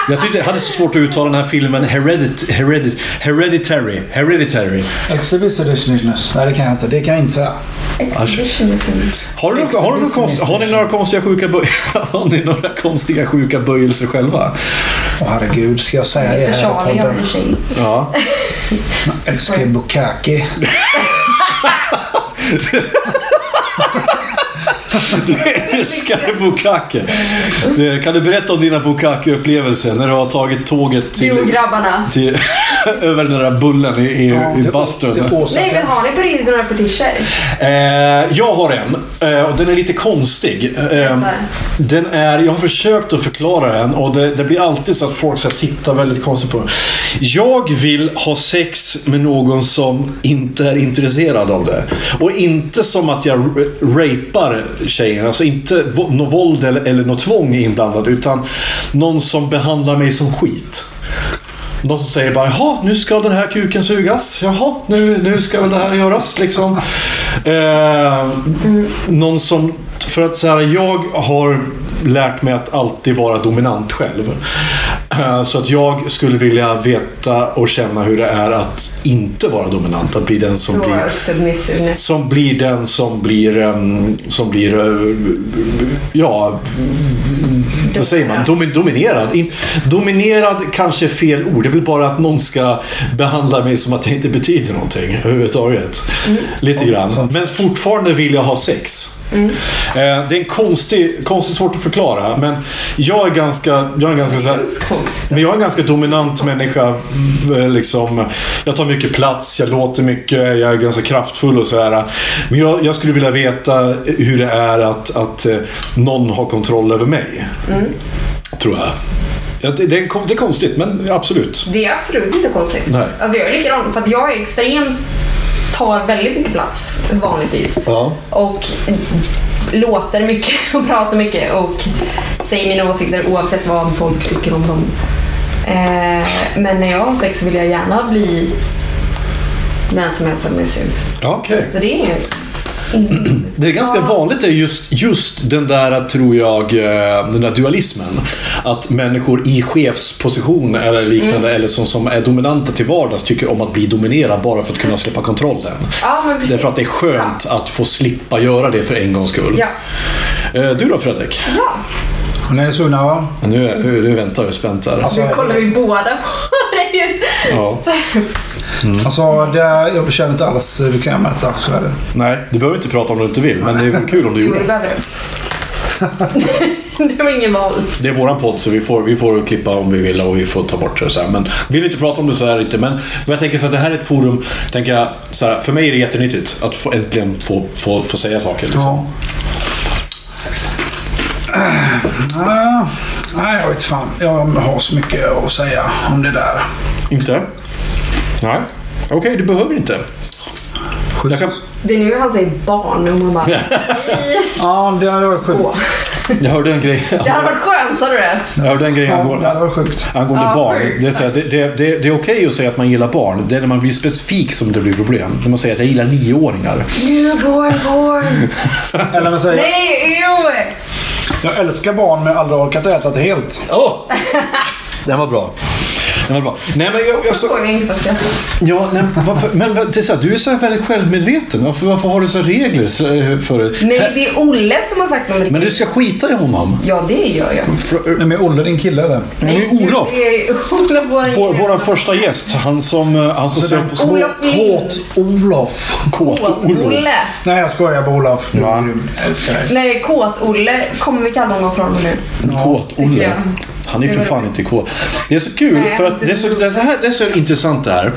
S1: Jag tyckte jag hade så svårt att uttala den här filmen Heredit, Heredit, Hereditary. Hereditary.
S3: Exhibitionism. Nej, det kan jag inte. Det kan jag inte säga.
S2: Exhibitionism.
S1: Har, du, har, du någon konst, har ni några konstiga sjuka böj- har ni några konstiga sjuka böjelser själva?
S3: Åh herregud, ska jag säga det här i
S2: Charlie har en
S3: podden?
S2: tjej.
S1: Ja.
S3: Älskar Bukaki.
S1: Älskar bukake. Det- Kan du berätta om dina bukake-upplevelser när du har tagit tåget
S2: Jo,
S1: till,
S2: grabbarna.
S1: till över den där bullen i, i, i bastun?
S3: Det är Åsa.
S2: Nej, men har ni på riktigt några fetischer?
S1: Eh, jag har en eh, och den är lite konstig. Eh, den är, jag har försökt att förklara den och det, det blir alltid så att folk så här tittar väldigt konstigt på den. Jag vill ha sex med någon som inte är intresserad av det. Och inte som att jag r- rapar tjejen. Alltså inte vo- något våld eller, eller något tvång är inblandat utan någon som behandlar mig som skit. De som säger bara jaha, nu ska den här kuken sugas. Jaha, nu, nu ska väl det här göras liksom. Eh, Någon som... För att så här, jag har lärt mig att alltid vara dominant själv. Eh, så att jag skulle vilja veta och känna hur det är att inte vara dominant. Att bli den som
S2: Så
S1: blir...
S2: submissiveness.
S1: Som blir den som blir... ehm, som blir... eh, ja... Vad säger man? Domi- dominerad. In, dominerad kanske är fel ord. Det är väl bara att någon ska behandla mig som att jag inte betyder någonting överhuvudtaget. Lite grann. Men fortfarande vill jag ha sex. Eh, det är en konstig, konstigt svårt att förklara. Men jag är ganska... Jag är ganska så här, men jag är en ganska dominant människa. v- Liksom. Jag tar mycket plats, jag låter mycket, jag är ganska kraftfull och sådär. Men jag, jag skulle vilja veta hur det är att, att eh, någon har kontroll över mig. Tror jag. Ja, det, det, är kon- det är konstigt, men absolut.
S2: Det är absolut inte konstigt.
S1: Nej.
S2: Alltså jag är likadan, för att jag är extremt, tar väldigt mycket plats vanligtvis.
S1: Ja.
S2: Och låter mycket och pratar mycket och säger mina åsikter oavsett vad folk tycker om dem. Eh, men när jag har sex så vill jag gärna bli den som är submissiv.
S1: Ja, okej.
S2: Så det är inget- inget.
S1: Det är ganska vanligt är just, just den där, tror jag, eh, den där dualismen. Att människor i chefsposition eller liknande,
S2: Mm.
S1: eller som, som är dominanta till vardags, tycker om att bli dominerad bara för att kunna släppa kontrollen.
S2: Ja, men precis.
S1: Därför att det är skönt att få slippa göra det för en gångs skull.
S2: Ja.
S1: Eh, Du då Fredrik?
S3: Ni är sugna va?
S1: Nu, är- nu, nu väntar jag spänt där.
S3: Alltså,
S2: Nu kollar vi båda på dig.
S1: Ja.
S3: Alltså, det, jag känner inte alls hur bekväm med detta. Så är det.
S1: Nej, du behöver inte prata om det om du inte vill, men det är kul om du
S2: Jo, det
S1: gjorde.
S2: behöver du. det var ingen val.
S1: Det är våran podd så vi får, vi får klippa om vi vill och vi får ta bort det. Så här. Men vill inte prata om det så här inte. Men jag tänker så här, det här är ett forum. Tänker jag, så här, för mig är det jättenyttigt att få, äntligen få, få, få säga saker. Liksom.
S3: Ja. Ah, nej, jag vet fan. Jag har så mycket att säga om det där.
S1: Inte? Nej. Okej, du behöver inte. Jag kan...
S2: Det är nu han säger barn och man bara...
S3: Ja, det hade varit sjukt.
S1: Jag hörde en grej,
S2: Det hade varit skönt, sa du det?
S1: jag hörde en grej
S3: Ja, det
S1: angående,
S3: hade varit sjukt.
S1: angående
S2: Ja,
S1: barn.
S2: sjukt.
S1: Det är, så här, det, det, det, det är okej att säga att man gillar barn. Det är när man blir specifik som det blir problem. När man säger att jag gillar nioåringar.
S2: Newborn born.
S3: Eller man säger,
S2: Nej, ew!
S3: jag älskar barn men aldrig orkat äta det helt.
S1: Åh! Den var bra. Den var bra. Nej, men jag, jag, så,
S2: Såg jag inte på skratt.
S1: ja, nej, men varför, men det är så här, du är så här väldigt självmedveten. Varför, varför har du så här regler så- eh, för
S2: Nej, det är Olle som har sagt något
S1: Men
S2: riktigt.
S1: du ska skita i honom.
S2: Ja, det gör jag.
S1: Fr- eh,
S3: Nej men Olle din kille eller?
S1: Men det är Olof.
S2: Det är Olof, vår,
S1: Vår, vår första gäst, han som, eh, han som ser på
S2: Olof Lind.
S3: Kåt Olof.
S1: kåt-Olof.
S2: Olle.
S3: Nej jag skojar på Olof. Du
S1: Ja.
S3: är grym. Jag älskar dig.
S2: Nej, Kåt-Olle kommer vi kalla honom från och nu. tycker
S1: Kåt-Olle.
S2: jag.
S1: Han är för
S2: var
S1: fan
S2: det.
S1: inte kåt. Det är så kul,
S2: Nej,
S1: för att det är så, det är så, här, det är så intressant det här.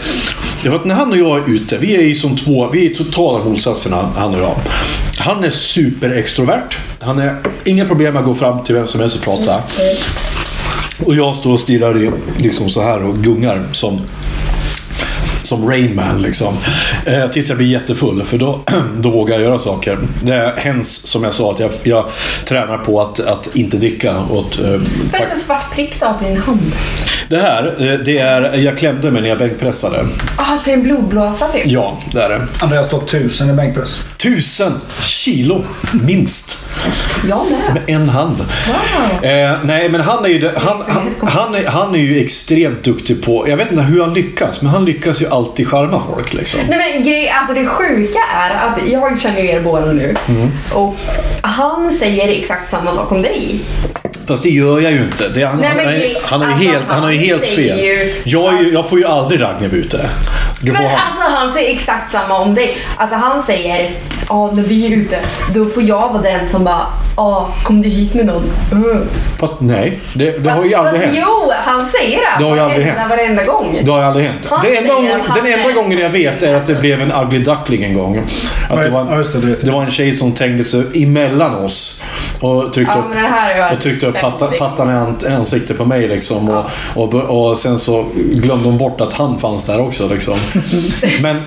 S1: Det var att när han och jag är ute, vi är ju som två, vi är totala motsatserna han och jag. Han är superextrovert. Han är inga problem med att gå fram till vem som helst och prata. Och jag står och stirrar i, liksom så här och gungar som som Rainman liksom. Eh, tills jag blir jättefull, för då, då vågar jag göra saker. Det är hens som jag sa, att jag, jag tränar på att, att inte dricka. Och att, eh,
S2: Vad är det för svart prick du har på din hand?
S1: det här, eh, det är, jag klämde mig när jag bänkpressade.
S2: Ah, det är en blodblåsa typ.
S1: Ja, det är det.
S3: Andreas står tusen i bänkpress.
S1: Tusen kilo, minst.
S2: Jag med.
S1: Med en hand.
S2: Wow.
S1: Eh, nej, men han är ju, det- han, han, han, är, han är ju extremt duktig på... Jag vet inte hur han lyckas, men han lyckas ju alltid charma folk. Liksom.
S2: Nej men grej, alltså det sjuka är att jag känner ju er båda nu
S1: Mm.
S2: och han säger exakt samma sak om dig.
S1: Fast det gör jag ju inte. Det, han,
S2: Nej, men
S1: han,
S2: det-
S1: han, har ju
S2: alltså,
S1: helt, han har ju
S2: han
S1: helt
S2: säger
S1: fel.
S2: ju-
S1: jag, är ju, jag får ju aldrig Ragnhild ute. Det får
S2: Men
S1: han.
S2: alltså han säger exakt samma om dig. Alltså han säger ja när vi är ute då får jag vara den som bara ja kom du hit med någon? Mm.
S1: Fast nej, det, det har ju
S2: Fast-
S1: aldrig hänt.
S2: Jo, han säger det.
S1: Det har ju aldrig
S2: varenda,
S1: hänt.
S2: Varenda gång.
S1: Det har ju aldrig hänt.
S2: Han
S1: Det enda,
S2: säger att han
S1: den enda
S2: är-
S1: gången jag vet är att det blev en ugly duckling en gång. Att det,
S3: Nej,
S1: var
S3: ja, just det, det
S1: en,
S3: vet jag.
S1: det var en tjej som tängde sig emellan oss och tryckte
S2: Ja,
S1: upp,
S2: men det här har jag
S1: och tryckte upp
S2: hört.
S1: patta, pattan i an- ansiktet på mig. Liksom, och, och, och sen så glömde hon bort att han fanns där också. Liksom. Men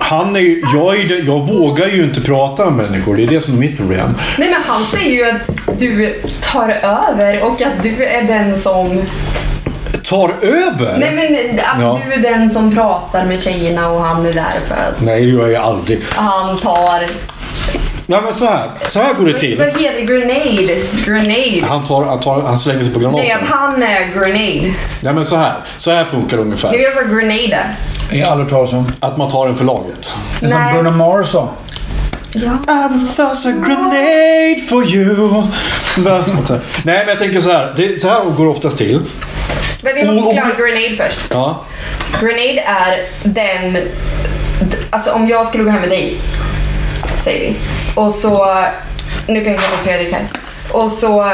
S1: han är ju, jag, är ju, den- jag vågar ju inte prata med människor. Det är det som är mitt problem.
S2: Nej men han säger ju att du tar över och att du är den som
S1: Tar över?
S2: Nej men att
S1: Ja.
S2: du är den som pratar med tjejerna och han är där för att
S1: Nej, det gör jag aldrig.
S2: han tar...
S1: Nej, men så här. Så här går det till.
S2: Vad heter det? Grenade? Grenade.
S1: Han, tar, han, tar, han slänger sig på
S2: Nej,
S1: granaten.
S2: att han är grenade.
S1: Nej men så här. Så här funkar det
S2: Ni
S1: ungefär.
S2: vet vad grenade är?
S3: Jag har aldrig hört talas om.
S1: Att man tar den för laget.
S3: Det är som
S2: Nej.
S3: Bruno Mars sa.
S1: I'm thus a grenade for you. Va? Nej men jag tänker så här. Det, så här går det oftast till.
S2: Men jag måste
S1: Oh, oh,
S2: förklara grenade först.
S1: Ja.
S2: Grenade är den... Alltså om jag skulle gå hem med dig, säger vi. Och så... Nu pekar jag på Fredrik här. Och så...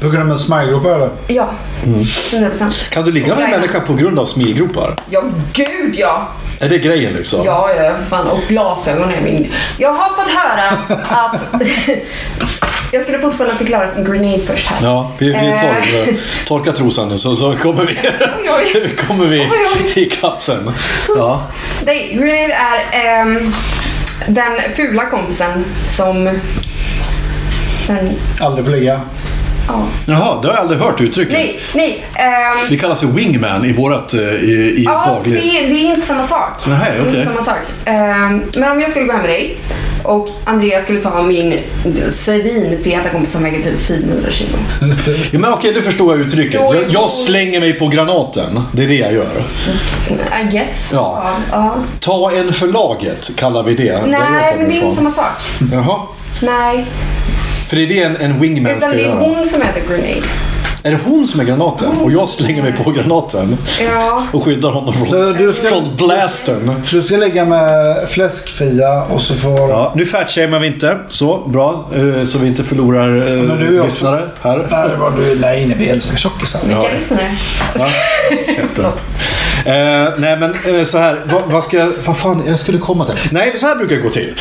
S3: På grund av en smilegrupp eller?
S2: Ja.
S1: Mm.
S2: 100%.
S1: Kan du ligga med en människa på grund av smilgropar?
S2: Ja, gud ja!
S1: Är det grejen liksom?
S2: Ja, ja, ja, för fan. Och glasögon är min... Jag har fått höra att... jag skulle fortfarande förklara grenade först här.
S1: Ja, vi, vi
S2: Eh.
S1: tar, eh, torkar trosan nu så, så kommer vi,
S2: oj, oj.
S1: kommer vi
S2: Oj,
S1: ikapp sen. Ja.
S2: Nej, grenade är ehm, den fula kompisen som... Den,
S3: Aldrig får ligga.
S2: ja.
S1: Jaha, det har jag aldrig hört uttrycket.
S2: Nej, nej. ehm,
S1: Det kallas ju wingman i vårat eh, i, i
S2: ja, det,
S1: daglig...
S2: är- det är inte samma sak.
S1: Nej,
S2: Det är inte
S1: okej.
S2: samma sak. Ehm, men om jag skulle gå hem med dig och Andreas skulle ta min svinfeta kompis som väger typ 400 kilo.
S1: Ja, men okej, nu förstår jag uttrycket.
S2: Jo,
S1: Jag,
S2: jo.
S1: jag slänger mig på granaten. Det är det jag gör.
S2: I guess.
S1: Ja.
S2: ja.
S1: Ta en för laget, kallar vi det. där jag
S2: Nej,
S1: kommer
S2: men det är
S1: ifrån.
S2: inte samma sak.
S1: Jaha.
S2: Nej,
S1: För det är det en, en wingman
S2: utan
S1: ska
S2: det är
S1: göra.
S2: hon som äter grenade.
S1: Är det hon som är granaten? Och jag slänger mig på granaten.
S2: Ja.
S1: Och skyddar honom
S3: Så
S1: från,
S3: du ska-
S1: från blasten.
S3: Så du ska ligga med fläskfia och så får...
S1: Ja, nu fatshamear vi inte. Så, bra. Eh, Så vi inte förlorar eh,
S3: men du är också-
S1: lyssnare här.
S3: Nej, det var du. Nej, nej, vi älskar tjockisar.
S2: Vilka lyssnare?
S1: Eh, nej men eh, så här, vad, vad ska jag, vad fan, jag skulle komma till. Nej men så här brukar det gå till.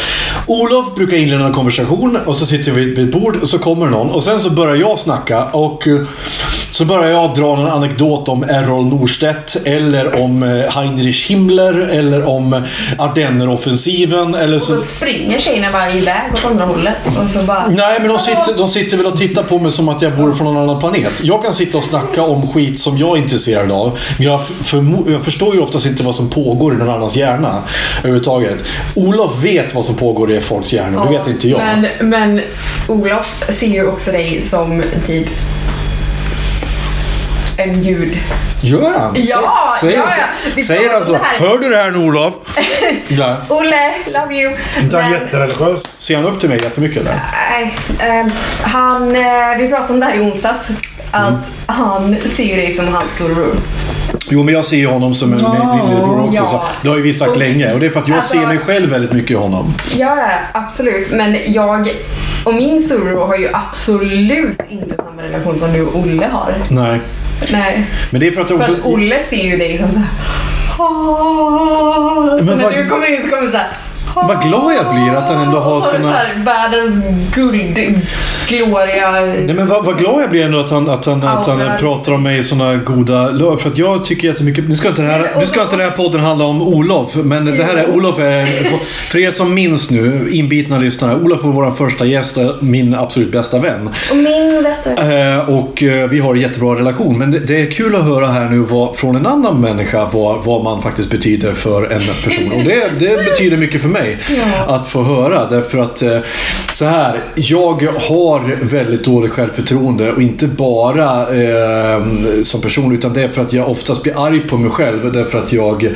S1: Olof brukar inleda en konversation och så sitter vi vid ett bord och så kommer någon och sen så börjar jag snacka och eh, Så börjar jag dra någon anekdot om Errol Norstedt, eller om eh, Heinrich Himmler, eller om eh, Ardenneroffensiven, eller
S2: Så
S1: så...
S2: springer tjejerna bara iväg åt andra hållet och så bara...
S1: Nej, men de sitter, de sitter väl och tittar på mig som att jag vore från en annan planet. Jag kan sitta och snacka om skit som jag är intresserad av, men jag, förmo- jag förstår ju oftast inte vad som pågår i någon annans hjärna överhuvudtaget. Olof vet vad som pågår i folks hjärnor, det vet inte jag.
S2: Men, men Olof ser ju också dig som typ en gud.
S1: Gör han?
S2: Ja,
S1: säger,
S2: ja, ja. Vi
S1: Säger, säger han så?
S2: pratar om det här.
S1: Hör du det här nu Olof? ja.
S2: Olle, love you.
S3: Inte han
S2: Men-
S3: jättereligiös?
S1: Ser han upp till mig jättemycket där?
S2: Nej, ehm, han, eh, vi pratade om det här i onsdags. Att
S1: Mm.
S2: han ser dig som hans storebror.
S1: Jo, men jag ser ju honom som en min- min lillebror också.
S2: ja.
S1: Så. Det har ju vi sagt länge och det är för att jag
S2: Alltså-
S1: ser mig själv väldigt mycket i honom.
S2: Ja, ja, absolut. Men jag och min storebror har ju absolut inte samma relation som du och Olle har.
S1: Nej.
S2: Nej.
S1: Men det är för att jag
S2: För
S1: också...
S2: att Olle ser ju dig som såhär... "Åh." Så
S1: Men
S2: när
S1: vad-
S2: du kommer in så kommer det såhär...
S1: Vad glad jag blir att han ändå har
S2: Och så är det
S1: sina-
S2: så här Världens guldgloria...
S1: Nej, men vad, vad glad jag blir ändå att han, att han, att han
S2: Ja, men-
S1: pratar om mig i sådana goda löv. För att jag tycker jättemycket... Nu ska inte, den här, nu ska inte den här podden handla om Olof. Men det här är... Olof är... För er som minns nu, inbitna lyssnare. Olof var vår första gäst och min absolut bästa vän.
S2: Och min bästa
S1: Eh, Och eh, vi har en jättebra relation. Men det- det är kul att höra här nu vad, från en annan människa vad, vad man faktiskt betyder för en person. Och det, det betyder mycket för mig att få höra. Därför att eh, så här, jag har väldigt dåligt självförtroende. Och inte bara eh, som person, utan det är för att jag oftast blir arg på mig själv. Därför att jag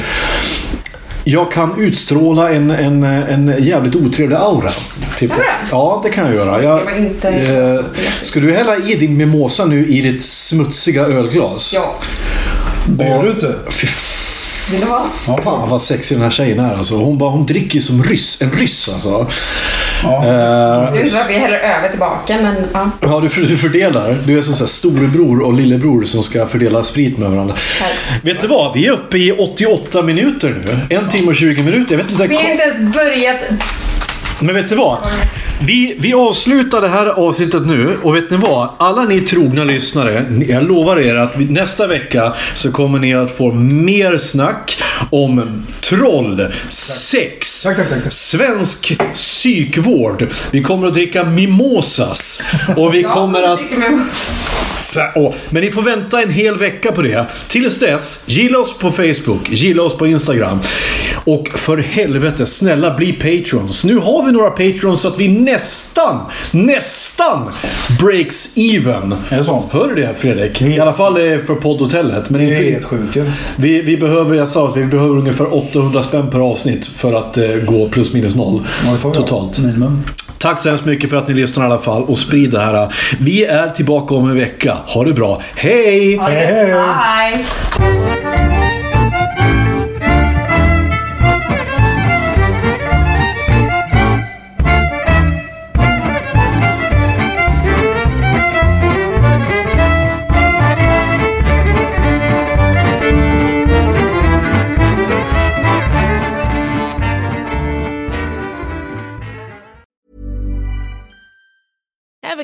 S1: jag kan utstråla en, en, en jävligt otrevlig aura. Till folk. Ja, det kan jag göra. Jag,
S2: Det var inte-
S1: eh, ska du hälla i din mimosa nu i ditt smutsiga ölglas?
S2: Ja,
S3: Det gör du inte.
S1: Fy
S2: vill du ha?
S1: fan vad sexig den här tjejen är. Alltså. Hon, bara, hon dricker ju som ryss. En ryss alltså.
S3: Ja.
S1: Eh,
S2: Nu drar vi heller över tillbaka men ja.
S1: Ja, du, du fördelar. Du är som så här storebror och lillebror som ska fördela sprit med varandra. Vet du vad? Vi är uppe i 88 minuter nu. En timme och 20 minuter. Jag vet inte...
S2: Vi har inte ens börjat.
S1: Men vet du vad? Vi, vi avslutar det här avsnittet nu och vet ni vad? Alla ni trogna lyssnare, ni- jag lovar er att vi, nästa vecka så kommer ni att få mer snack om troll, sex,
S3: Tack, tack, tack, tack.
S1: svensk psykvård. Vi kommer att dricka mimosas och vi kommer att...
S2: Jag dricker med-
S1: Så- åh, Men ni får vänta en hel vecka på det. Tills dess, gilla oss på Facebook, gilla oss på Instagram. Och för helvete, snälla bli patrons. Nu har vi några patrons så att vi nästan, nästan breaks even.
S3: Är det så?
S1: Hör du det Fredrik? I alla fall eh, för poddhotellet. Men
S3: Mm. Det är
S1: inför,
S3: helt sjukt ju.
S1: vi, vi behöver, jag sa att vi behöver ungefär 800 spänn per avsnitt för att eh, gå plus minus noll
S3: Ja, det får vi ha.
S1: totalt.
S3: Minimum.
S1: Tack så hemskt mycket för att ni lyssnar i alla fall och sprid det här. Vi är tillbaka om en vecka. Ha det bra. Hej!
S3: Hej, hej.
S2: Bye.
S6: Ever